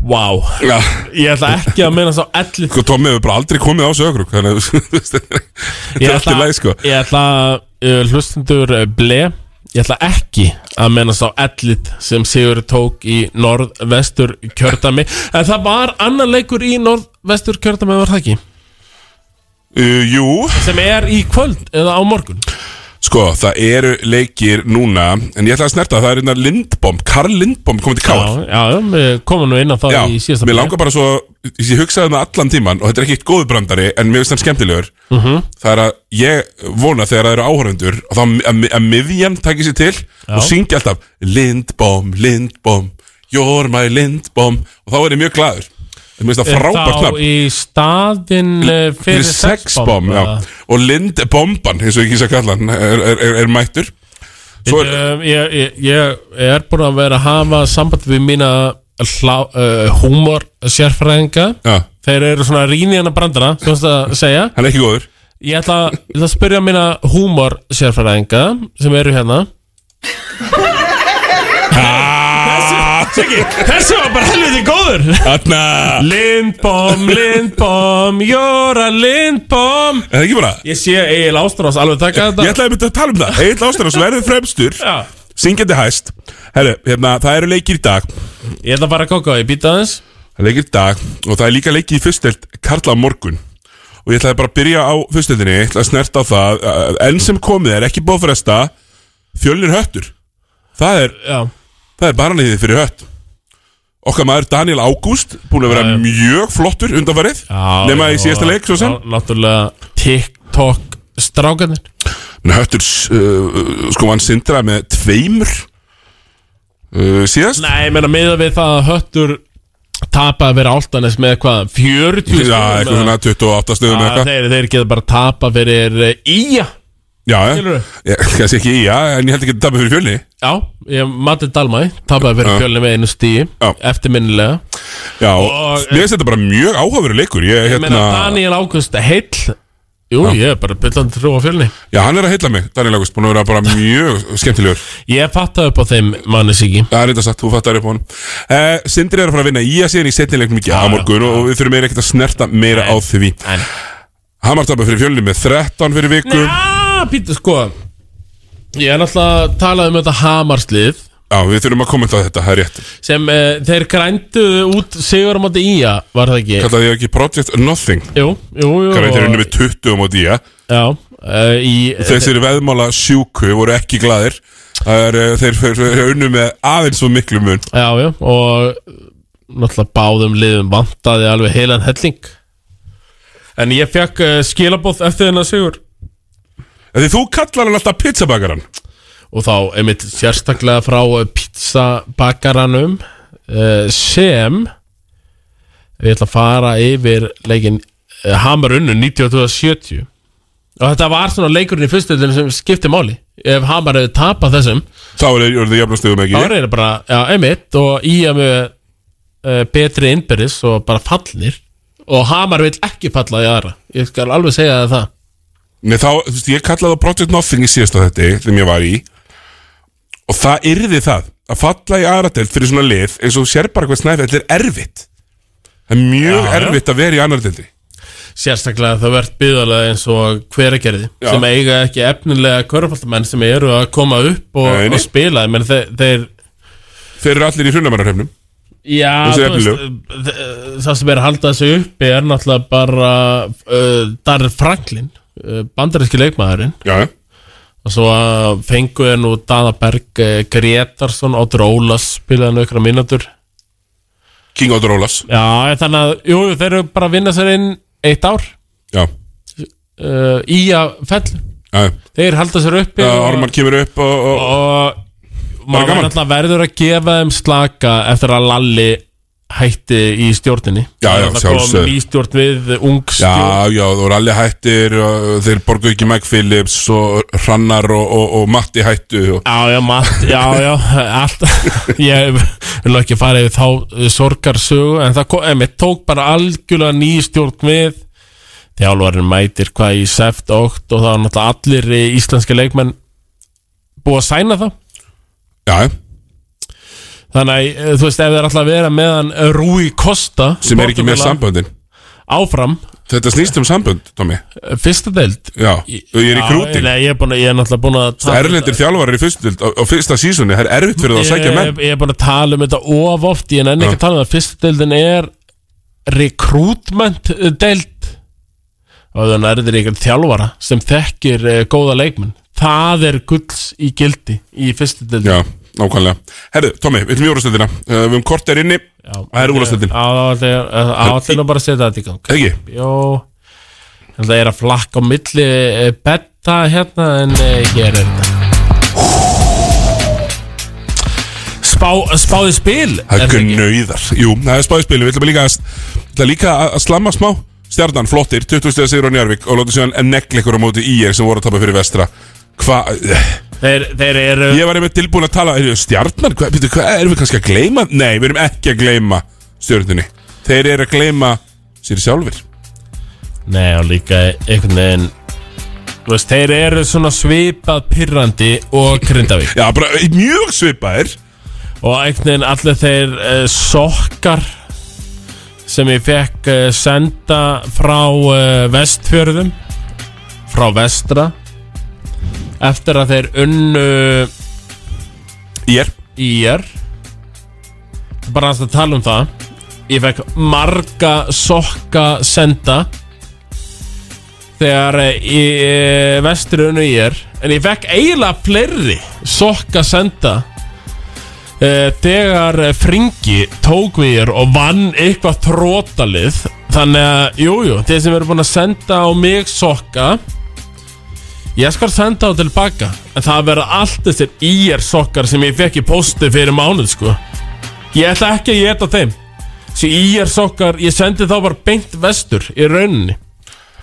Vá Já Ég ætla ekki að meina sá elli Sko, Tommi hefur bara aldrei komið á sögrúk Þannig að þú veist, Þetta Ég er allt í ætla- lagi, sko Ég ætla uh, hlustundur uh, ble Ég ætla ekki að mennast á ellit sem Sigur tók í norðvestur kjördami En það var annar leikur í norðvestur kjördami var það ekki uh, Jú Sem er í kvöld eða á morgun Sko, það eru leikir núna En ég ætla að snerta Það er hérna Lindbom Karl Lindbom komið til Káur Já, já, við komum nú inn á það Já, í síðasta mér langar bara svo Ég hugsaði um það allan tíman Og þetta er ekki eitt góðu brandari En mér finnst hann skemmtilegur mm -hmm. Það er að ég vona þegar það eru áhörfundur Að, þá- að, að miðjan takir sér til Og syngja alltaf Lindbom, Lindbom You're my Lindbom Og þá er ég mjög glaður Mér finnst það frábært Þá nafn í staðin uh, fyrir sexbomb já Og Lindbomban, eins og ég kýsa að kalla hann Er, er, er, er mættur Svo er, Um, ég, ég, ég er búin að vera að hafa samband við mína hlá, uh, humor sérfræðinga ja, Þeir eru svona rýni hennar brandara Svo hans að segja hann er ekki góður Ég ætla, ég ætla að spyrja mína húmor sérfræðinga Sem eru hérna Siggi, þessi var bara helviti góður Þarna Lindbom, Lindbom, Jóra Lindbom Er það ekki bara? Ég sé Egil Ástrós alveg taka þetta Ég ætlaði að mynda að tala um það Egil Ástæðars verður fremstur Já. Syngjandi hæst Herru, hérna, það eru leikir í dag Ég ætla bara að kóka, ég býta aðeins Það er leikir í dag og það er líka leikið í fyrstelt Karla á morgun og ég ætlaði bara að byrja á fyrsteltinni ég ætlaði að snerta á það að enn sem komið er ekki búið að fresta fjölnir höttur það er, Já. það er barniðið fyrir hött okkar maður Daniel Ágúst búin að vera mjög flottur undanfarið nema í síðasta leik svo sem Já, Náttúrulega TikTok strákanir En höttur uh, sko hann sindra með tveimur uh, síðast Nei, ég meina miða við það að höttur tapa að vera áltanis með hvað 40 Já, stigum eitthvað eða- svona 28 stöðum Já, eitthvað þeir, þeir geta bara tapa fyrir eh, ía Já, eh? Skilurðu? ég, kannski ekki í, já, en ég held ekki að tapa fyrir fjölni Já, ég Matti Dalmæ tapaði fyrir Já. fjölni með einu stíi eftirminnilega Já, Og- eh, mér finnst þetta bara mjög áhugaveru leikur Ég, Ég meina hérna, Daniel Ágúst heill Jú, ég er bara byllandi trú á fjölni Já, hann er að heilla mig, Daniel August, búin að vera bara mjög skemmtilegur Ég fattaði upp á þeim manni Siggi Það er þetta satt, þú fattaði upp á hann uh, Sindri er að fara að vinna í að síðan í setnilegnum í morgun og við þurfum meira ekkert að snerta meira á því Hamar tapar fyrir fjölni með 13 fyrir viku Já, pítur sko Ég er náttúrulega að tala um þetta hamarslið Já, við þurfum að kommenta á þetta, það er rétt sem uh, þeir grænduðu út sigur á móti í að, var það ekki? Kallaði ég ekki Project Nothing Jú, jú, jú Hvað reyndið og- einu með 20 móti í að Já, uh, í Þessir veðmála sjúku voru ekki glaðir Það er, eh, Þeir þeir- þeir unnu með aðeins svo miklu mun Já, já, og náttúrulega báðum liðum vantaði alveg heilan helling En ég fekk uh, skilabóð eftir þennan sigur Því þú kallar hann alltaf pizzabakaran Og þá einmitt sérstaklega frá eh, pizzabakaranum uh, sem við ætla að fara yfir leikin uh, Hamar unnu 92-70 og þetta var svona leikurinn í fyrstuðinu sem skipti máli ef Hamar hefði tapað þessum Þá er það jafnastöðum ekki þá er það bara, já, einmitt og í að með uh, betri innbyrðis og bara fallnir og Hamar vil ekki falla í aðra ég skal alveg segja þér það Nei, þá, þú veist, ég kallaði á Project Nothing í síðasta þetta sem ég var í og það yrði það að falla í aðradelt fyrir svona lið eins og þú sér bara hvað snæfið, þetta er erfitt það er mjög Já, já. erfitt að vera í annaðeldi sérstaklega það verðt byggðalega eins og hveragerði Já. sem eiga ekki efnilega körfaldamenn sem eru að koma upp og, Nei, nei. og spila menn þeir, þeir Þeir eru allir í hrunamannarhefnum Já, Þessi þú veist, eh, það sem er að halda þessu uppi er náttúrulega bara uh, Darrell Franklin, uh, bandaríski leikmaðurinn Já Og svo að fengu þeir nú Dadaberg uh, Gretarsson, Otur Ólas spilaði hann aukra mínútur King Otur Ólas Já, eh, þannig að, jú, þeir eru bara að vinna sér inn eitt ár Já. uh, Í að fell Já. Þeir halda sér uppi Já, og- Ármann kemur upp og, og, og bara maður gaman. verður alltaf verður að gefa þeim slaka eftir að Lalli hætti í stjórninni Já, já, Það sjálfsögðu. kom í stjórn við ung stjórn Já, já, þú voru allir hættir og þeir borgu ekki Mike Phillips og Hrannar og, og, og Matti hættu og... Já, já, Matt, já, já, allt Ég vil ekki fara yfir þá eh, sorgarsögu En það kom, emitt, tók bara algjörlega ný stjórn við Þjálfarinn mætir hvað í seft ótt Og það var náttúrulega allir eh, íslenski leikmenn Búið að sæna það Já Þannig, að, eh, þú veist, ef það er alltaf að vera meðan Rúi Costa sem er ekki með Portúgala- samböndin Áfram Þetta snýst um sambönd, Tómi Fyrsta deild Já, og ég er í Já, grúti Nei, ég er, búin, að- ég er náttúrulega búin að um Það erlendir þjálfarar í fyrstu dild á, á fyrsta sísunni, það er erfitt fyrir það að sækja menn Ég, ég er búin að tala um þetta of oft Ég er enn ekki að tala um það Fyrsta deildin er Recruitment eh, deild Og þannig er þetta einhvern þjálfara Sem þekkir eh, góða leikmenn Það er gulls í gildi Í fyrsta deildin Já, nákvæmlega Herðu, Tómi, við erum í úrastöldina uh, Við erum kort er inni, það er úrastöldin Áttinu bara að setja þetta í gang Ekki? Jó Það er að flakka á milli eh, betta hérna en eh, hér er þetta Spá, spáði spil Það er er það ekki? gnauðar Jú, það er spáðspil Við ætlum líka að, ætlum líka að, að slamma smá Stjarnan, flottir, 20 stegar sigur á Njarvík Og látið síðan negli ykkur á móti IR sem voru að tapa fyrir vestra Hva? Þeir, þeir eru Ég var einmitt tilbúin að tala heyrðu, Stjarnan, hvað hva, hva, erum við kannski að gleyma? Nei, við erum ekki að gleyma stjörnunni Þeir eru að gleyma sér sjálfur Nei og líka einhvern veginn Þú veist, þeir eru svona svipað pirrandi og grindavík Já, bara mjög svipaðir Og einhvern veginn allir þeir uh, sokkar sem ég fekk uh, senda frá uh, vestfjörðum frá vestra eftir að þeir unnu Ír Ír bara aðeins að tala um það ég fekk marga sokka senda þegar eh, í eh, vestri unnu Ír en ég fekk eiginlega fleiri sokka senda eh, þegar eh, Fringi tók við Ír og vann eitthvað þrótalið þannig að jújú, jú, þeir sem eru búin að senda á mig sokka Ég skal senda þá tilbaka En það verða allt þessir IR sokkar sem ég fekk í pósti fyrir mánuð sko Ég ætla ekki að geta þeim Þessi IR sokkar, ég sendi þá bara beint vestur í rauninni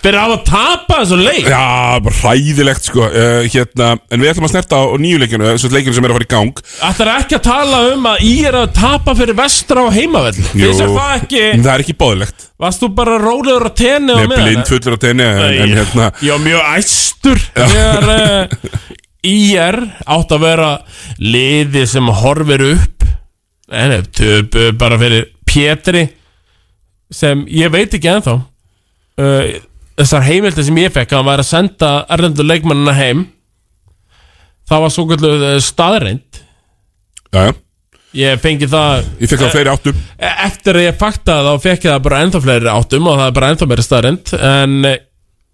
Þeir hafa tapað þessu leik Já, bara hræðilegt sko uh, hérna, En við ætlum að snerta á, á nýju leikinu Þessu leikinu sem er að fara í gang Ætlar ekki að tala um að ég er að tapa fyrir vestra á heimavell Finnst þér það ekki En Það er ekki bóðilegt Varst þú bara rólegur að tenni á Nei, meðan? blind fullur á tenni en, Nei. en hérna Ég var mjög æstur Þegar uh, IR átt að vera liði sem horfir upp En ef töpu bara fyrir Pétri Sem ég veit ekki ennþá uh, Þessar heimildi sem ég fekk að hann væri að senda erlendur leikmannina heim Það var svo kvöldu staðreind Já, já Ég fengi það Ég fekk það á fleiri áttum E- Eftir að ég faktaði þá fekk ég það bara ennþá fleiri áttum og það er bara ennþá meira staðrind en eh,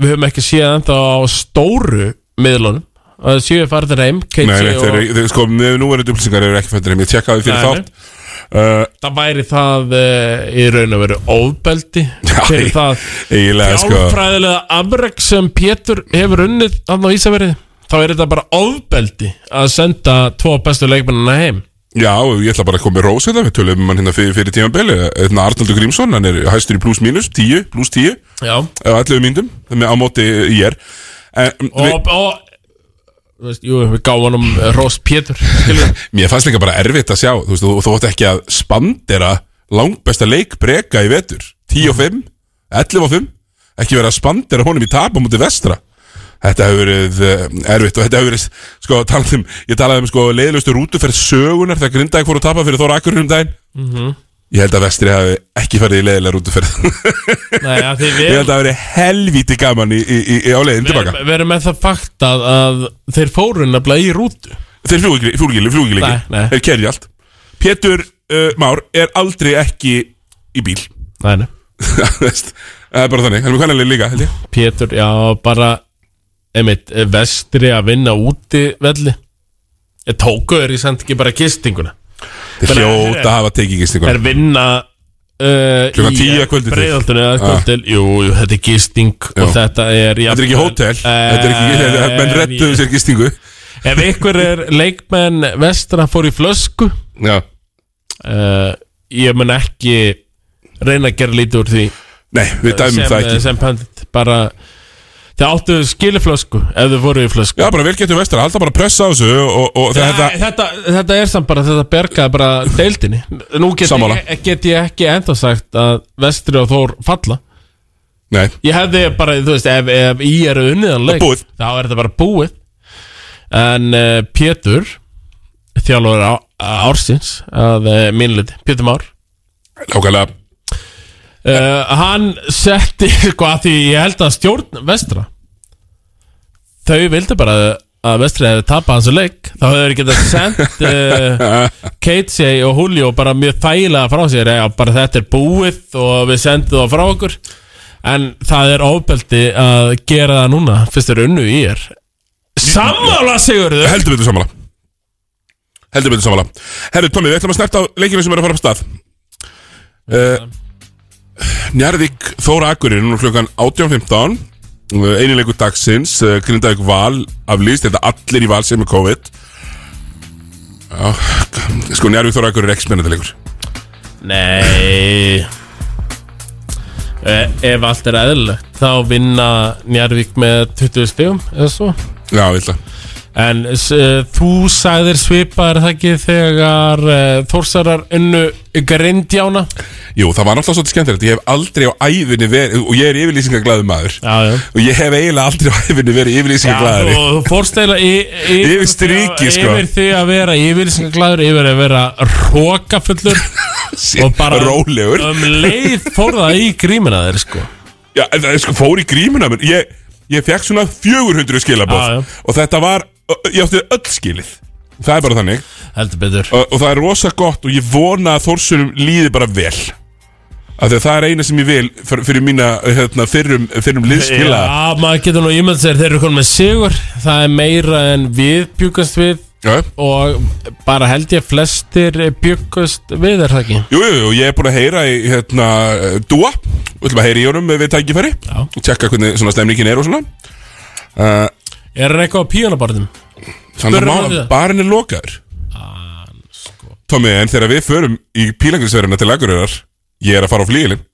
við höfum ekki séð ennþá á stóru miðlunum og það séu farðir heim KG Nei, nei, og... þeir, þeir, sko, með núverandi upplýsingar eru ekki fættir heim Ég tjekkaði fyrir Nei, nei. þátt uh, það væri það uh, í raun og veru óbeldi fyrir ég- það eiginlega, sko. fjálfræðilega afreg sem Pétur hefur unnið hann á Ísafjörði þá er þetta bara óbeldi að senda tvo bestu leikmennina heim Já, ég ætla bara að koma með rós hérna Við tölum um hann hérna fyrir, fyrir tímabili hérna, Arnaldur Grímsson, hann er hæstur í pluss mínus 10, pluss 10 Já. Eða 11 myndum, með á móti í er en, og, og þú veist, jú, við gáum hann um Rós Pétur skilur Mér fannst líka bara erfitt að sjá Þú veist, þú, þú átt ekki að spandera langbesta leik breka í vetur 10 og Mhm. 5, 11 og 5 ekki vera að spandera honum í tap á múti vestra Þetta hefur verið uh, erfitt og þetta hefur verið, sko, talað um ég talaði um, sko, leiðlustu rútuferð sögunar þegar grindaði fór að tapa fyrir Þóra Akurur um daginn Mhm. Ég held að vestri hafi ekki farið í leiðilega rútuferð Nei, að því Ég við held að það verið helvíti gaman í, í, í, í á leiðin tilbaka Við erum með það fakt að, að þeir fóru nefnilega í rútu Þeir flúgili, flúgili, flúgili Nei, nei. Þeir kerði allt Pétur uh, Már er aldrei ekki í bíl Nei, nei Það veist, það er bara þannig Hann er með hvernig líka, held ég Pétur, já, bara einmitt, vestri að vinna úti velli Ég tóku þeir, ég sendi ekki bara gistinguna Þeir hljóta að hafa tekið gistinguna. Þeir vinna uh, Klukkan 10 að kvöldi til. Breiðaldinu eða Ah. kvöldil eh, Jú, jú, þetta er gisting og þetta er Þetta er ekki hótel Eh, Þetta er ekki, þetta er- menn rettuðu sér gistingu Ef ykkur er leikmenn vestra fór í flösku eh, Já Ég mun ekki reyna að gera lítið úr því Nei, við dæmum sem, eh, það ekki Sem pandit, bara Þið áttu skiliflösku ef þið voru í flösku Já, bara vel getur vestra Alltaf bara pressa á þessu Og, og, og þetta, þetta þetta, þetta er samt bara þetta bergaði bara deildinni Nú get Sammála. ég, e- get ég ekki enda sagt að vestri og þór falla Nei Ég hefði bara, þú veist, ef, ef ég eru unniðanleik Búið Þá er þetta bara búið En uh, Pétur Þjálfur á, ársins að uh, mínleiti, Pétur Már Lákala Eh, Hann setti, sko, að því ég held að stjórn vestra Þau vildi bara að vestri hefði tapað hans leik Þá hefur getað sendt uh, Keitsi og Julio bara mjög þægilega frá sér Já, bara þetta er búið og við sendum það frá okkur En það er ofbeldi að gera það núna Fyrst er unnu í er Sammála Sigurður Heldur betur sammála Heldur betur sammála Herru Tommi, við ætlum að snerta á leikinu sem er að fara af stað uh, Njarðvík Þóra Akurinn Núna klukkan 18.15 uh, Einilegur dagsins uh, Grindavík val aflýst Þetta allir í val sem er COVID Já, sko Njarðvík Þóra Akurinn er ekki spennandi leikur Nei Eh, Ef allt er eðlilegt Þá vinna Njarvík með 20 stegum Eða svo Já, vilja En s- eh, þú sagðir svipa er það ekki Þegar eh, Þórsarar unnu Grindjána Jú, það var náttúrulega svolítið skemmtilegt Ég hef aldrei á æfinni verið Og ég er yfirlýsingaglæður maður já, já. Og ég hef eiginlega aldrei á æfinni verið yfirlýsingaglæður og þú fórst eiginlega y- yfir, Yfir strikið, því að- sko. Yfir því að vera yfirlýsingaglæður Yfir að vera hrókafullur Og bara rólegur. Um leið fór það í grímina þeir sko Já, en það er sko fór í grímuna mér Ég, ég fekk svona 400 skilabóð Já, já. Og þetta var, ég átti öll skilið Það er bara þannig Heldur betur Og, og það er rosa gott og ég vona að Þórsunum líði bara vel Af því að það er eina sem ég vil Fyrir, fyrir mína, hérna, fyrrum, fyrrum liðskila Já, maður getur nú ímynd sér þeir eru konum með sigur Það er meira en við bjúkast við Já. Og bara held ég flestir bjúkast við er það ekki Jú, jú, jú, ég er búin að heyra í, hérna, eh, Dúa Við ætlum að heyra í honum við tækifæri Já Og tjekka hvernig svona stemningin er og svona uh, Er hann eitthvað á píjónabarðum? Þannig að Spurðu hann má- við það. barinn er lokaður Sko. Tommi, en þegar við förum í pílangrinsverðina til Akureyrar Ég er að fara á flíilin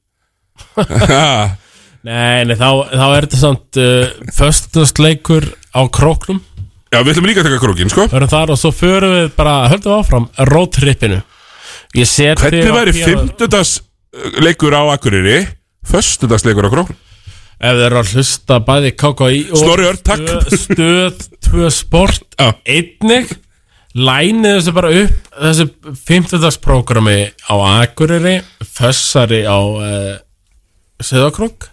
Nei, nei, þá, þá er þetta samt uh, Föstastleikur á króknum Já, við ætlum líka að taka krókin, sko Hörum þar og svo förum við bara, höldum við áfram Rótrippinu Ég set Hvernig þig á væri píanó- fimmtudags uh, leikur á Akureyri Föstudags leikur á Krókn Ef þeir eru að hlusta bæði KKI og Snorri Örn, takk. Stöð- Stöð, tvö sport Einnig Lænið þessu bara upp Þessu 50-dagsprógrami á Akureyri Fössari á uh, Söðakrók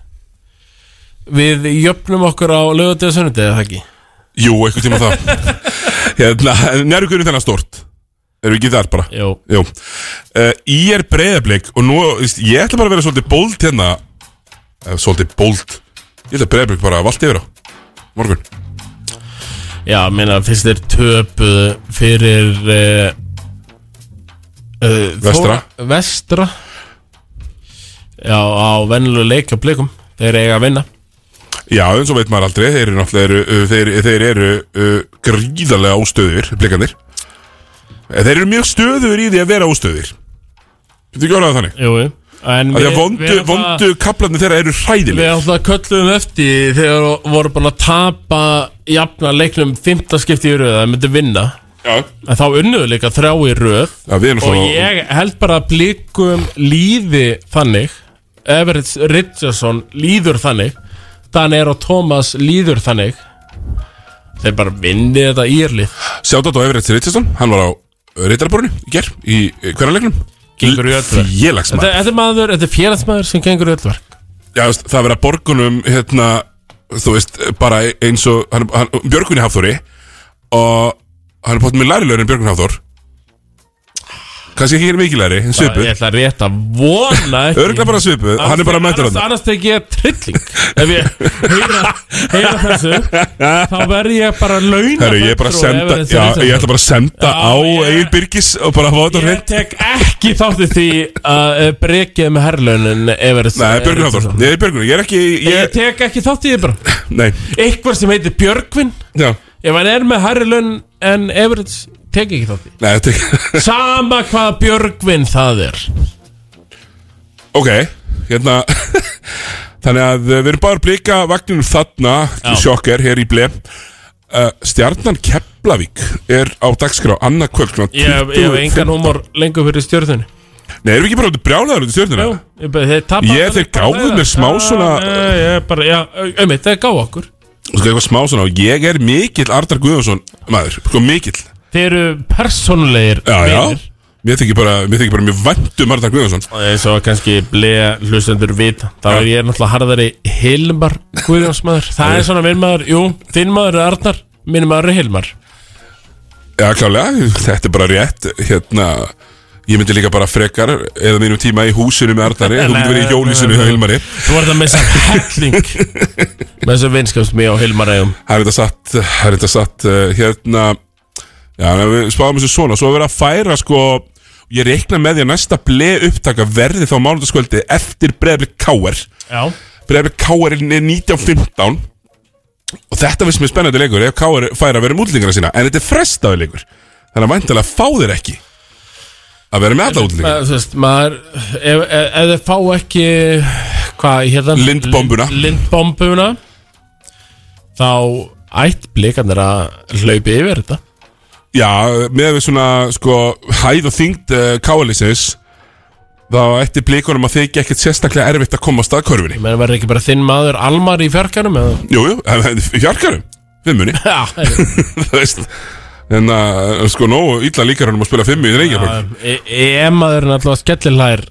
Við jöfnum okkur á lögutið og sunnudið, eða ekki? Jú, eitthvað tíma það Hérna, nærugurinn þennan stort Erum við ekki þar bara? Jú, Jú. Uh, Í er breyðablík Og nú, veist, ég ætla bara að vera svolítið bold hérna eh, Svolítið bold Ég ætla breyðablík bara að valda yfir á Morgun Já, meina fyrst er töpu fyrir uh, uh, Vestra. Þóra- Vestra Já, á venlu leika blikum Þeir eiga að vinna Já, eins og veit maður aldrei Þeir eru náttúrulega eru, uh, þeir, þeir eru uh, gríðarlega óstöður Blikandir Eh, Þeir eru mjög stöður í því að vera óstöður Þetta ekki orðað þannig Jú, jú En Því að vondu, vondu kaplarnir þeirra eru hræðileg Við alltaf köllum eftir því þegar voru búin að tapa jafna leiknum 15 skipti í röð að það myndi vinna Já. en þá unnuðu líka þrjá í röð Já, við erum og svona- ég held bara að blikum líði þannig Everett Richardson líður þannig Danir og Thomas líður þannig þeir bara vinni þetta írlið Sjátt á Everett Richardson, hann var á Rittarborinu í ger, í eh, hverjarleiknum Gengur í öllverk. þetta, Félagsmaður þetta er maður, þetta er félagsmaður sem gengur í öllverk Já, þú veist, það verða borgunum hérna, þú veist, bara eins og hann, hann, Björgvinni Hafþóri og hann er bótt með læri lögur en Björgvinni Hafþór kannski ekki mikið læri, en svipuð ég ætla að rétta vona ekki Örugglega bara svipuð, hann er bara mættur annars, þarna. annars tek ég trilling ef ég heyra, heyra þessu þá verð ég bara launa Herru, ég er bara að senda, já, ég ætla bara að senda á Egil Birgis og bara að fá þetta ég tek ekki þátti því að eh, brekið með herrlaunin Everett Nei, Björgvinni Hafþór, Richardson. nei, Björgvinni, ég er ekki, ég ég, tek ekki þátt í því bara nei, eitthvað sem heitir Björgvin já, ef hann er með hærri laun en Everett tek ekki þátt í nei, þetta ekki sama hvað Björgvin það er Ok, hérna Þannig að uh, við erum bara að blika vagninum þarna Sjokker, hér í ble uh, Stjarnan Keflavík er á dagskrá annað kvöld klukkan ég hef- ég hef 25. engan humor lengur fyrir stjórnunni Nei, erum við ekki bara út brjálæður út í stjörnuna? Ég bara- þeir tapa Ég- þeir gáfu mér smá svona- Nei, ég bara, já, auðvitað, þeir gáfu okkur Þú sko eitthvað smá svona og Ég er mikill Arnar Guðjónsson maður Sko mikill Þeir eru persónulegir Já, já vinir. Mér þykir bara, mér þykir bara mjög vænt um Arnar Guðjónsson eins og kannski blea hlustendur vita þá er ég náttúrulega harðari Hilmar Guðjónsmaður það er svona minn maður, jú, þinn maður er Arnar minn maður er Hilmar Já, klálega, þetta er bara rétt Hérna Ég myndi líka bara frekar eða mínum tíma í húsinu með Arnari Þú myndi verið í jólísinu hjá Hilmari þú var það með þess að helling með þess að vinskapst mér á Hilmar eigum Það er þetta satt, það er þetta satt uh, hérna, já, en við spáðum þessu svona, svo er verið að færa sko, ég reikna með því að næsta ble upptaka verði þá mánundaskvöldi eftir Breiðablik Káer. Já. Breiðablik Káer er 19.15 og þetta finnst mér spennandi leikur ef Káer færa að vera um útlendingana sína, en þetta er frestaði leikur, þannig að væntalega fá þeir ekki að vera með alla útlendinga. maður, þú veist, maður ef, ef, ef þið fá ekki hvað, hérna Lindbombuna. Lind- Lindbombuna þá ætt blikarnir að hlaupi yfir þetta Já, með við svona sko, hæð og þyngd uh, Káerlisins, þá ætti blikunum að þykja ekkert sérstaklega erfitt að komast að körfinni. menn verður ekki bara þinn maður Almar í fjarkanum eða Jú, jú, en- en fjarkarum Fimmunni Já, Þú veist En að, sko, nógu illa líkar hann um að spila fimmu í Reykjavík EM-maður E, er alltaf skellilhær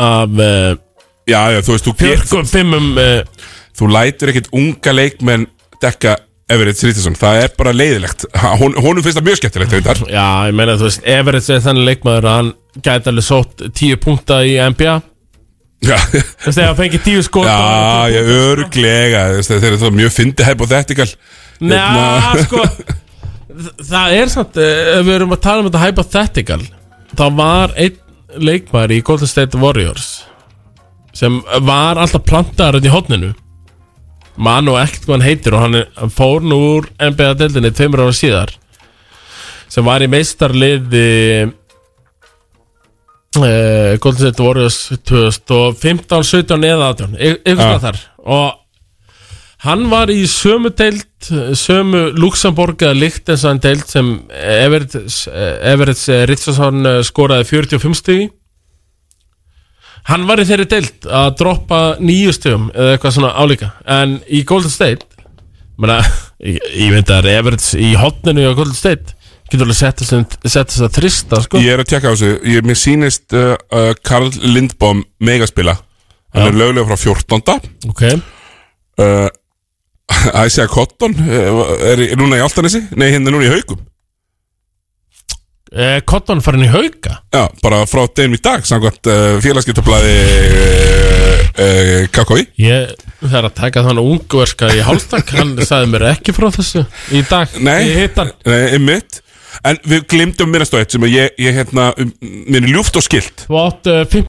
af uh, Já, já, þú veist, þú fjörgum fimmum uh, Þú lætur ekkit unga leikmenn dekka Everett Srítisson Það er bara leiðilegt Ha, hon, Honum finnst það mjög skemmtilegt reyndar. Já, ég meina, þú veist, Everett er þannig leikmaður að hann gæti alveg sótt 10 punkta í NBA Já, Þú veist, ef hann fengi 10 skot já, ég örglega Þeir eru það mjög fyndi hypothetical Nei, Hérna- sko þ- Það er samt, eh, ef við erum að tala um þetta hypothetical þá var einn leikmaður í Golden State Warriors sem var alltaf plantaður hérna í hotninu mann og ekkert hvað hann heitir og hann, er, hann fór nú úr NBA-deldinni tveimur ára síðar sem var í meistarliði Eh, uh, Golden State Warriors 2015, 17 eða 18 ykkur Já. stað þar og hann var í sömu deild sömu Luxemburg eða Lichtenstein deild sem Everett, Everett Richardson eh, skoraði 45 stig í. hann var í þeirri deild að droppa nýju stigum eða eitthvað svona álíka en í Golden State mena, ég, ég myndi að Everett í hotninu á Golden State getur alveg sett þess að þrista sko. Ég er að tekka á þessu ég, Mér sýnist uh, uh, Karl Lindbom megaspila Hann Já. er lögulega frá 14. Ok uh, Æsja Cotton uh, er, í- er núna í Altanesi Nei, hérna er núna í Haukum Eh, Cotton farin í hauka Já, bara frá deginum í dag Samkvæmt uh, félagskiptablaði uh, uh, KKI Ég, það er að taka þann ungverska í hálftak Hann sagði mér ekki frá þessu Í dag, Nei. ég hitt hann Nei, einmitt En við glimtum minnast á eitt sem að ég, ég hérna, um, mér er ljúft og skilt Þú átt uh, 50